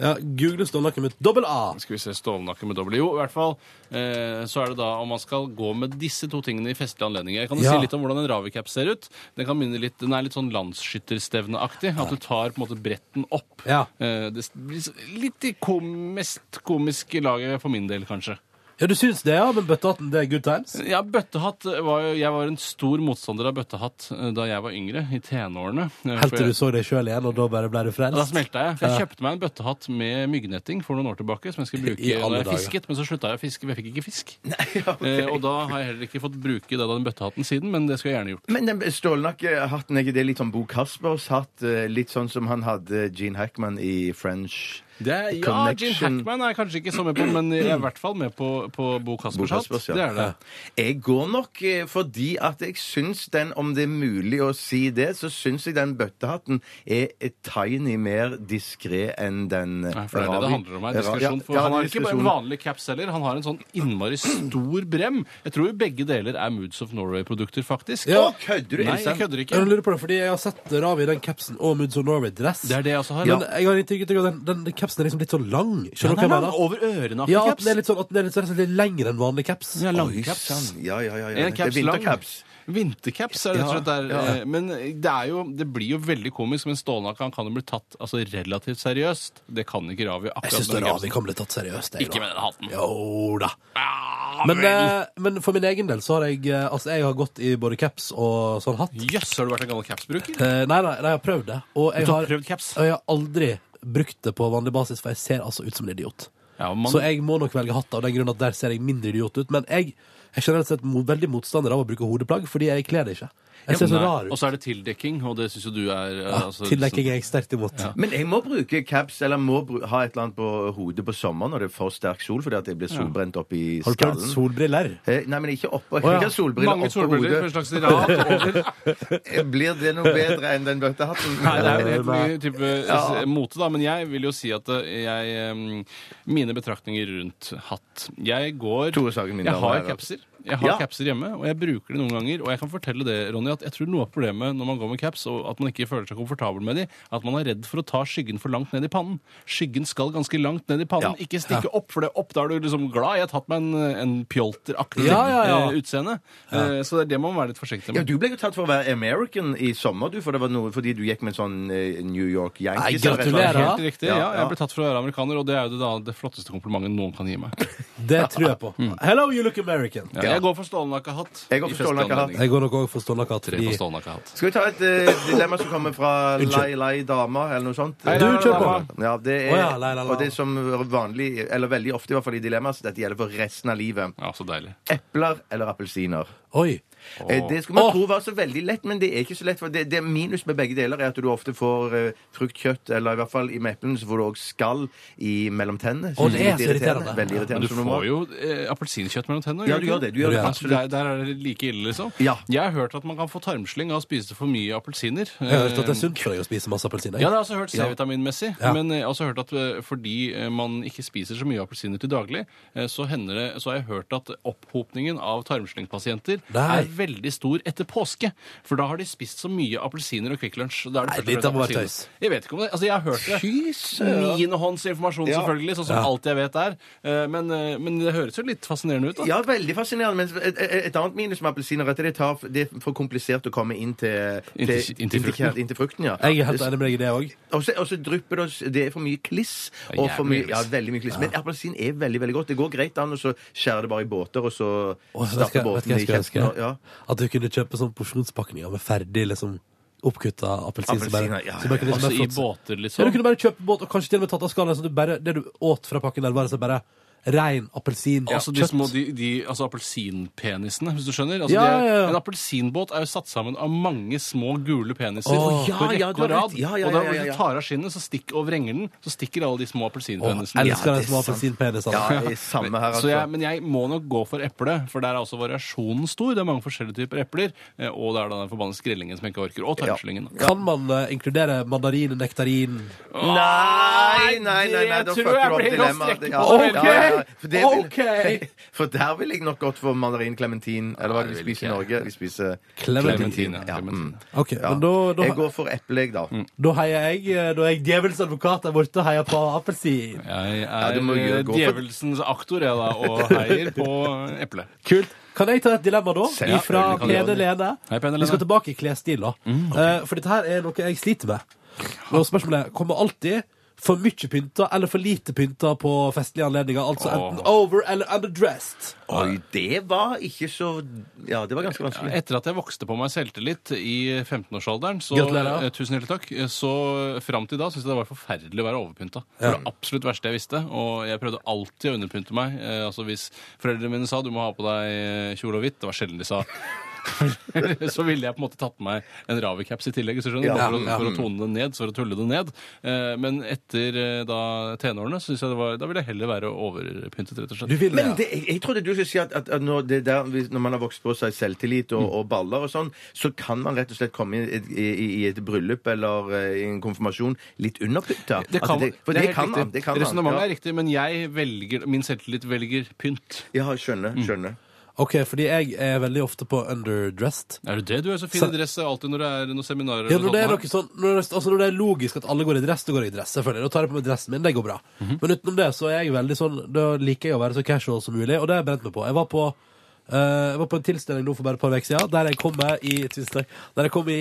[SPEAKER 3] Ja, Google stålnakken med dobbel A.
[SPEAKER 4] Skal vi se stålnakke med dobbel Jo, i hvert fall eh, så er det da om man skal gå med disse to tingene i festlige anledninger. Jeg kan jo
[SPEAKER 3] Ja.
[SPEAKER 4] si litt om hvordan en Ravi-cap ser ut. Den kan minne litt, den er litt sånn landsskytterstevneaktig. At du tar på en måte bretten opp.
[SPEAKER 3] Ja.
[SPEAKER 4] Eh, det blir s- litt i kom, mest komiske laget for min del, kanskje.
[SPEAKER 3] Ja, du syns det, ja? Men bøttehatten, det er good times?
[SPEAKER 4] Ja, bøttehatt var jo Jeg var en stor motstander av bøttehatt eh, da jeg var yngre, i tenårene. Eh,
[SPEAKER 3] Helt
[SPEAKER 4] for
[SPEAKER 3] til
[SPEAKER 4] jeg-
[SPEAKER 3] du så deg sjøl igjen, og da bare ble du frelst?
[SPEAKER 4] Da smelta jeg. For jeg kjøpte meg en bøttehatt med myggnetting for noen år tilbake. som jeg skulle
[SPEAKER 3] I
[SPEAKER 4] bruke
[SPEAKER 3] alle
[SPEAKER 4] når jeg
[SPEAKER 3] dager.
[SPEAKER 4] fisket, Men så slutta jeg å fiske, for jeg fikk ikke fisk. eh, og da har jeg heller ikke fått bruke det av den bøttehatten siden, men det skulle jeg gjerne gjort.
[SPEAKER 5] Men den stålnakkehatten, er ikke det litt sånn Bo Caspers hatt? eh, Litt sånn som han hadde Gene Hackman i French
[SPEAKER 4] ja, Ah, Gene Hackman er jeg kanskje ikke så med på, men jeg er i hvert fall med på, på
[SPEAKER 5] Bo
[SPEAKER 4] Bo Caspers hatt.
[SPEAKER 5] Caspers, ja.
[SPEAKER 4] Det er det.
[SPEAKER 5] Jeg går nok eh, fordi at jeg syns den, om det er mulig å si det, så syns jeg den bøttehatten er et tiny mer diskré enn den eh,
[SPEAKER 4] Nei, for det er det det
[SPEAKER 5] Ravi-
[SPEAKER 4] handler om her. Diskresjon. For
[SPEAKER 5] Ja, ja,
[SPEAKER 4] han har ikke bare en
[SPEAKER 5] diskresjon.
[SPEAKER 4] vanlig caps heller. Han har en sånn innmari stor brem. Jeg tror jo begge deler er Moods of Norway-produkter, faktisk.
[SPEAKER 3] Ja.
[SPEAKER 5] Å, kødder du?
[SPEAKER 4] Nei, jeg
[SPEAKER 5] Elsen?
[SPEAKER 4] kødder
[SPEAKER 3] Ja,
[SPEAKER 4] ikke.
[SPEAKER 3] Jeg lurer på det, fordi jeg har sett Ravi i den capsen og Moods of Norway-dress.
[SPEAKER 4] Det er det jeg også har.
[SPEAKER 3] Men jeg har inntrykk av at den, den, den capsen er liksom litt sånn lang. Skjønner du hva jeg mener?
[SPEAKER 4] over ørene
[SPEAKER 3] Ja, at den er litt sånn, at den er litt, sånn, rett og slett litt lengre enn vanlig caps.
[SPEAKER 4] Ja,
[SPEAKER 5] Oi,
[SPEAKER 4] langcaps.
[SPEAKER 5] sann. Ja, ja, ja. ja.
[SPEAKER 4] En
[SPEAKER 5] Det er
[SPEAKER 4] caps lang.
[SPEAKER 5] vintercaps.
[SPEAKER 4] Vintercaps er det rett og slett der. eh, Men det, er jo, det blir jo veldig komisk, men stålnakke han kan jo bli tatt altså, relativt seriøst. Det kan ikke Ravi
[SPEAKER 3] Jeg
[SPEAKER 4] akkurat
[SPEAKER 3] syns
[SPEAKER 4] med den
[SPEAKER 3] Ravi
[SPEAKER 4] capsen.
[SPEAKER 3] kan bli tatt seriøst. jeg,
[SPEAKER 4] sånn Ikke med
[SPEAKER 3] da.
[SPEAKER 4] den hatten.
[SPEAKER 3] Jo da.
[SPEAKER 4] Ah,
[SPEAKER 3] Men,
[SPEAKER 4] vel.
[SPEAKER 3] eh, men for min egen del så har jeg eh, Altså, jeg har gått i både caps og sånn hatt.
[SPEAKER 4] Jøss, har du vært en gammel capsbruker?
[SPEAKER 3] Eh, nei, nei, nei, jeg har prøvd det. Og jeg
[SPEAKER 4] Du har
[SPEAKER 3] har,
[SPEAKER 4] prøvd caps?
[SPEAKER 3] og jeg har aldri brukt det på vanlig basis, for jeg ser altså ut som en idiot.
[SPEAKER 4] Ja, man-
[SPEAKER 3] Så jeg må nok velge hatt av den grunn at der ser jeg mindre idiot ut. Men jeg, jeg er generelt sett mo- veldig motstander av å bruke hodeplagg, fordi jeg kler det ikke. Jeg ser så
[SPEAKER 4] Nei.
[SPEAKER 3] rar
[SPEAKER 4] Og
[SPEAKER 3] ut.
[SPEAKER 4] så er det tildekking, og det syns jo du er eh,
[SPEAKER 3] Ja,
[SPEAKER 4] altså,
[SPEAKER 3] Tildekking er jeg sterkt imot.
[SPEAKER 5] Men jeg må bruke caps, eller må bru ha et eller annet på hodet på sommeren når det er for sterk sol, fordi at jeg blir solbrent opp i
[SPEAKER 3] Har du prøvd
[SPEAKER 5] skallen.
[SPEAKER 3] solbriller?
[SPEAKER 5] Eh, Nei, men ikke oppå. Jeg
[SPEAKER 3] Å,
[SPEAKER 5] kan
[SPEAKER 3] ja.
[SPEAKER 5] ikke ha solbriller
[SPEAKER 4] Mange
[SPEAKER 5] oppå
[SPEAKER 4] solbriller på en
[SPEAKER 5] hodet.
[SPEAKER 4] slags rad over
[SPEAKER 5] Eh, Blir det noe bedre enn den bøttehatten?
[SPEAKER 4] Nei, det er jo helt ny type s- mote, da. Men jeg vil jo si at eh, jeg em, Mine betraktninger rundt hatt Jeg går
[SPEAKER 5] Tore Sagen, mine
[SPEAKER 4] Jeg
[SPEAKER 5] damer og
[SPEAKER 4] har
[SPEAKER 5] herrer.
[SPEAKER 4] capser. Jeg har
[SPEAKER 5] Ja.
[SPEAKER 4] capser hjemme, og jeg bruker det noen ganger. Og jeg kan fortelle det, Ronny, at jeg tror noe av problemet når man går med caps, og at man ikke føler seg komfortabel med de, at man er redd for å ta skyggen for langt ned i pannen. Skyggen skal ganske langt ned i
[SPEAKER 5] Ja.
[SPEAKER 4] pannen, ikke stikke opp, for det er opp, da er du liksom glad. Jeg har tatt meg en, en pjolteraktig
[SPEAKER 3] Ja, ja, ja.
[SPEAKER 4] eh, utseende. Eh, Så det er det man må være litt forsiktig
[SPEAKER 5] Ja,
[SPEAKER 4] med.
[SPEAKER 5] Du ble jo tatt for å være American i sommer, du, for det var noe, fordi du gikk med en sånn eh, New York
[SPEAKER 3] Nei,
[SPEAKER 5] Yankees. eller
[SPEAKER 3] gratulerer,
[SPEAKER 5] et eller annet.
[SPEAKER 3] da.
[SPEAKER 4] Helt riktig.
[SPEAKER 5] Ja,
[SPEAKER 4] Ja,
[SPEAKER 5] ja.
[SPEAKER 4] jeg ble tatt for å være amerikaner, og det er jo det, da, det flotteste komplimentet noen kan gi meg.
[SPEAKER 3] Det tror jeg på. Hello, you look American.
[SPEAKER 4] Mm. Ja, Jeg går for stålnakkehatt.
[SPEAKER 5] Jeg går for
[SPEAKER 4] I festlige
[SPEAKER 5] stålnakkehatt.
[SPEAKER 4] anledninger.
[SPEAKER 3] Jeg går nok òg for stålnakkehatt.
[SPEAKER 4] Tre på
[SPEAKER 3] fordi-
[SPEAKER 4] stålnakkehatt.
[SPEAKER 5] Skal vi ta et eh, dilemma som kommer fra Lai
[SPEAKER 3] Unnskyld.
[SPEAKER 5] Lai Dama, eller noe sånt?
[SPEAKER 4] Hei, Du, Lai Lai kjør på.
[SPEAKER 5] Ja, det er,
[SPEAKER 3] Å ja, Lai Lai Dama.
[SPEAKER 5] Og det er som vanlig, eller veldig ofte i hvert fall i dilemma, så dette gjelder for resten av livet.
[SPEAKER 4] Ja, så deilig.
[SPEAKER 5] Epler eller appelsiner?
[SPEAKER 3] Oi.
[SPEAKER 5] Eh, Det skulle man tro var så veldig lett, men det er ikke så lett. For det, det minus med begge deler er at du ofte får eh, frukt, kjøtt, eller i hvert fall i med eplene så får du òg skall i mellom tennene. som
[SPEAKER 3] Å, det er
[SPEAKER 5] litt
[SPEAKER 3] så irriterende.
[SPEAKER 5] Veldig
[SPEAKER 4] Men
[SPEAKER 5] irriterende.
[SPEAKER 4] du
[SPEAKER 5] som normalt.
[SPEAKER 4] får jo eh, appelsinkjøtt mellom tennene.
[SPEAKER 5] Ja, du gjør
[SPEAKER 4] ikke
[SPEAKER 5] det, du gjør det,
[SPEAKER 4] Ja.
[SPEAKER 5] absolutt.
[SPEAKER 4] Der, der er det like ille, liksom.
[SPEAKER 5] Ja.
[SPEAKER 4] Jeg har hørt at man kan få tarmslyng av å spise for mye appelsiner.
[SPEAKER 3] Jeg har hørt at det er sunt for deg å spise masse appelsin. jeg.
[SPEAKER 4] Eh, Ja, det har jeg også hørt C-vitaminmessig.
[SPEAKER 3] Ja.
[SPEAKER 4] Men jeg har også hørt at eh, fordi eh, man ikke spiser så mye appelsiner til daglig, eh, så, hender det, så har jeg hørt at opphopningen av tarmslyngpasienter
[SPEAKER 3] Nei.
[SPEAKER 4] er veldig stor etter påske. For da har de spist så mye appelsiner og Kvikk Lunsj. og Da er det
[SPEAKER 3] Nei,
[SPEAKER 4] først og
[SPEAKER 3] dette
[SPEAKER 4] fremst
[SPEAKER 3] må være
[SPEAKER 4] appelsiner.
[SPEAKER 3] tøys.
[SPEAKER 4] Jeg vet ikke om det. Altså, jeg har hørt det. Niendehåndsinformasjon,
[SPEAKER 5] Ja.
[SPEAKER 4] selvfølgelig, sånn som alt jeg vet er. Eh, Men, eh, men det høres jo litt fascinerende ut, da.
[SPEAKER 5] Ja, veldig fascinerende. Men et, et- et annet minus med appelsiner er at det, tar, det er for komplisert å komme inn til,
[SPEAKER 4] Inntil- inntil frukten.
[SPEAKER 5] kjer- inntil frukten ja.
[SPEAKER 3] Jeg er helt enig med deg i det òg.
[SPEAKER 5] Og så- og så drypper det oss- Det er for mye kliss.
[SPEAKER 4] Det er
[SPEAKER 5] Og for
[SPEAKER 4] jævlig
[SPEAKER 5] mye,
[SPEAKER 4] mye
[SPEAKER 5] ja,
[SPEAKER 4] kliss.
[SPEAKER 5] veldig mye kliss. Men appelsin er veldig veldig godt. Det går greit an, og så skjærer det bare i båter, og så
[SPEAKER 3] Vet
[SPEAKER 5] stapper
[SPEAKER 3] du hva
[SPEAKER 5] båten i
[SPEAKER 3] jeg skulle ønske?
[SPEAKER 5] kjeften. og- Ja.
[SPEAKER 3] At du kunne kjøpe sånn porsjonspakninger med ferdig liksom, oppkutta appelsin. som bare-
[SPEAKER 5] Appelsiner, ja,
[SPEAKER 3] som bare kunne
[SPEAKER 4] Altså
[SPEAKER 3] liksom bare
[SPEAKER 4] i
[SPEAKER 3] flott-
[SPEAKER 4] båter,
[SPEAKER 3] Ja, du
[SPEAKER 4] liksom.
[SPEAKER 3] kunne bare kjøpe båt, og kanskje til og med tatt av skallen. Så du bare, det du åt fra pakken der, var altså bare rein appelsin.
[SPEAKER 4] Altså, de
[SPEAKER 3] Kjøtt.
[SPEAKER 4] små, de, de, altså appelsinpenisene, hvis du skjønner. Altså,
[SPEAKER 3] Ja,
[SPEAKER 4] de er,
[SPEAKER 3] ja, ja.
[SPEAKER 4] En appelsinbåt er jo satt sammen av mange små gule peniser
[SPEAKER 3] Åh.
[SPEAKER 4] på
[SPEAKER 5] Ja, ja,
[SPEAKER 4] rekke
[SPEAKER 5] du har
[SPEAKER 4] og rad.
[SPEAKER 5] rett. Ja, ja,
[SPEAKER 4] og da,
[SPEAKER 5] ja, ja,
[SPEAKER 4] hvis
[SPEAKER 5] ja.
[SPEAKER 4] du tar av skinnet så stikk, og vrenger den, så stikker alle de små
[SPEAKER 3] Åh,
[SPEAKER 4] appelsinpenisene.
[SPEAKER 3] elsker
[SPEAKER 5] Ja,
[SPEAKER 3] den
[SPEAKER 5] det er
[SPEAKER 3] små
[SPEAKER 5] sant.
[SPEAKER 3] appelsinpenis.
[SPEAKER 5] Ja,
[SPEAKER 3] Altså.
[SPEAKER 5] det er samme her,
[SPEAKER 4] Så
[SPEAKER 5] altså.
[SPEAKER 4] jeg, men jeg må nok gå for eple, for der er også variasjonen stor. Det er mange forskjellige typer epler, eh, og det er da den forbanna skrellingen som jeg ikke orker, og tarmslingen. da.
[SPEAKER 3] Kan man eh, inkludere mandarin og nektarin?
[SPEAKER 5] Nei, nei, nei, nei, da
[SPEAKER 4] Det
[SPEAKER 5] fucker
[SPEAKER 4] tror jeg
[SPEAKER 5] du opp
[SPEAKER 4] blir å
[SPEAKER 5] dilemmaet.
[SPEAKER 4] strekke
[SPEAKER 5] Ja,
[SPEAKER 4] på.
[SPEAKER 5] ja, ja, ja. For det vil-
[SPEAKER 3] Ok.
[SPEAKER 5] For der ville jeg nok gått for mandarin clementin. Eller hva er det vi
[SPEAKER 4] vil
[SPEAKER 5] spiser i
[SPEAKER 4] ikke.
[SPEAKER 5] Norge? Vi spiser
[SPEAKER 3] Clementin.
[SPEAKER 4] Clementin, ja.
[SPEAKER 5] Ja,
[SPEAKER 4] Clementin. Mm.
[SPEAKER 5] mm.
[SPEAKER 3] Ok,
[SPEAKER 5] Ja.
[SPEAKER 3] men da, da,
[SPEAKER 5] Jeg går for eple, jeg, da.
[SPEAKER 3] da heier jeg eh, Da er jeg djevelens advokat der borte og heier på appelsin.
[SPEAKER 4] Jeg
[SPEAKER 5] du må
[SPEAKER 4] er
[SPEAKER 5] jo
[SPEAKER 4] eh,
[SPEAKER 5] gå for-
[SPEAKER 4] djevelsens aktor, jeg da, og heier på eple.
[SPEAKER 3] Kult. Kan jeg ta et dilemma, da?
[SPEAKER 5] Selvfølgelig
[SPEAKER 3] Fra
[SPEAKER 5] kan du gjøre
[SPEAKER 3] Pene
[SPEAKER 5] det.
[SPEAKER 3] Lene.
[SPEAKER 4] Hei, Pene
[SPEAKER 3] Vi
[SPEAKER 4] Lene.
[SPEAKER 3] skal tilbake i klesstil, da. Eh, For dette her er noe jeg sliter med. Og spørsmålet er kommer alltid for mye pynta eller for lite pynta på festlige anledninger. Altså enten over eller underdressed.
[SPEAKER 5] Oi, det var ikke så Ja, det var ganske vanskelig.
[SPEAKER 4] Etter at jeg vokste på meg selvtillit i 15-årsalderen, så
[SPEAKER 3] Gratulerer.
[SPEAKER 4] eh, tusen hjertelig takk, eh, så fram til da syntes jeg det var forferdelig å være overpynta. Det var det absolutt verste jeg visste, og jeg prøvde alltid å underpynte meg. Eh, altså Hvis foreldrene mine sa du må ha på deg eh, kjole og hvitt, det var sjelden de sa. så ville jeg på en måte tatt på meg en Ravi-caps i tillegg, hvis du skjønner,
[SPEAKER 5] Ja,
[SPEAKER 4] bare for,
[SPEAKER 5] ja.
[SPEAKER 4] å, for å tone det ned, for å tulle det ned. Eh, men etter eh, da tenårene, så synes jeg det var, da ville jeg heller være overpyntet, rett og slett.
[SPEAKER 3] Du vil
[SPEAKER 5] Men det, jeg, jeg trodde du skulle si at, at, at når, det der, hvis- når man har vokst på seg selvtillit og, og baller og sånn, så kan man rett og slett komme i, et- i, i et bryllup eller eh, i en konfirmasjon litt underpynta.
[SPEAKER 4] Det kan,
[SPEAKER 5] At det, for
[SPEAKER 4] er
[SPEAKER 5] det,
[SPEAKER 4] helt
[SPEAKER 5] kan
[SPEAKER 4] riktig.
[SPEAKER 5] man. Det kan man.
[SPEAKER 4] Resonnementet
[SPEAKER 5] Ja.
[SPEAKER 4] er riktig, men jeg velger, min selvtillit velger pynt.
[SPEAKER 5] Ja, skjønner. skjønner.
[SPEAKER 3] OK, fordi jeg er veldig ofte på underdressed.
[SPEAKER 4] Er du det? Du er så fin
[SPEAKER 3] Så-
[SPEAKER 4] i dress alltid når det er noen seminarer.
[SPEAKER 3] Ja,
[SPEAKER 4] eller
[SPEAKER 3] når det, er
[SPEAKER 4] sånt.
[SPEAKER 3] noe sånn, når, det, altså når det er logisk at alle går i dress, da går jeg i dress. selvfølgelig. Da tar jeg på meg dressen min, det går bra.
[SPEAKER 4] Mhm.
[SPEAKER 3] Men utenom det så er jeg veldig sånn, da liker jeg å være så casual som mulig, og det har jeg brent meg på. Jeg var på, eh, jeg var på en tilstelning nå for bare et par uker siden, der jeg kom med i, tusen takk, der jeg kom i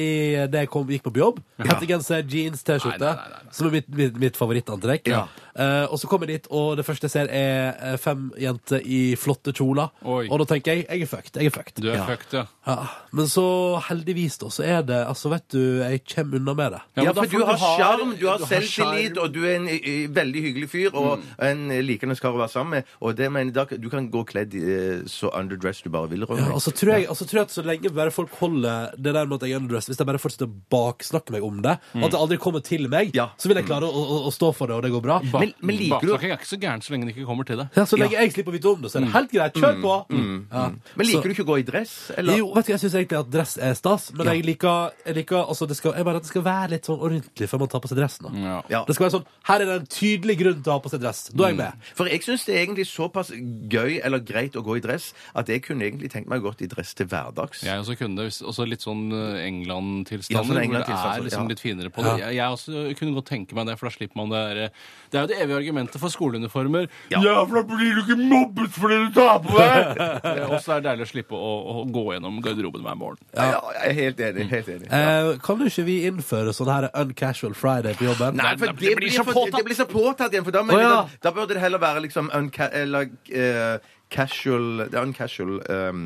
[SPEAKER 3] det jeg kom, gikk på jobb. Hettegenser, jeans,
[SPEAKER 4] Nei, nei,
[SPEAKER 3] T-skjorte,
[SPEAKER 4] nei, nei.
[SPEAKER 3] som er mitt, mitt, mitt favorittantrekk.
[SPEAKER 5] Ja.
[SPEAKER 3] Eh, og så kommer jeg dit, og det første jeg ser er eh, fem jenter i flotte kjoler.
[SPEAKER 4] Oi.
[SPEAKER 3] Og da tenker jeg, jeg er fucked, jeg er fucked.
[SPEAKER 4] Du er fucked, ja.
[SPEAKER 3] Ja, men så heldigvis da, så er det Altså, vet du, jeg kommer unna med det.
[SPEAKER 5] Ja,
[SPEAKER 4] men da
[SPEAKER 5] for
[SPEAKER 4] får
[SPEAKER 5] du har sjarm, du har
[SPEAKER 4] du
[SPEAKER 5] selvtillit,
[SPEAKER 4] sjarm.
[SPEAKER 5] og du er en eh, veldig hyggelig fyr og en likende kar å være sammen med. Og det mener jeg, da kan- du kan gå kledd eh, så underdressed du bare vil. Ronny.
[SPEAKER 3] Ja, altså, tror jeg, altså, tror jeg at så lenge bare folk holder det der med at jeg er underdressed, hvis de bare fortsetter å baksnakke meg om det, at det aldri kommer til meg,
[SPEAKER 5] Ja.
[SPEAKER 3] så vil jeg klare å, å, å stå for det, og det går bra.
[SPEAKER 4] Bak,
[SPEAKER 5] Men- men liker du-
[SPEAKER 4] Baksnakking er ikke så gæren så lenge den ikke kommer til deg.
[SPEAKER 3] Ja, så lenge jeg slipper å vite om det, så er
[SPEAKER 5] Mm.
[SPEAKER 3] det helt greit. Kjør på! Mm. Ja.
[SPEAKER 5] Men
[SPEAKER 3] Så-
[SPEAKER 5] liker du ikke å gå i dress? Eller?
[SPEAKER 3] Jo, vet du, jeg syns egentlig at dress er stas, men jeg liker, jeg liker altså, det skal, jeg mener at det skal være litt sånn ordentlig før man tar på seg dressen. Da.
[SPEAKER 4] Ja.
[SPEAKER 5] Ja. Mm.
[SPEAKER 3] Det skal være sånn Her er det en tydelig grunn til å ha på seg dress. Da er jeg med.
[SPEAKER 5] For jeg syns det er egentlig såpass gøy eller greit å gå i dress at jeg kunne egentlig tenkt meg å gå i dress til hverdags.
[SPEAKER 4] Jeg også kunne det. hvis- Også litt sånn eh,
[SPEAKER 5] Ja,
[SPEAKER 4] England-tilstander.
[SPEAKER 5] sånn
[SPEAKER 4] hvor det
[SPEAKER 5] England-tilstander,
[SPEAKER 4] er
[SPEAKER 5] ja.
[SPEAKER 4] liksom litt finere på det. Jeg, jeg også kunne godt tenke meg det, for da slipper man det der, eh, Det er jo det evige argumentet for skoleuniformer.
[SPEAKER 5] Ja.
[SPEAKER 4] for da blir du ikke mobbet fordi du tar på deg! Og så er det deilig å slippe å, å gå gjennom garderoben hver morgen.
[SPEAKER 5] Ja, jeg er helt enig. helt enig.
[SPEAKER 3] Eh, kan du ikke vi innføre sånn her uncasual friday på jobben?
[SPEAKER 5] Nei, for
[SPEAKER 4] men
[SPEAKER 5] det,
[SPEAKER 4] det
[SPEAKER 5] blir
[SPEAKER 4] blir
[SPEAKER 5] så
[SPEAKER 4] så
[SPEAKER 5] for,
[SPEAKER 4] påtatt.
[SPEAKER 5] det blir så påtatt igjen, for da, mener
[SPEAKER 3] Å,
[SPEAKER 5] jeg
[SPEAKER 3] ja.
[SPEAKER 5] at- da burde det heller være liksom unca eller, eh, casual det er Uncasual um,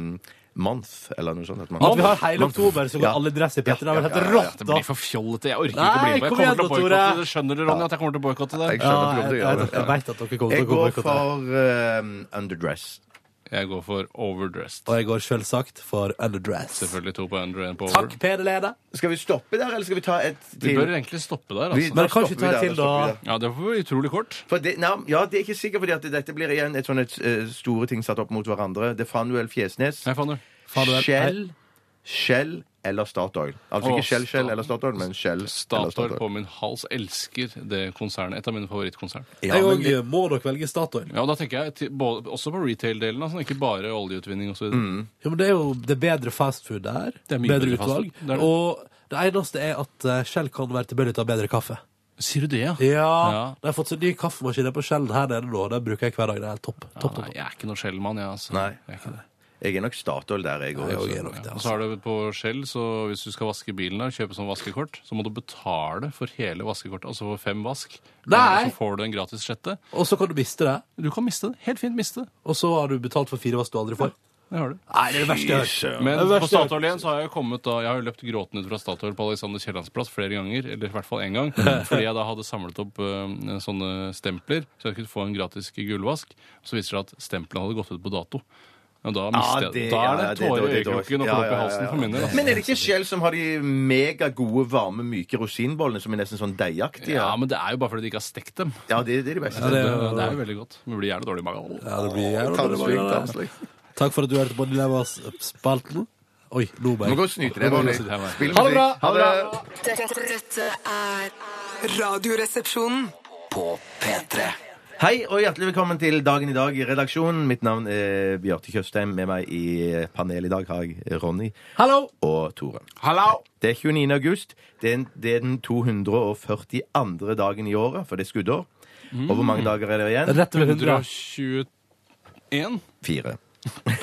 [SPEAKER 5] month, eller noe sånt. At man,
[SPEAKER 3] At vi har hele oktober, så går
[SPEAKER 5] Ja.
[SPEAKER 3] alle i dress i Petter. Det
[SPEAKER 5] Ja,
[SPEAKER 3] er
[SPEAKER 5] ja,
[SPEAKER 3] vel helt
[SPEAKER 5] ja, ja, ja.
[SPEAKER 3] rått,
[SPEAKER 4] Det
[SPEAKER 3] da!
[SPEAKER 4] blir for fjollete. Jeg orker
[SPEAKER 3] Nei,
[SPEAKER 4] ikke å bli med. Jeg
[SPEAKER 3] kom
[SPEAKER 4] kommer
[SPEAKER 3] igjen
[SPEAKER 4] til å
[SPEAKER 3] da, Tore.
[SPEAKER 4] boykotte det. Skjønner du, Ronny, at jeg kommer til å boykotte
[SPEAKER 5] Jeg
[SPEAKER 4] det?
[SPEAKER 3] Ja,
[SPEAKER 5] skjønner at du
[SPEAKER 3] jeg,
[SPEAKER 5] gjør
[SPEAKER 3] jeg,
[SPEAKER 5] det.
[SPEAKER 3] jeg vet at dere kommer
[SPEAKER 5] Jeg
[SPEAKER 3] til å
[SPEAKER 5] går
[SPEAKER 3] boikotte. det.
[SPEAKER 5] for eh, underdress.
[SPEAKER 4] Jeg går for overdressed.
[SPEAKER 3] Og jeg går selvsagt for underdress.
[SPEAKER 4] Selvfølgelig to på under og en på over.
[SPEAKER 3] Takk, Peder Lede.
[SPEAKER 5] Skal vi stoppe der, eller skal vi ta et
[SPEAKER 4] Vi
[SPEAKER 5] til?
[SPEAKER 4] bør egentlig stoppe der,
[SPEAKER 5] Vi-
[SPEAKER 4] altså.
[SPEAKER 5] da
[SPEAKER 3] Men kanskje
[SPEAKER 5] stopper vi
[SPEAKER 3] ta
[SPEAKER 5] der,
[SPEAKER 3] et til,
[SPEAKER 5] stopper vi
[SPEAKER 3] da.
[SPEAKER 5] der.
[SPEAKER 4] Ja, det var utrolig kort.
[SPEAKER 5] For det, nei, ja, det er ikke sikkert, fordi at dette blir igjen et sånn et eh, store ting satt opp mot hverandre. Det er Fanuel Fjesnes.
[SPEAKER 4] Nei, faen du.
[SPEAKER 3] Fanuel-
[SPEAKER 5] Shell, Shell eller Statoil. Altså
[SPEAKER 4] Åh,
[SPEAKER 5] ikke Shell, Shell
[SPEAKER 4] Statoil.
[SPEAKER 5] eller Statoil, men Shell eller
[SPEAKER 4] Statoil på
[SPEAKER 5] Statoil.
[SPEAKER 4] min hals elsker det konsernet. Et av mine favorittkonsern.
[SPEAKER 5] Ja, men
[SPEAKER 3] Jeg òg
[SPEAKER 5] det-
[SPEAKER 3] må nok velge Statoil.
[SPEAKER 4] Ja, og da tenker jeg til, både, også på retail-delen, altså, ikke bare oljeutvinning osv. Mm.
[SPEAKER 3] Jo, men det er jo det er bedre fastfood der.
[SPEAKER 4] Det er mye
[SPEAKER 3] Bedre
[SPEAKER 4] bedre fast
[SPEAKER 3] utvalg.
[SPEAKER 4] food. Det er det.
[SPEAKER 3] Og det eneste er at eh, Shell kan være tilbøyelig til å ha bedre kaffe.
[SPEAKER 4] Sier du det, ja?
[SPEAKER 3] Ja, De har fått seg ny kaffemaskin på Shell her nede nå, og den bruker jeg hver dag. Det er helt topp. topp, topp,
[SPEAKER 4] Nei,
[SPEAKER 3] topp.
[SPEAKER 4] jeg er ikke noe Shell-mann, jeg, altså.
[SPEAKER 5] Nei.
[SPEAKER 4] Jeg er ikke det.
[SPEAKER 5] Jeg er nok Statoil der, jeg
[SPEAKER 3] Jeg òg
[SPEAKER 5] òg.
[SPEAKER 3] er nok det,
[SPEAKER 4] Og
[SPEAKER 3] altså.
[SPEAKER 4] så har du på Shell, så hvis du skal vaske bilen der, kjøpe sånn vaskekort, så må du betale for hele vaskekortet, altså for fem vask.
[SPEAKER 3] Nei!
[SPEAKER 4] Og Så får du en gratis sjette.
[SPEAKER 3] Og så kan du miste det.
[SPEAKER 4] Du kan miste det. Helt fint miste det.
[SPEAKER 3] Og så har du betalt for fire vask du aldri får.
[SPEAKER 4] Det har du.
[SPEAKER 3] Nei, det er det verste jeg har hørt.
[SPEAKER 4] Men
[SPEAKER 3] Det
[SPEAKER 4] på
[SPEAKER 3] verste jeg har hørt.
[SPEAKER 4] Statoil igjen så har jeg jo kommet da, jeg har jo løpt gråtende ut fra Statoil på Alexander Kiellands plass flere ganger, eller i hvert fall én gang, fordi jeg da hadde samlet opp eh, sånne stempler, så jeg kunne få en gratis gullvask. Så viser det seg at stemplene hadde gått ut på dato. Og da, mister jeg,
[SPEAKER 5] det-
[SPEAKER 4] da
[SPEAKER 5] ja,
[SPEAKER 4] er det
[SPEAKER 5] ja, det-
[SPEAKER 4] tårer i
[SPEAKER 5] det- det-
[SPEAKER 4] øyekroken og
[SPEAKER 5] ja, ja,
[SPEAKER 4] klump i
[SPEAKER 5] ja,
[SPEAKER 4] halsen
[SPEAKER 5] ja.
[SPEAKER 4] for min del. altså.
[SPEAKER 5] Men er det ikke Shell som har de megagode, varme, myke rosinbollene som er nesten sånn deigaktige?
[SPEAKER 4] Ja,
[SPEAKER 5] Ja,
[SPEAKER 4] men det er jo bare fordi de ikke har stekt dem.
[SPEAKER 5] det, det er de beste.
[SPEAKER 4] Det, det er jo veldig godt. Men det Eh, blir gjerne dårlig i magen.
[SPEAKER 3] Ja, det blir jævla dårlig
[SPEAKER 5] Tannslik,
[SPEAKER 3] mange altså.
[SPEAKER 5] tannslik.
[SPEAKER 3] der. Takk for at du hørte på Dilemmas-spalten. Oi, nå
[SPEAKER 5] Du
[SPEAKER 3] ble
[SPEAKER 5] må gå og
[SPEAKER 3] jeg
[SPEAKER 5] snyte deg. Ronny.
[SPEAKER 4] snyte deg.
[SPEAKER 5] Spill
[SPEAKER 3] Ha det bra!
[SPEAKER 5] musikk. Ha det!
[SPEAKER 6] Dette, dette er Radioresepsjonen.
[SPEAKER 2] På P3.
[SPEAKER 5] Hei og hjertelig velkommen til Dagen i dag i redaksjonen. Mitt navn er Bjarte Tjøstheim. Med meg i panelet i dag har jeg Ronny
[SPEAKER 3] Hallo!
[SPEAKER 5] og Tore. Det er 29. august. Det er, en- det er den 242. dagen i året, for det er skuddår. Og hvor mange dager er det igjen?
[SPEAKER 3] Rett over 100.
[SPEAKER 4] 121
[SPEAKER 5] Fire.
[SPEAKER 3] Er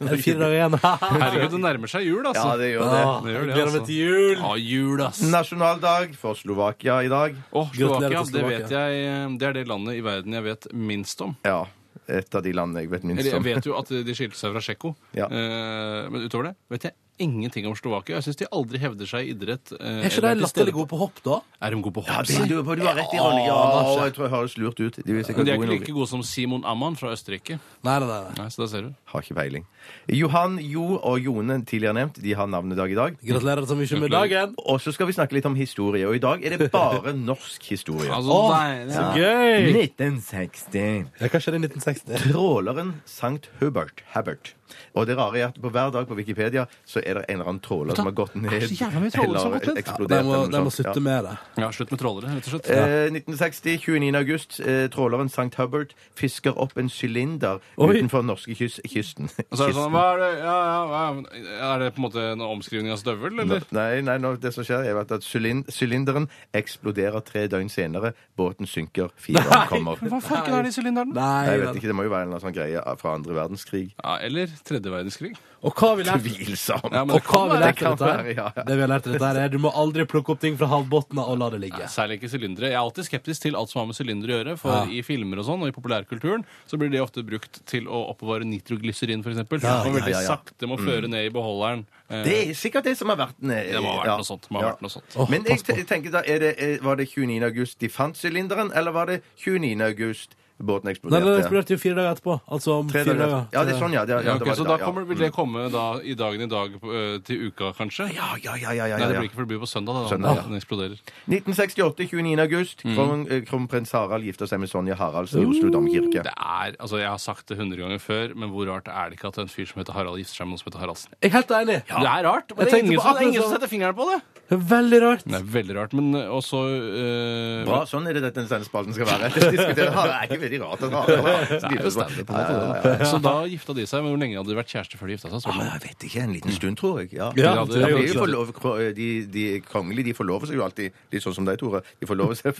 [SPEAKER 3] det Fire dager igjen.
[SPEAKER 4] Herregud, det nærmer seg jul, altså.
[SPEAKER 5] Ja, det gjør
[SPEAKER 3] Ah,
[SPEAKER 5] det.
[SPEAKER 4] Det gjør
[SPEAKER 3] jeg
[SPEAKER 4] det,
[SPEAKER 3] Gleder
[SPEAKER 4] altså.
[SPEAKER 3] meg til jul.
[SPEAKER 4] Ja, jul, ass.
[SPEAKER 5] Nasjonaldag for Slovakia i dag.
[SPEAKER 4] Åh,
[SPEAKER 3] Gratulerer
[SPEAKER 4] Slovakia,
[SPEAKER 3] til
[SPEAKER 4] det
[SPEAKER 3] Slovakia.
[SPEAKER 4] vet jeg eh, Det er det landet i verden jeg vet minst om.
[SPEAKER 5] Ja. Et av de landene jeg vet minst
[SPEAKER 4] Eller jeg
[SPEAKER 5] om.
[SPEAKER 4] vet jo at de skilte seg fra Tsjekko.
[SPEAKER 5] Ja.
[SPEAKER 4] Eh, men utover det vet jeg ingenting om Slovakia. Jeg syns de aldri hevder seg i idrett.
[SPEAKER 3] Er ikke
[SPEAKER 4] eh, eller
[SPEAKER 3] de
[SPEAKER 4] til
[SPEAKER 3] latterlig
[SPEAKER 4] stede på-
[SPEAKER 3] gode på hopp, da?
[SPEAKER 4] Er de gode på
[SPEAKER 5] Ja,
[SPEAKER 4] hopp?
[SPEAKER 5] det
[SPEAKER 4] si?
[SPEAKER 5] lurer på. Du har rett i Ronny. Ja, jeg tror jeg høres lurt ut. De er sikkert
[SPEAKER 4] Men de er
[SPEAKER 5] gode i
[SPEAKER 4] ikke
[SPEAKER 5] Norge.
[SPEAKER 4] like gode som Simon Amman fra Østerrike.
[SPEAKER 3] Nei, nei, nei. nei.
[SPEAKER 4] Nei, så da ser du.
[SPEAKER 5] Har ikke peiling. Johan, Jo og Jone, tidligere nevnt, de har navnedag i dag.
[SPEAKER 3] Gratulerer så mye med dagen.
[SPEAKER 5] Og så skal vi snakke litt om historie. Og i dag er det bare norsk historie.
[SPEAKER 4] Altså,
[SPEAKER 3] Åh,
[SPEAKER 4] nei, det
[SPEAKER 3] så
[SPEAKER 4] er-
[SPEAKER 3] gøy!
[SPEAKER 5] 1960.
[SPEAKER 3] Ja, kanskje det er 1960.
[SPEAKER 5] Tråleren St. Hubert. Hubbard. Og det rare er at på hver dag på Wikipedia så er det en eller annen tråler som har gått ned.
[SPEAKER 4] det er så jævla mye trålere som har gått ned.
[SPEAKER 5] eller
[SPEAKER 3] De
[SPEAKER 5] eksplodert.
[SPEAKER 3] må,
[SPEAKER 5] eller
[SPEAKER 3] de
[SPEAKER 5] noe
[SPEAKER 3] må
[SPEAKER 5] sånt. Ja.
[SPEAKER 3] slutte med det.
[SPEAKER 4] Ja, slutt med trålere, rett og slett.
[SPEAKER 5] Eh, 1960, 29. august. Eh, tråleren St. Hubbard fisker opp en sylinder
[SPEAKER 3] Oi.
[SPEAKER 5] utenfor norskekysten.
[SPEAKER 4] Og så er det sånn hva er det, ja, ja, hva er, er det på en måte en omskrivning av støvel, eller?
[SPEAKER 5] Nei, nei, nå, det som skjer er at sylin- sylinderen eksploderer tre døgn senere. Båten synker, fire omkommer.
[SPEAKER 4] Hva fanken er de sylinderne?
[SPEAKER 5] Nei,
[SPEAKER 3] Nei,
[SPEAKER 5] jeg vet
[SPEAKER 3] nei.
[SPEAKER 5] ikke, Det må jo være en eller annen sånn greie fra andre verdenskrig.
[SPEAKER 4] Ja, eller tredje verdenskrig.
[SPEAKER 3] Og hva har vi lært?
[SPEAKER 5] Tvilsomt.
[SPEAKER 4] Ja, men det
[SPEAKER 3] Og hva
[SPEAKER 4] kan
[SPEAKER 3] har vi
[SPEAKER 4] være.
[SPEAKER 3] lært
[SPEAKER 5] kan
[SPEAKER 3] av dette her?
[SPEAKER 5] være, ja, ja.
[SPEAKER 3] Det vi har lært av dette her er du må aldri plukke opp ting fra havbunnen og la det ligge.
[SPEAKER 4] Særlig ikke sylindere. Jeg er alltid skeptisk til alt som har med sylindere å gjøre. For
[SPEAKER 3] Ja.
[SPEAKER 4] i filmer og sånn, og i populærkulturen, så blir det ofte brukt til å oppbevare nitroglyserin, f.eks. eksempel
[SPEAKER 5] ja,
[SPEAKER 4] og veldig
[SPEAKER 5] ja, ja.
[SPEAKER 4] sakte må føre ned i beholderen. Eh,
[SPEAKER 5] Det er sikkert det som har vært ned.
[SPEAKER 4] det må ha vært
[SPEAKER 5] ja.
[SPEAKER 4] noe sånt. det Må ha
[SPEAKER 5] Ja.
[SPEAKER 4] vært noe sånt.
[SPEAKER 3] Åh,
[SPEAKER 5] Men jeg
[SPEAKER 3] pass på.
[SPEAKER 5] te- tenker da, er det, er, var det 29. august de fant sylinderen, eller var det 29. august båten
[SPEAKER 3] Nei,
[SPEAKER 5] eksploderte?
[SPEAKER 3] den eksploderte jo fire dager etterpå. Altså om
[SPEAKER 5] Tre
[SPEAKER 3] fire
[SPEAKER 5] dager.
[SPEAKER 3] dager.
[SPEAKER 5] Ja, det er sånn, ja. Det, ja,
[SPEAKER 4] Ja,
[SPEAKER 5] det
[SPEAKER 4] ok,
[SPEAKER 5] var
[SPEAKER 4] så
[SPEAKER 5] det,
[SPEAKER 4] da
[SPEAKER 5] ja.
[SPEAKER 4] kommer, vil det komme da, i dagen i dag eh, til uka, kanskje?
[SPEAKER 5] Ja, ja, ja, ja, ja,
[SPEAKER 4] Nei, det
[SPEAKER 5] ja.
[SPEAKER 4] blir ikke for det blir på søndag. da,
[SPEAKER 5] Søndag,
[SPEAKER 4] da. Den eksploderer.
[SPEAKER 5] 1968, 29. august.
[SPEAKER 4] Mm.
[SPEAKER 5] Kron, eh, Kronprins Harald gifter seg med Sonja Haraldsen i Oslo domkirke.
[SPEAKER 4] Det er, altså Jeg har sagt det 100 ganger før, men hvor rart er det ikke at en fyr som heter Harald, gifter seg med noen som heter Haraldsen?
[SPEAKER 3] Jeg er helt enig.
[SPEAKER 4] Det er rart,
[SPEAKER 3] Jeg
[SPEAKER 4] men det er
[SPEAKER 3] tenkte
[SPEAKER 4] ingen
[SPEAKER 3] på
[SPEAKER 4] som- det er
[SPEAKER 3] akkurat
[SPEAKER 4] ingen som
[SPEAKER 3] sånn.
[SPEAKER 4] setter fingeren på det.
[SPEAKER 3] Det er veldig rart.
[SPEAKER 4] altså- Det er veldig rart, men eh, også eh,
[SPEAKER 5] Bra, sånn er det dette denne spalten skal være. Diskutere Harald. Det er ikke veldig rart at Harald
[SPEAKER 4] Det er jo standup, på en måte.
[SPEAKER 5] Ja, ja,
[SPEAKER 4] da. Så da gifta de seg. Men hvor lenge hadde de vært kjærester før de gifta seg?
[SPEAKER 5] ja.
[SPEAKER 4] Spør
[SPEAKER 5] Å,
[SPEAKER 4] meg.
[SPEAKER 5] Ah, Jeg vet ikke. En liten stund, tror jeg. Ja.
[SPEAKER 3] Ja,
[SPEAKER 5] Ja,
[SPEAKER 3] det
[SPEAKER 5] de,
[SPEAKER 3] er jo
[SPEAKER 5] blir jo
[SPEAKER 3] klart.
[SPEAKER 5] forlov- kro- de, de kongelige de forlover seg jo alltid, litt sånn som deg, Tore. De forlover seg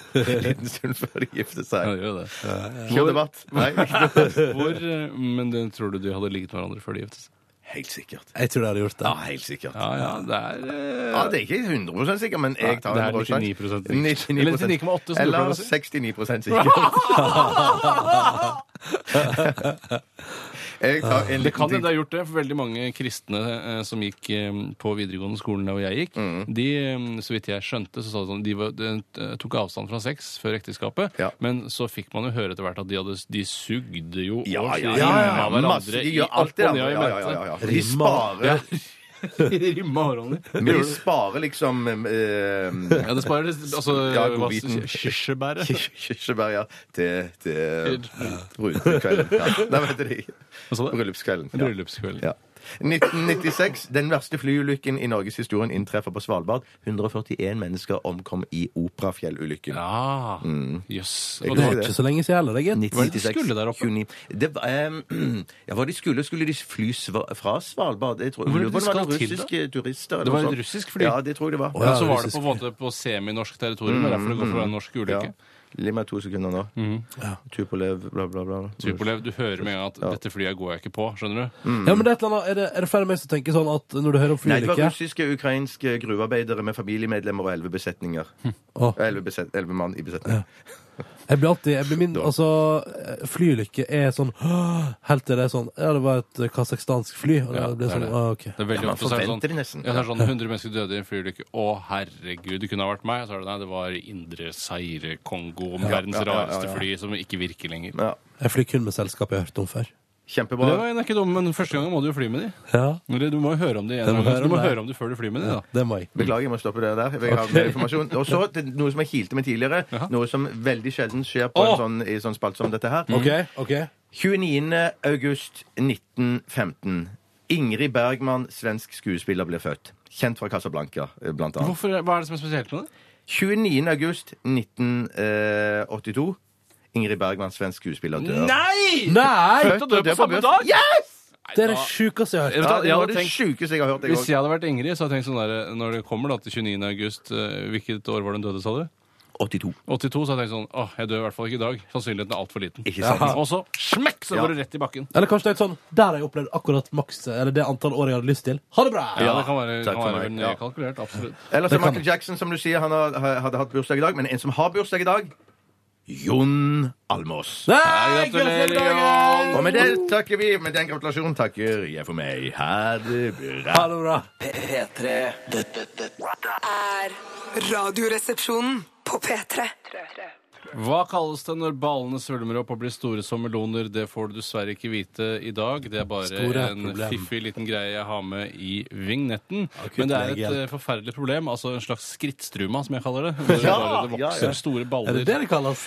[SPEAKER 5] en liten stund før de gifter
[SPEAKER 4] Ja,
[SPEAKER 5] seg.
[SPEAKER 4] det gjør det.
[SPEAKER 5] Kjør debatt. Nei,
[SPEAKER 4] Hvor, eh, men det, tror du de hadde ligget med hverandre før de giftet seg?
[SPEAKER 5] helt sikkert.
[SPEAKER 3] Jeg tror de hadde gjort det.
[SPEAKER 5] Ja, helt sikkert.
[SPEAKER 4] Ja, ja, det er eh,
[SPEAKER 5] Ja, Det er ikke 100 sikker, men jeg tar
[SPEAKER 4] Det er
[SPEAKER 5] 100%
[SPEAKER 4] 99% sikkert.
[SPEAKER 5] 99%.
[SPEAKER 4] Eller 99,8 som du pleier å si.
[SPEAKER 5] Eller 69 sikker. jeg tar en
[SPEAKER 4] Det kan
[SPEAKER 5] liten
[SPEAKER 4] hende de har gjort det, for veldig mange kristne eh, som gikk eh, på videregående skolen der hvor jeg gikk,
[SPEAKER 5] Mm.
[SPEAKER 4] de, eh, så vidt jeg skjønte, så sa de sånn De, var, de eh, tok avstand fra sex før ekteskapet,
[SPEAKER 5] Ja.
[SPEAKER 4] men så fikk man jo høre etter hvert at de, hadde, de sugde jo
[SPEAKER 5] Ja,
[SPEAKER 4] og
[SPEAKER 5] ja, ja,
[SPEAKER 4] slimma
[SPEAKER 5] ja, ja. Masse,
[SPEAKER 4] hverandre
[SPEAKER 5] de
[SPEAKER 4] i
[SPEAKER 5] gjør alt
[SPEAKER 4] opp
[SPEAKER 5] det
[SPEAKER 4] og
[SPEAKER 5] der.
[SPEAKER 4] ned og i
[SPEAKER 5] Ja, ja, ja,
[SPEAKER 4] mente.
[SPEAKER 5] ja. De sparer,
[SPEAKER 4] Rimma hårene.
[SPEAKER 5] men de sparer liksom eh,
[SPEAKER 4] Ja, det sparer altså,
[SPEAKER 5] Ja,
[SPEAKER 4] hva-
[SPEAKER 5] godbiten.
[SPEAKER 4] Kirsebæret.
[SPEAKER 5] kirs- Kirsebær, ja. Til, til bryllupskvelden. Ja. Nei, vet du ikke.
[SPEAKER 4] Hva sa du?
[SPEAKER 5] Bryllupskvelden. Ja.
[SPEAKER 4] Bryllupskvelden.
[SPEAKER 5] Ja. 1996. Den verste flyulykken i norgeshistorien inntreffer på Svalbard. 141 mennesker omkom i Operafjellulykken.
[SPEAKER 4] Ja.
[SPEAKER 5] Mm.
[SPEAKER 4] Jøss.
[SPEAKER 5] Jeg
[SPEAKER 4] Og
[SPEAKER 5] kan
[SPEAKER 3] Det
[SPEAKER 5] si
[SPEAKER 3] var ikke
[SPEAKER 4] det-
[SPEAKER 3] så lenge siden heller, det, gitt.
[SPEAKER 4] Hva er det de skulle der oppe?
[SPEAKER 5] 29. Det var, eh, ja, hva de skulle? Skulle de fly sva- fra Svalbard? Jeg tror,
[SPEAKER 4] Hvor er det
[SPEAKER 5] lurer på om det
[SPEAKER 4] de
[SPEAKER 5] var noen
[SPEAKER 4] skal til, da?
[SPEAKER 5] russiske turister. eller
[SPEAKER 4] Det var
[SPEAKER 5] noe
[SPEAKER 4] et
[SPEAKER 5] sånt.
[SPEAKER 4] russisk fly?
[SPEAKER 5] Ja, Mm, det tror jeg det var.
[SPEAKER 4] Ja, så var det på, en måte på seminorsk territorium. Det er derfor det går for en norsk ulykke. Mhm.
[SPEAKER 5] Gi meg to sekunder nå. Tupolev, bla, bla, bla.
[SPEAKER 4] Superlev, du hører med en gang at 'dette flyet går jeg ikke på'. skjønner du?
[SPEAKER 5] Mm.
[SPEAKER 3] Ja, men det er, et eller annet, er det, er det flere av meg som tenker sånn at når du hører om
[SPEAKER 5] Nei, det var
[SPEAKER 3] flyulykker
[SPEAKER 5] russiske
[SPEAKER 4] Hm.
[SPEAKER 5] ukrainske gruvearbeidere med familiemedlemmer og elleve besetninger.
[SPEAKER 3] Åh.
[SPEAKER 5] Elleve beset, 11 mann i besetning.
[SPEAKER 3] Jeg blir alltid jeg blir min, altså, Flyulykke er sånn «Åh», Helt til det er sånn Ja, det var et kasakhstansk fly. Og det
[SPEAKER 4] Ja,
[SPEAKER 3] blir
[SPEAKER 4] det er
[SPEAKER 3] sånn,
[SPEAKER 4] det.
[SPEAKER 3] ah, ok.
[SPEAKER 4] Det er veldig
[SPEAKER 5] Ja, man
[SPEAKER 4] ofte så er det
[SPEAKER 5] forventer det
[SPEAKER 4] sånn,
[SPEAKER 5] nesten.
[SPEAKER 4] ja, det er sånn 100 mennesker døde i en flyulykke. Å, herregud, det kunne ha vært meg. Så er det nei, det var Indre Seire-Kongo, verdens
[SPEAKER 5] ja, ja, ja,
[SPEAKER 4] rareste
[SPEAKER 5] ja.
[SPEAKER 4] fly, som ikke virker lenger.
[SPEAKER 5] Ja.
[SPEAKER 3] Jeg flyr kun med selskap jeg har hørt om før.
[SPEAKER 5] Kjempebra.
[SPEAKER 4] Det var den er ikke dum, men første gangen må du jo fly med de.
[SPEAKER 3] Ja,
[SPEAKER 4] Eller du må jo høre om de en
[SPEAKER 3] Du må
[SPEAKER 4] gang.
[SPEAKER 3] høre
[SPEAKER 4] Du må
[SPEAKER 3] om det.
[SPEAKER 4] høre om de før du flyr med de, da.
[SPEAKER 3] Det må jeg.
[SPEAKER 5] Beklager, jeg må stoppe det der. Jeg har mer informasjon. Og så til noe som jeg kilte med tidligere.
[SPEAKER 4] Jaha.
[SPEAKER 5] Noe som veldig sjelden skjer på
[SPEAKER 3] Åh!
[SPEAKER 5] en sånn, i sånn spalt som dette her.
[SPEAKER 4] Mm. Hm.
[SPEAKER 3] OK. ok
[SPEAKER 5] 29. august 1915. Ingrid Bergman, svensk skuespiller, ble født. Kjent fra Casablanca, eh, blant annet.
[SPEAKER 4] Hvorfor, hva er det som er spesielt med det?
[SPEAKER 5] 29. august 1982. Ingrid Bergman, svensk skuespiller, dør.
[SPEAKER 4] Nei!
[SPEAKER 3] Nei!
[SPEAKER 4] Født og død på samme dag?
[SPEAKER 5] Yes!
[SPEAKER 3] Det er det sjukeste jeg har hørt.
[SPEAKER 4] Vet du
[SPEAKER 5] Ja,
[SPEAKER 4] hva,
[SPEAKER 5] det
[SPEAKER 4] jeg
[SPEAKER 5] var
[SPEAKER 4] hadde
[SPEAKER 5] det
[SPEAKER 4] tenkt,
[SPEAKER 5] sjukeste jeg har hørt. jeg
[SPEAKER 4] hvis
[SPEAKER 5] også.
[SPEAKER 4] jeg hadde vært Ingrid, så hadde jeg tenkt sånn der, når det kommer da til 29. august, eh, hvilket år var den døde, sa du?
[SPEAKER 5] 82.
[SPEAKER 4] 82, så hadde jeg tenkt sånn, åh, jeg dør i hvert fall ikke i dag. Sannsynligheten er altfor liten.
[SPEAKER 5] Ikke sant?
[SPEAKER 4] Ja. Og så smekk, så
[SPEAKER 5] Ja.
[SPEAKER 4] går det rett i bakken.
[SPEAKER 3] Eller kanskje det er sånn Der har jeg opplevd akkurat maks Eller det antall år jeg hadde lyst til. Ha det bra!
[SPEAKER 4] Ja, det kan være,
[SPEAKER 5] takk
[SPEAKER 4] kan
[SPEAKER 5] for
[SPEAKER 4] være
[SPEAKER 5] meg.
[SPEAKER 4] vel
[SPEAKER 5] Ja.
[SPEAKER 4] nedkalkulert, absolutt.
[SPEAKER 5] Eller som
[SPEAKER 3] Det kan-
[SPEAKER 5] Michael Jackson, som du sier, han har- hadde hatt bursdag i dag. Men en som har bursdag i dag Jon Almås.
[SPEAKER 3] Nei, gratulerer med dagen!
[SPEAKER 5] Og med det takker vi. Med den gratulasjonen takker jeg for meg. Ha det bra.
[SPEAKER 3] Ha det bra.
[SPEAKER 2] P3. Dette, dette
[SPEAKER 6] Er radioresepsjonen på P3.
[SPEAKER 4] Hva kalles det når ballene svulmer opp og blir store som meloner? Det får du dessverre ikke vite i dag. Det er bare
[SPEAKER 3] Store
[SPEAKER 4] en
[SPEAKER 3] problem.
[SPEAKER 4] fiffig liten greie jeg har med i vignetten.
[SPEAKER 3] Akutt
[SPEAKER 4] Men det er et
[SPEAKER 3] legehjelp.
[SPEAKER 4] eh, forferdelig problem. Altså en slags skrittstruma, som jeg kaller det. Hvor
[SPEAKER 5] Ja,
[SPEAKER 4] bare det
[SPEAKER 5] ja,
[SPEAKER 4] vokser
[SPEAKER 5] ja.
[SPEAKER 4] store
[SPEAKER 3] Er
[SPEAKER 4] baller.
[SPEAKER 3] det det det kalles?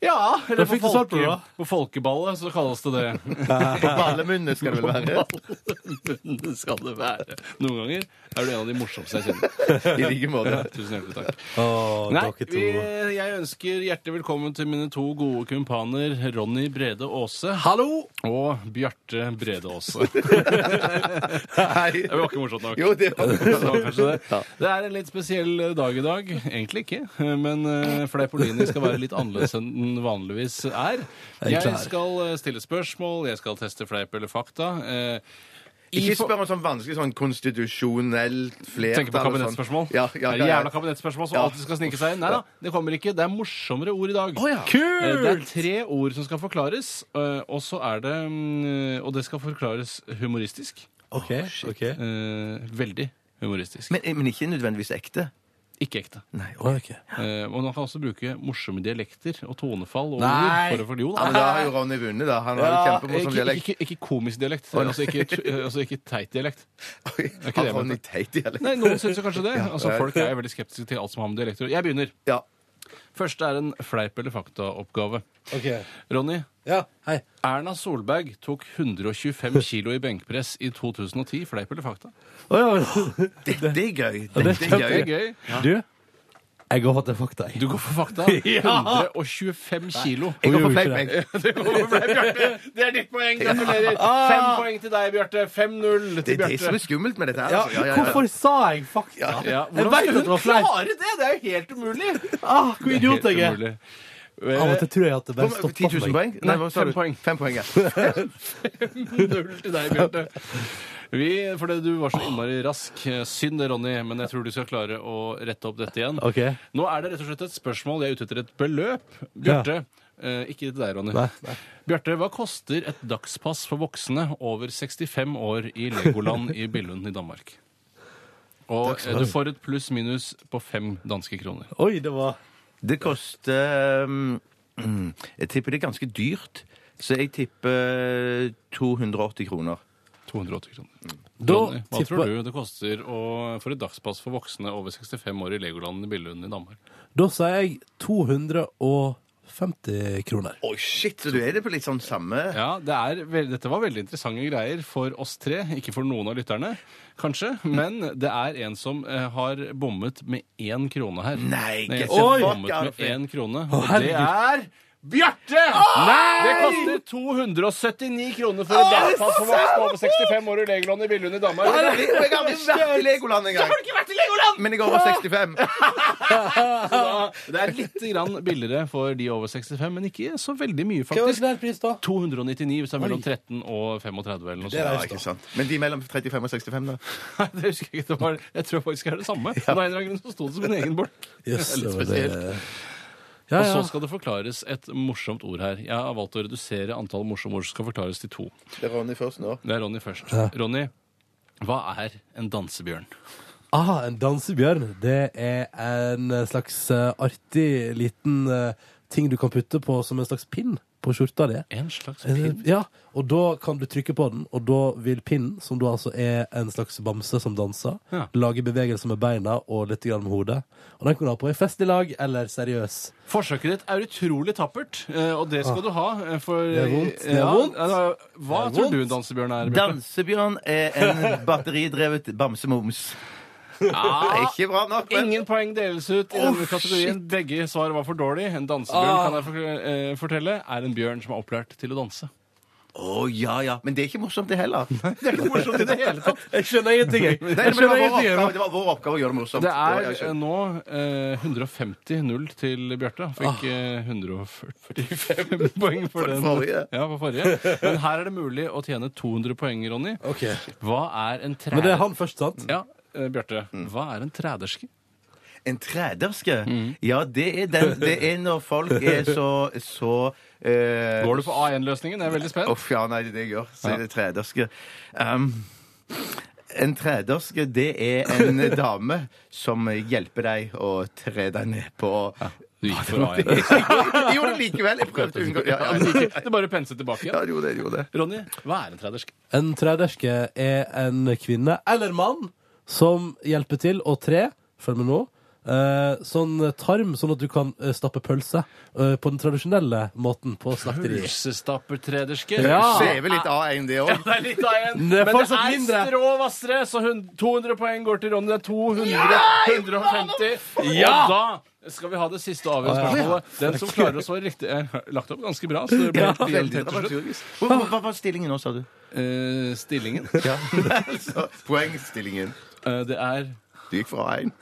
[SPEAKER 4] Ja! Eller
[SPEAKER 3] Da
[SPEAKER 4] på,
[SPEAKER 3] fikk du svar på det,
[SPEAKER 4] folke,
[SPEAKER 3] da.
[SPEAKER 4] på folkeballet så kalles det det.
[SPEAKER 5] På ballemunnet skal det vel være.
[SPEAKER 4] Det skal det være. Noen ganger er du en av de morsomste jeg kjenner.
[SPEAKER 5] I like måte.
[SPEAKER 4] Tusen hjertelig takk.
[SPEAKER 3] Åh,
[SPEAKER 4] Nei,
[SPEAKER 3] dere to.
[SPEAKER 4] vi, jeg ønsker hjertelig velkommen til mine to gode kumpaner Ronny Brede Aase
[SPEAKER 3] Hallo!
[SPEAKER 4] og Bjarte Brede Aase. Det
[SPEAKER 5] Hei.
[SPEAKER 4] var ikke morsomt nok.
[SPEAKER 5] Jo, det var
[SPEAKER 4] Det var kanskje det. Det er en litt spesiell eh, dag i dag. Egentlig ikke, men eh, Fleipolini skal være litt annerledes enn den vanligvis
[SPEAKER 3] Er
[SPEAKER 4] er.
[SPEAKER 3] klar.
[SPEAKER 4] Jeg skal eh, stille spørsmål, jeg skal teste fleip eller fakta. eh, i
[SPEAKER 5] Ikke
[SPEAKER 4] for-
[SPEAKER 5] spør om sånn vanskelig sånn konstitusjonelt flertall.
[SPEAKER 4] Tenker på
[SPEAKER 5] og sånn.
[SPEAKER 4] kabinettspørsmål.
[SPEAKER 5] Ja, ja,
[SPEAKER 4] Det
[SPEAKER 5] ja,
[SPEAKER 4] er
[SPEAKER 5] ja.
[SPEAKER 4] Jævla kabinettspørsmål som
[SPEAKER 5] Ja.
[SPEAKER 4] alltid skal snike seg inn. Nei da, det kommer ikke. Det er morsommere ord i dag.
[SPEAKER 5] Å, ja.
[SPEAKER 4] Eh, Det er tre ord som skal forklares, eh, og så er det mm, Og det skal forklares humoristisk.
[SPEAKER 3] OK. ok
[SPEAKER 4] Eh, Veldig humoristisk.
[SPEAKER 5] Men, men ikke nødvendigvis ekte.
[SPEAKER 4] Ikke ekte.
[SPEAKER 5] Nei,
[SPEAKER 3] Åh, ok.
[SPEAKER 4] Eh, Og man kan også bruke morsomme dialekter og tonefall og
[SPEAKER 3] Nei.
[SPEAKER 4] ord. For å for, jo,
[SPEAKER 5] Ja, men
[SPEAKER 4] da.
[SPEAKER 5] da har jo Ronny vunnet, da. Han har jo kjempemorsom
[SPEAKER 4] Ikke,
[SPEAKER 5] dialekt.
[SPEAKER 4] ikke, ikke komisk dialekt. Altså ikke, altså ikke teit dialekt. ikke det
[SPEAKER 5] Har
[SPEAKER 4] jeg
[SPEAKER 5] Ronny
[SPEAKER 4] mente.
[SPEAKER 5] teit dialekt?
[SPEAKER 4] Nei, Noen syns jo kanskje det. Altså, Folk er veldig skeptiske til alt som har med dialekter å gjøre. Jeg begynner.
[SPEAKER 5] Ja.
[SPEAKER 4] Første er en fleip eller fakta-oppgave.
[SPEAKER 3] ok
[SPEAKER 4] Ronny,
[SPEAKER 3] Ja, hei.
[SPEAKER 4] Erna Solberg tok 125 kilo i benkpress i 2010. Fleip eller fakta?
[SPEAKER 5] Dette er gøy.
[SPEAKER 3] det er
[SPEAKER 5] Dette er
[SPEAKER 4] Det er
[SPEAKER 5] gøy.
[SPEAKER 4] gøy.
[SPEAKER 3] Du, jeg går for at det er fakta, jeg.
[SPEAKER 4] Du går for fakta. 125 kilo.
[SPEAKER 5] Jeg går for
[SPEAKER 3] Hun gjorde
[SPEAKER 5] fleip,
[SPEAKER 3] ikke
[SPEAKER 5] jeg.
[SPEAKER 4] Det går for fleip, Bjarte. Det er ditt poeng. Gratulerer. Fem poeng til deg, Bjarte. 5-0
[SPEAKER 5] Det
[SPEAKER 4] til
[SPEAKER 5] er det som er
[SPEAKER 4] Bjarte.
[SPEAKER 5] skummelt med dette her.
[SPEAKER 3] Ja,
[SPEAKER 5] altså. Ja, ja, ja.
[SPEAKER 3] Hvorfor sa jeg fakta?
[SPEAKER 4] Ja,
[SPEAKER 3] jeg vet
[SPEAKER 4] hvordan skal
[SPEAKER 3] at det
[SPEAKER 4] du
[SPEAKER 3] var fleip.
[SPEAKER 4] klare det? Det er jo helt umulig.
[SPEAKER 3] Ah, hvor idiot jeg er.
[SPEAKER 4] Umulig.
[SPEAKER 3] Av og til tror jeg at det bare
[SPEAKER 5] Hvor-
[SPEAKER 3] stopper
[SPEAKER 5] 10 000
[SPEAKER 3] for meg.
[SPEAKER 5] poeng? Nei, hva sa
[SPEAKER 4] fem
[SPEAKER 5] du?
[SPEAKER 4] poeng.
[SPEAKER 5] Fem poeng, ja.
[SPEAKER 4] Null til deg, Bjarte. Vi, fordi du var så innmari rask. Synd det, Ronny, men jeg tror du skal klare å rette opp dette igjen.
[SPEAKER 3] Ok.
[SPEAKER 4] Nå er det rett og slett et spørsmål. Jeg er ute etter et beløp. Bjarte. Eh, ikke til deg, Ronny.
[SPEAKER 3] Nei, nei.
[SPEAKER 4] Bjarte, hva koster et dagspass for voksne over 65 år i Legoland i Billund i Danmark? Og eh, du får et pluss-minus på fem danske kroner.
[SPEAKER 3] Oi, det var
[SPEAKER 5] Det koster um, mm, Jeg tipper det er ganske dyrt. Så jeg tipper 280 kroner.
[SPEAKER 4] 280 kroner.
[SPEAKER 3] Da
[SPEAKER 4] Ronny, hva
[SPEAKER 3] tipper-
[SPEAKER 4] tror du det koster å, for et dagspass for voksne over 65 år i Legoland i Billund i Danmark?
[SPEAKER 3] Da sa jeg 250 kroner.
[SPEAKER 5] Oi, shit! Så du er det på litt sånn samme
[SPEAKER 4] Ja, det er, vel- Dette var veldig interessante greier for oss tre, ikke for noen av lytterne, kanskje. Men det er en som eh, har bommet med én krone her.
[SPEAKER 5] Nei,
[SPEAKER 4] Det er
[SPEAKER 5] get the
[SPEAKER 4] en som
[SPEAKER 5] fuck
[SPEAKER 4] har bommet
[SPEAKER 5] out
[SPEAKER 4] med
[SPEAKER 5] of here.
[SPEAKER 4] én krone.
[SPEAKER 3] Å,
[SPEAKER 4] Og det er Bjarte! Det koster 279 kroner for et dagpass for voksne over 65 år i Legoland i Billund i Danmark.
[SPEAKER 5] Jeg har aldri- jeg har aldri vært i Legoland engang!
[SPEAKER 4] ikke vært i Legoland!
[SPEAKER 5] Men jeg er over 65.
[SPEAKER 4] Det er litt grann billigere for de over 65, men ikke så veldig mye, faktisk.
[SPEAKER 3] pris, da?
[SPEAKER 4] 299 hvis det er mellom
[SPEAKER 3] Oi.
[SPEAKER 4] 13 og 35 eller noe
[SPEAKER 3] er
[SPEAKER 4] sånt.
[SPEAKER 5] Ja, ikke sant. Men de mellom 35 og 65, da?
[SPEAKER 4] Nei, det husker jeg ikke. Det var, jeg tror faktisk det er det samme. Men av en eller annen grunn så sto det som en egen bolk.
[SPEAKER 3] Yes,
[SPEAKER 4] Det er litt
[SPEAKER 3] det var det. Ja, ja.
[SPEAKER 4] Og så skal det forklares et morsomt ord her. Jeg har valgt å redusere antall morsomme ord som skal forklares til to.
[SPEAKER 5] Det er Ronny først nå.
[SPEAKER 4] Det er Ronny først. Ronny, hva er en dansebjørn?
[SPEAKER 3] Ah, en dansebjørn. Det er en slags eh, artig liten eh, ting du kan putte på som en slags pinn på skjorta di.
[SPEAKER 4] En slags
[SPEAKER 3] Eh,
[SPEAKER 4] pinn.
[SPEAKER 3] Ja, og da kan du trykke på den, og da vil pinnen, som da altså er en slags bamse som danser,
[SPEAKER 4] Ja.
[SPEAKER 3] lage bevegelser med beina og litt grann med hodet. Og den kan du ha på i fest i lag eller seriøs.
[SPEAKER 4] Forsøket ditt er utrolig tappert, eh, og det skal du ha. eh, For,
[SPEAKER 3] Det er vondt, det er
[SPEAKER 4] Ja,
[SPEAKER 3] vondt.
[SPEAKER 4] ja, Hva
[SPEAKER 3] Det er
[SPEAKER 4] tror du
[SPEAKER 3] vondt.
[SPEAKER 4] en dansebjørn er? Bjarte?
[SPEAKER 5] Dansebjørn er en batteridrevet bamsemums. Ja. Ikke bra nok, men
[SPEAKER 4] Ingen poeng deles ut i denne kategorien. Begge svar var for dårlig. En dansebjørn kan jeg for, eh, fortelle, er en bjørn som er opplært til å danse.
[SPEAKER 5] Å, ja, ja. Men det er ikke morsomt, det heller. Nei,
[SPEAKER 4] Det er ikke morsomt i det hele tatt.
[SPEAKER 3] Jeg skjønner ingenting, jeg.
[SPEAKER 5] men det, var vår oppgave, det var vår oppgave å gjøre det morsomt.
[SPEAKER 4] Det
[SPEAKER 5] Ja,
[SPEAKER 4] er
[SPEAKER 5] jeg
[SPEAKER 4] eh,
[SPEAKER 5] skjønner.
[SPEAKER 4] nå eh, 150-0 til Bjarte. Han Fikk eh, 145 poeng for den.
[SPEAKER 5] forrige.
[SPEAKER 4] Ja, for forrige. Men her er det mulig å tjene 200 poeng, Ronny.
[SPEAKER 3] Ok.
[SPEAKER 4] Hva er en træ...
[SPEAKER 3] Men det er han først, sant?
[SPEAKER 4] Ja, eh, Bjarte. Hva er en træderske?
[SPEAKER 5] En træderske? Ja, det er, den, det er når folk er så, så eh,
[SPEAKER 4] Går du på A1-løsningen? Jeg er veldig spent.
[SPEAKER 5] Uff, ja, nei, det er det jeg gjør. Så er det træderske. Um, en træderske, det er en dame som hjelper deg å tre deg ned på
[SPEAKER 4] Du gikk for A1.
[SPEAKER 5] Jeg gjorde det likevel! Jeg prøvde å unngå ja, ja, ja,
[SPEAKER 4] Det bare penset tilbake
[SPEAKER 5] ja, det
[SPEAKER 4] igjen.
[SPEAKER 5] gjorde det. det gjorde det.
[SPEAKER 4] Ronny, hva er en træderske?
[SPEAKER 3] En trederske er en kvinne eller mann som hjelper til å tre, følg med nå, eh, sånn tarm, sånn at du kan eh, stappe pølse eh, på den tradisjonelle måten på slakteri.
[SPEAKER 4] Pølsestappertræderske.
[SPEAKER 3] Ja.
[SPEAKER 5] Så er vel litt A1, det òg.
[SPEAKER 4] Ah. Det er litt av en,
[SPEAKER 3] Det er
[SPEAKER 4] men det
[SPEAKER 3] fortsatt
[SPEAKER 4] er
[SPEAKER 3] mindre.
[SPEAKER 4] strå vassere, så hun- 200 poeng går til Ronny. Det er 200, 150. Og da skal vi ha det siste og avgjørende
[SPEAKER 3] Å, ja.
[SPEAKER 4] spørsmålet. Den som klarer å svare riktig, er lagt opp ganske bra. Så det blir
[SPEAKER 3] Ja.
[SPEAKER 4] helt
[SPEAKER 5] Veldig
[SPEAKER 4] jevnt til slutt.
[SPEAKER 5] dramaturgisk. Hvor- hvor- Hva var stillingen nå, sa du?
[SPEAKER 4] Eh, stillingen,
[SPEAKER 5] Så, Poengstillingen.
[SPEAKER 4] eh, det er,
[SPEAKER 5] Du gikk for A1.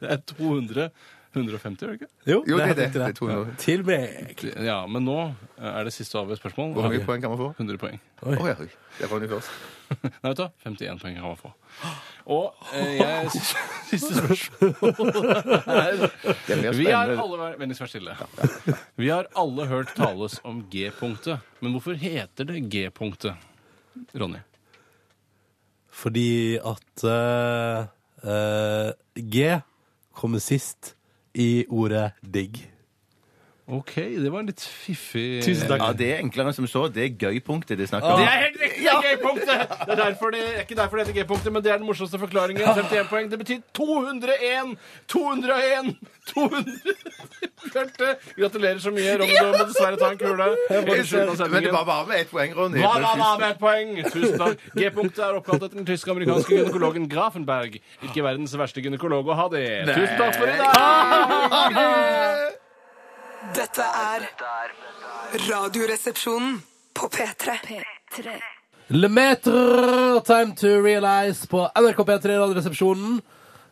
[SPEAKER 4] det er 200 150, gjør det ikke?
[SPEAKER 5] Jo, det er det.
[SPEAKER 3] helt riktig
[SPEAKER 5] Det er 200.
[SPEAKER 3] Til meg.
[SPEAKER 4] Ja, men nå eh, er det siste og avgjørende spørsmål.
[SPEAKER 5] Hvor mange poeng kan man få?
[SPEAKER 4] 100 poeng.
[SPEAKER 5] Å ja, oi. det var du først.
[SPEAKER 4] Nei, vet du, hva? 51 poeng kan man få. Og eh, jeg, siste spørsmål er
[SPEAKER 5] Det blir
[SPEAKER 4] Vi har
[SPEAKER 5] spennende.
[SPEAKER 4] alle vært- Vennligst vær stille. Vi har alle hørt tales om G-punktet. Men hvorfor heter det G-punktet, Ronny?
[SPEAKER 3] Fordi at eh, eh, G kommer sist i ordet digg.
[SPEAKER 4] OK, det var en litt fiffig
[SPEAKER 3] Tusen takk.
[SPEAKER 5] Ja, det er enklere enn som så. Det er gøy-punktet det er snakk om.
[SPEAKER 4] Det er helt riktig! Det er G-punktet! Det er derfor det, ikke derfor det heter G-punktet, men det er den morsomste forklaringen. 51 poeng. Det betyr 201! 201! 200 Bjarte, gratulerer så mye. Ronny, du må dessverre ta en kule. i slutten av sendingen.
[SPEAKER 5] Men det var bare med ett poeng, Ronny.
[SPEAKER 4] altså, Hva var det med et poeng? Tusen takk. G-punktet er oppkalt etter den tyske-amerikanske gynekologen Grafenberg. Ikke verdens verste gynekolog å ha det. Tusen takk for i dag!
[SPEAKER 6] Dette er Radioresepsjonen på P3.
[SPEAKER 3] Lemetre Time to Realize på NRK P3 Radioresepsjonen.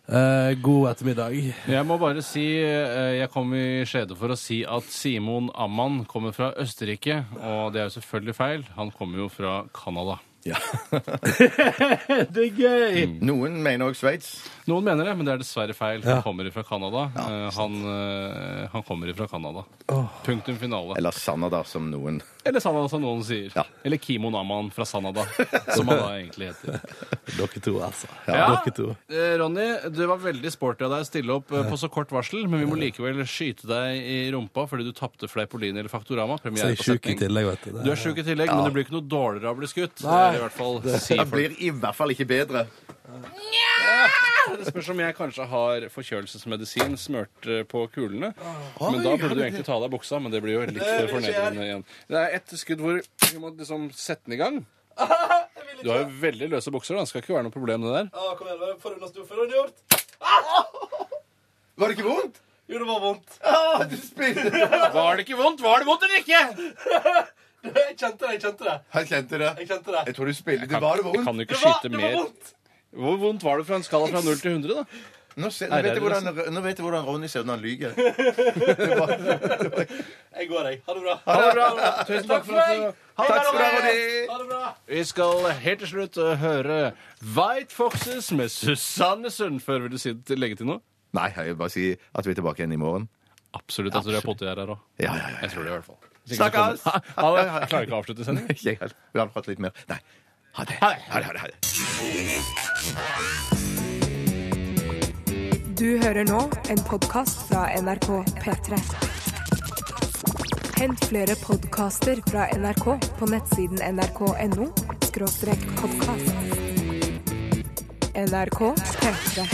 [SPEAKER 3] Eh, god ettermiddag.
[SPEAKER 4] Jeg må bare si eh, jeg kom i skjede for å si at Simon Amman kommer fra Østerrike. Og det er jo selvfølgelig feil. Han kommer jo fra Canada. Mm.
[SPEAKER 3] Det er gøy!
[SPEAKER 5] Noen mener òg Sveits.
[SPEAKER 4] Noen mener det, men det er dessverre feil.
[SPEAKER 3] Ja.
[SPEAKER 4] Han kommer fra Canada. Eh, Han, eh, han kommer fra Canada. Punktum finale.
[SPEAKER 5] Eller Sanada, som noen.
[SPEAKER 4] Eller Sanada, som noen sier.
[SPEAKER 5] Ja.
[SPEAKER 4] Eller Kimon Amman fra Sanada, som han da egentlig heter.
[SPEAKER 3] Dere to, altså.
[SPEAKER 4] Ja,
[SPEAKER 3] Dere to.
[SPEAKER 4] eh, Ronny, det var veldig sporty av deg å stille opp eh, på så kort varsel, men vi må likevel skyte deg i rumpa fordi du tapte Fleipolini eller Faktorama.
[SPEAKER 3] Så
[SPEAKER 4] Premiere
[SPEAKER 3] jeg er
[SPEAKER 4] på
[SPEAKER 3] sjuk i
[SPEAKER 4] setning.
[SPEAKER 3] tillegg, vet du. Det
[SPEAKER 4] Du er sjuk i tillegg, men du blir ikke noe dårligere av å bli skutt. Det
[SPEAKER 3] Nei.
[SPEAKER 4] er i hvert fall si
[SPEAKER 5] Det
[SPEAKER 4] folk.
[SPEAKER 5] blir i hvert fall ikke bedre.
[SPEAKER 4] Det spørs om jeg kanskje har forkjølelsesmedisin smørt eh, på kulene. Men da burde du egentlig ta av deg buksa, men det blir jo litt for fornedrende igjen. Det er ett skudd hvor vi må liksom sette den i gang. Du har jo veldig løse bukser, da. Det skal ikke være noe problem, det der.
[SPEAKER 3] Ah, kom igjen, hva får du unna storføreren gjort?
[SPEAKER 5] Var det ikke vondt?
[SPEAKER 3] Jo, det var vondt.
[SPEAKER 5] Ah, du spiller.
[SPEAKER 4] Var det ikke vondt? Var det vondt eller ikke?
[SPEAKER 3] Jeg kjente det, jeg kjente det.
[SPEAKER 5] Han kjente det.
[SPEAKER 3] Jeg kjente det.
[SPEAKER 5] Jeg tror du spiller. Det var det
[SPEAKER 4] Jeg kan
[SPEAKER 5] vondt.
[SPEAKER 4] jo ikke skyte mer. Hvor vondt var det fra en skala fra 0 til 100, da?
[SPEAKER 5] Nå, ser, nå, vet jeg hvordan, nå vet jeg hvordan Ronny ser ut når han lyver.
[SPEAKER 3] Jeg går, jeg. Ha det bra.
[SPEAKER 4] Ha det bra. Tusen takk for meg.
[SPEAKER 5] Takk skal du ha, Ronny.
[SPEAKER 3] Ha det bra.
[SPEAKER 4] Vi skal helt til slutt eh, høre White Foxes med Susanne Sund. Før vil du si, legge til noe?
[SPEAKER 5] Nei, jeg vil bare si at vi er tilbake igjen i morgen.
[SPEAKER 4] Absolutt. Jeg tror jeg er på 80 her òg.
[SPEAKER 5] Ja, ja, ja.
[SPEAKER 4] Jeg tror det, i hvert fall. Hvis ikke så kommer-
[SPEAKER 5] Snakkes!
[SPEAKER 4] Ha- ha det. Jeg klarer ikke å avslutte sendingen.
[SPEAKER 5] Ikke jeg heller. Vi har pratet litt mer. Nei. Ha det. Ha det, ha det, ha det.
[SPEAKER 6] Du hører nå en podkast fra NRK P3. Hent flere podkaster fra NRK på nettsiden nrk.no podkast. NRK P3.